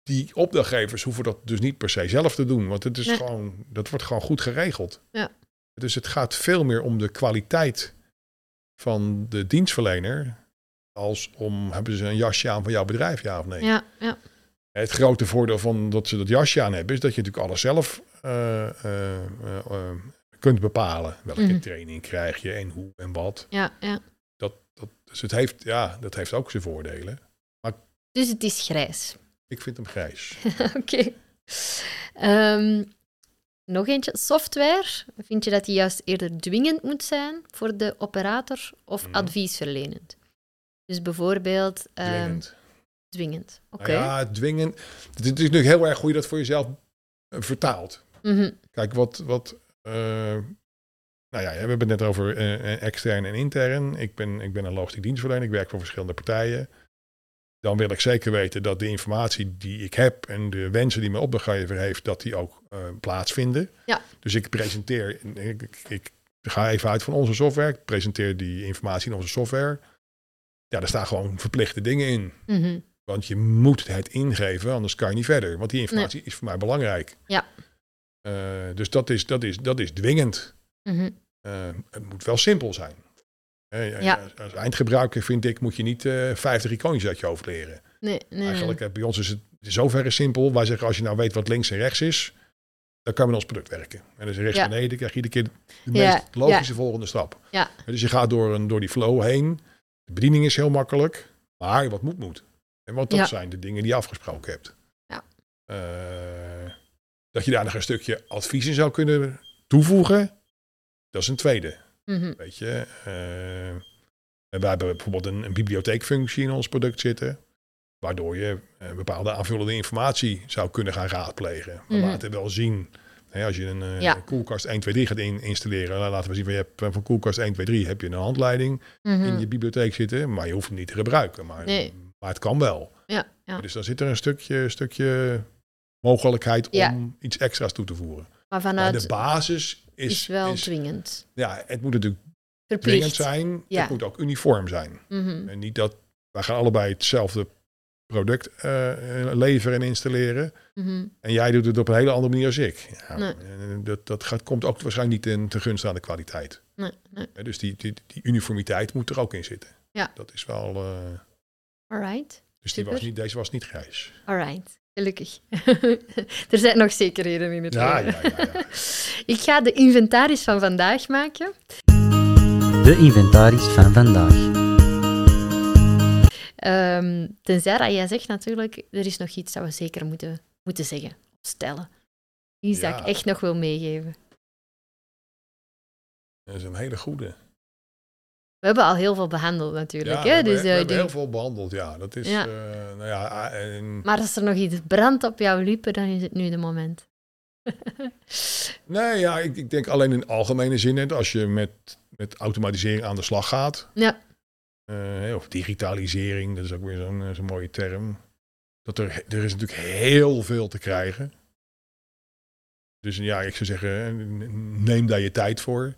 Speaker 2: die opdrachtgevers hoeven dat dus niet per se zelf te doen. Want het is
Speaker 1: Nee.
Speaker 2: gewoon, dat wordt gewoon goed geregeld.
Speaker 1: Ja.
Speaker 2: Dus het gaat veel meer om de kwaliteit van de dienstverlener. Als om, hebben ze een jasje aan van jouw bedrijf, ja of nee?
Speaker 1: Ja, ja.
Speaker 2: Het grote voordeel van dat ze dat jasje aan hebben, is dat je natuurlijk alles zelf eh, eh, eh, eh, kunt bepalen. Welke
Speaker 1: Mhm.
Speaker 2: training krijg je en hoe en wat.
Speaker 1: ja, ja.
Speaker 2: Dat, dat, dus het heeft, ja, dat heeft ook zijn voordelen.
Speaker 1: Dus het is grijs. <laughs>
Speaker 2: Ik vind hem grijs.
Speaker 1: Oké. Ehm, nog eentje. Software. Vind je dat die juist eerder dwingend moet zijn voor de operator of
Speaker 2: Mhm.
Speaker 1: adviesverlenend? Dus bijvoorbeeld <laughs> ehm,
Speaker 2: Dwingend.
Speaker 1: dwingend. Oké.
Speaker 2: Nou ja, dwingend. Het is natuurlijk heel erg hoe je dat voor jezelf eh, vertaalt.
Speaker 1: Mhm.
Speaker 2: Kijk, wat... wat eh, nou ja, we hebben het net over eh, extern en intern. Ik ben, ik ben een logistiek dienstverlener. Ik werk voor verschillende partijen. Dan wil ik zeker weten dat de informatie die ik heb en de wensen die mijn opdrachtgever heeft, dat die ook eh, plaatsvinden.
Speaker 1: Ja.
Speaker 2: Dus ik presenteer, ik, ik, ik ga even uit van onze software, ik presenteer die informatie in onze software. Ja, daar staan gewoon verplichte dingen in.
Speaker 1: Mhm.
Speaker 2: Want je moet het ingeven, anders kan je niet verder. Want die informatie is voor mij belangrijk.
Speaker 1: Ja.
Speaker 2: Eh, dus dat is, dat, is, dat is dwingend.
Speaker 1: Mhm.
Speaker 2: Eh, het moet wel simpel zijn. Eh,
Speaker 1: Ja.
Speaker 2: als, als eindgebruiker vind ik, moet je niet eh 50 icoontjes uit je hoofd leren.
Speaker 1: Nee, nee, nee.
Speaker 2: Eigenlijk, eh, bij ons is het in zoverre simpel. Wij zeggen, als je nou weet wat links en rechts is, dan kan je met ons product werken. En dus rechts
Speaker 1: Ja.
Speaker 2: beneden krijg je iedere keer de
Speaker 1: Ja,
Speaker 2: meest logische volgende stap.
Speaker 1: Ja.
Speaker 2: Dus je gaat door, een, door die flow heen. De bediening is heel makkelijk, maar wat moet moet. En want dat
Speaker 1: Ja.
Speaker 2: zijn de dingen die je afgesproken hebt.
Speaker 1: Ja.
Speaker 2: Eh, dat je daar nog een stukje advies in zou kunnen toevoegen, dat is een tweede.
Speaker 1: Mhm.
Speaker 2: Weet je, eh, en wij hebben bijvoorbeeld een, een bibliotheekfunctie in ons product zitten, waardoor je eh, bepaalde aanvullende informatie zou kunnen gaan raadplegen. We
Speaker 1: Mhm.
Speaker 2: laten wel zien, hè, als je een eh,
Speaker 1: Ja.
Speaker 2: koelkast 1, 2, 3 gaat in- installeren, dan laten we zien van je hebt eh, van koelkast 1, 2, 3 heb je een handleiding in
Speaker 1: Mhm.
Speaker 2: je bibliotheek zitten, maar je hoeft hem niet te gebruiken. Maar,
Speaker 1: Nee.
Speaker 2: maar het kan wel.
Speaker 1: Ja, ja.
Speaker 2: Dus dan zit er een stukje, stukje mogelijkheid om
Speaker 1: Ja.
Speaker 2: iets extra's toe te voeren.
Speaker 1: Maar
Speaker 2: Maar
Speaker 1: vanuit
Speaker 2: de basis is,
Speaker 1: is wel
Speaker 2: is-
Speaker 1: dwingend.
Speaker 2: ja, het moet natuurlijk
Speaker 1: Verplicht.
Speaker 2: dwingend zijn.
Speaker 1: Ja.
Speaker 2: Het moet ook uniform zijn.
Speaker 1: Mhm.
Speaker 2: En niet dat wij gaan allebei hetzelfde product eh, eh, leveren en installeren.
Speaker 1: Mhm.
Speaker 2: En jij doet het op een hele andere manier als ik. Ja,
Speaker 1: Nee.
Speaker 2: en Dat, dat gaat, komt ook waarschijnlijk niet ten, ten gunste aan de kwaliteit.
Speaker 1: Nee, nee.
Speaker 2: Eh, Dus die, die, die uniformiteit moet er ook in zitten.
Speaker 1: Ja.
Speaker 2: Dat is wel. eh,
Speaker 1: All right.
Speaker 2: dus die was
Speaker 1: Super.
Speaker 2: niet, deze was niet grijs.
Speaker 1: All right. Gelukkig. <laughs> er zijn nog zekerheden in het
Speaker 2: Ja,
Speaker 1: leven.
Speaker 2: ja, ja,
Speaker 1: <laughs>
Speaker 2: ja.
Speaker 1: Ik ga de inventaris van vandaag maken.
Speaker 3: De inventaris van vandaag.
Speaker 1: Ehm, tenzij dat jij zegt natuurlijk, er is nog iets dat we zeker moeten, moeten zeggen of stellen. Iets dat
Speaker 2: Ja.
Speaker 1: ik echt nog wil meegeven.
Speaker 2: Dat is een hele goede.
Speaker 1: We hebben al heel veel behandeld natuurlijk.
Speaker 2: we
Speaker 1: hè?
Speaker 2: hebben,
Speaker 1: Dus,
Speaker 2: we
Speaker 1: eh,
Speaker 2: hebben
Speaker 1: die-
Speaker 2: heel veel behandeld. Ja, dat is.
Speaker 1: Ja.
Speaker 2: eh, nou ja, ah, en,
Speaker 1: Maar als er nog iets brandt op jouw liepen, dan is het nu de moment. <laughs>
Speaker 2: Nee, ja, ik, ik denk alleen in algemene zin. net Als je met, met automatisering aan de slag gaat.
Speaker 1: Ja.
Speaker 2: eh, of digitalisering, dat is ook weer zo'n eh, zo'n mooie term. Dat er, er is natuurlijk heel veel te krijgen. Dus ja, ik zou zeggen, neem daar je tijd voor.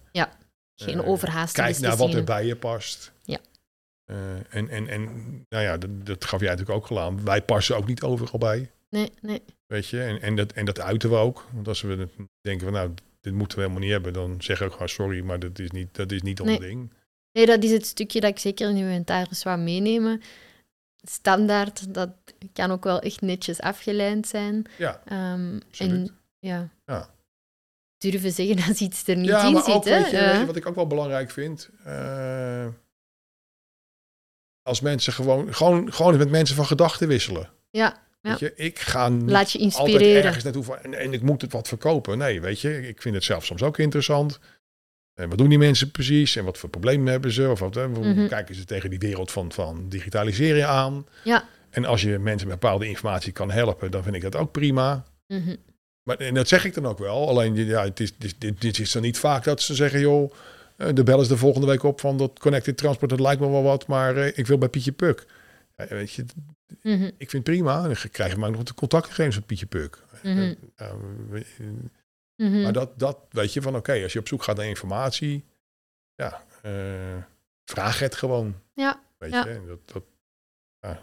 Speaker 1: Geen
Speaker 2: Eh,
Speaker 1: overhaaste
Speaker 2: Kijk naar wat
Speaker 1: beslissingen.
Speaker 2: er bij je past.
Speaker 1: Ja.
Speaker 2: Eh, en, en, en nou ja, dat, dat gaf jij natuurlijk ook gedaan. Wij passen ook niet overal bij.
Speaker 1: Nee, nee.
Speaker 2: Weet je, en, en, dat, en dat uiten we ook. Want als we het denken van nou, dit moeten we helemaal niet hebben, dan zeg ik ook gewoon sorry, maar dat is niet, dat is niet ons
Speaker 1: Nee.
Speaker 2: ding.
Speaker 1: Nee, dat is het stukje dat ik zeker in de inventaris wou meenemen. Standaard, dat kan ook wel echt netjes afgeleid zijn.
Speaker 2: Ja,
Speaker 1: Ehm,
Speaker 2: absoluut.
Speaker 1: en ja.
Speaker 2: Ja.
Speaker 1: durven zeggen als iets er niet
Speaker 2: ja,
Speaker 1: in
Speaker 2: maar
Speaker 1: zit.
Speaker 2: ook,
Speaker 1: hè? Eh,
Speaker 2: weet je,
Speaker 1: Ja.
Speaker 2: weet je, wat ik ook wel belangrijk vind. eh, als mensen gewoon, gewoon, gewoon met mensen van gedachten wisselen.
Speaker 1: Ja, ja.
Speaker 2: Weet je, ik ga niet
Speaker 1: Laat je
Speaker 2: altijd
Speaker 1: inspireren.
Speaker 2: ergens naartoe van, en, en ik moet het wat verkopen. Nee, weet je, ik vind het zelf soms ook interessant. En wat doen die mensen precies? En wat voor problemen hebben ze? Of wat, hè, hoe
Speaker 1: Mhm.
Speaker 2: kijken ze tegen die wereld van, van digitalisering aan?
Speaker 1: Ja.
Speaker 2: En als je mensen met bepaalde informatie kan helpen, dan vind ik dat ook prima.
Speaker 1: Mhm.
Speaker 2: Maar, en dat zeg ik dan ook wel. Alleen, ja, het is, dit, dit, dit is dan niet vaak dat ze zeggen, joh, eh, de bel is de volgende week op van dat connected transport, dat lijkt me wel wat, maar eh, ik wil bij Pietje Puk. Ja, weet je,
Speaker 1: Mhm.
Speaker 2: ik vind het prima. Dan krijg je maar ook nog de contactgegevens van Pietje Puk.
Speaker 1: Mhm.
Speaker 2: Ja, Ehm, we-
Speaker 1: Mhm.
Speaker 2: maar dat, dat weet je van, oké, als je op zoek gaat naar informatie, ja, eh, vraag het gewoon.
Speaker 1: Ja,
Speaker 2: Weet
Speaker 1: ja.
Speaker 2: je, en dat, dat ja,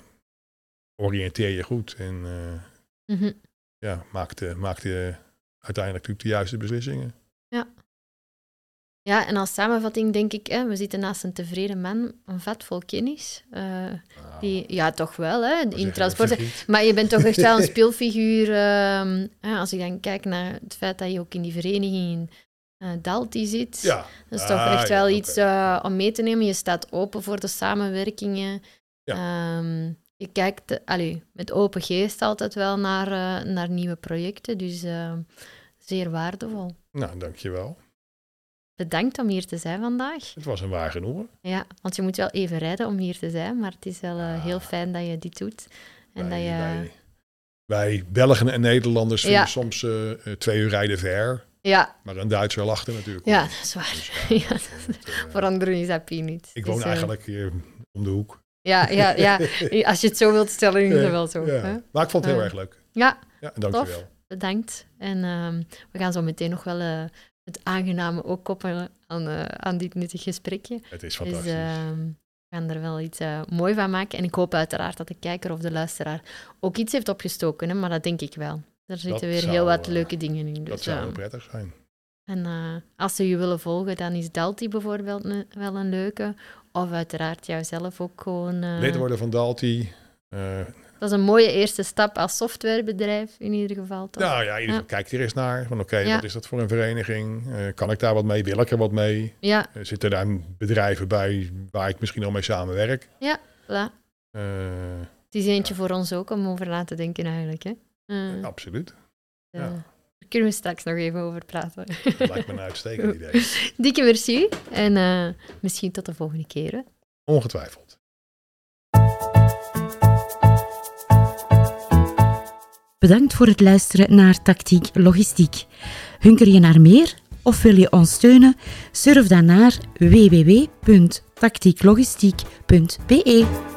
Speaker 2: oriënteer je goed en eh,
Speaker 1: Mhm.
Speaker 2: ja, maak, de, maak de, uiteindelijk natuurlijk de juiste beslissingen.
Speaker 1: Ja, en als samenvatting denk ik, hè, we zitten naast een tevreden man, een vat vol kennis. Eh,
Speaker 2: Nou,
Speaker 1: die, ja, toch wel, hè,
Speaker 2: wat zeg
Speaker 1: in
Speaker 2: je,
Speaker 1: transport.
Speaker 2: Vergiet?
Speaker 1: Maar je bent toch echt
Speaker 2: <laughs>
Speaker 1: wel een speelfiguur. ehm, hè, als ik dan kijk naar het feit dat je ook in die vereniging in eh, Dalti zit.
Speaker 2: Ja,
Speaker 1: Dat is
Speaker 2: Ah,
Speaker 1: toch echt
Speaker 2: ja,
Speaker 1: wel
Speaker 2: oké.
Speaker 1: iets eh, om mee te nemen. Je staat open voor de samenwerkingen.
Speaker 2: Ja.
Speaker 1: Ehm, je kijkt eh, allee, met open geest altijd wel naar, eh, naar nieuwe projecten. Dus eh, zeer waardevol.
Speaker 2: nou, dankjewel.
Speaker 1: Bedankt om hier te zijn vandaag.
Speaker 2: Het was een waar genoegen.
Speaker 1: Ja, want je moet wel even rijden om hier te zijn, maar het is wel eh, heel
Speaker 2: Ah.
Speaker 1: fijn dat je dit doet. En dat
Speaker 2: wij,
Speaker 1: je...
Speaker 2: wij, wij Belgen en Nederlanders vinden
Speaker 1: Ja.
Speaker 2: soms eh, eh, twee uur rijden ver,
Speaker 1: Ja,
Speaker 2: maar een Duitser lacht er natuurlijk
Speaker 1: ja, <laughs>
Speaker 2: om.
Speaker 1: dat is waar.
Speaker 2: Dus
Speaker 1: Ja, dat
Speaker 2: dat-
Speaker 1: is-
Speaker 2: dat, eh,
Speaker 1: Voor anderen is dat peanuts.
Speaker 2: Ik
Speaker 1: Dus,
Speaker 2: woon
Speaker 1: eh,
Speaker 2: eigenlijk hier om de hoek.
Speaker 1: Ja, ja,
Speaker 2: <laughs>
Speaker 1: ja, als je het zo wilt stellen, is het wel zo.
Speaker 2: Ja.
Speaker 1: hè?
Speaker 2: Maar ik vond het heel
Speaker 1: Eh,
Speaker 2: erg leuk.
Speaker 1: ja,
Speaker 2: Ja, dankjewel.
Speaker 1: bedankt. En ehm, we gaan zo meteen nog wel eh, het aangename ook koppelen aan, eh, aan dit nuttig gesprekje.
Speaker 2: Het
Speaker 1: Dus
Speaker 2: is fantastisch.
Speaker 1: ehm, we gaan er wel iets eh mooi van maken. En ik hoop uiteraard dat de kijker of de luisteraar ook iets heeft opgestoken, hè, maar dat denk ik wel. Er zitten weer
Speaker 2: zou,
Speaker 1: heel wat
Speaker 2: eh,
Speaker 1: leuke dingen in.
Speaker 2: dat
Speaker 1: Dus,
Speaker 2: zou
Speaker 1: ehm,
Speaker 2: heel prettig zijn.
Speaker 1: en eh, als ze je willen volgen, dan is Dalti bijvoorbeeld een- wel een leuke. Of uiteraard jouzelf ook gewoon. eh,
Speaker 2: Lid worden van Dalti. eh,
Speaker 1: dat is een mooie eerste stap als softwarebedrijf in ieder geval. Toch?
Speaker 2: nou ja, ieder
Speaker 1: Ja.
Speaker 2: kijkt er eens naar. Van oké,
Speaker 1: Ja.
Speaker 2: wat is dat voor een vereniging? Eh, kan ik daar wat mee? Wil ik er wat mee?
Speaker 1: ja
Speaker 2: Eh, zitten daar bedrijven bij waar ik misschien al mee samenwerk?
Speaker 1: voilà.
Speaker 2: Eh,
Speaker 1: Het is eentje voor ons ook om over na te denken eigenlijk. Hè? Eh,
Speaker 2: Absoluut.
Speaker 1: eh,
Speaker 2: ja.
Speaker 1: daar kunnen we straks nog even over praten. <laughs>
Speaker 2: Dat lijkt me een uitstekend idee.
Speaker 1: Dikke merci en eh, misschien tot de volgende keer. hè.
Speaker 2: Ongetwijfeld.
Speaker 4: Bedankt voor het luisteren naar Tactiek Logistiek. Hunker je naar meer of wil je ons steunen? Surf dan naar www.tactieklogistiek.be.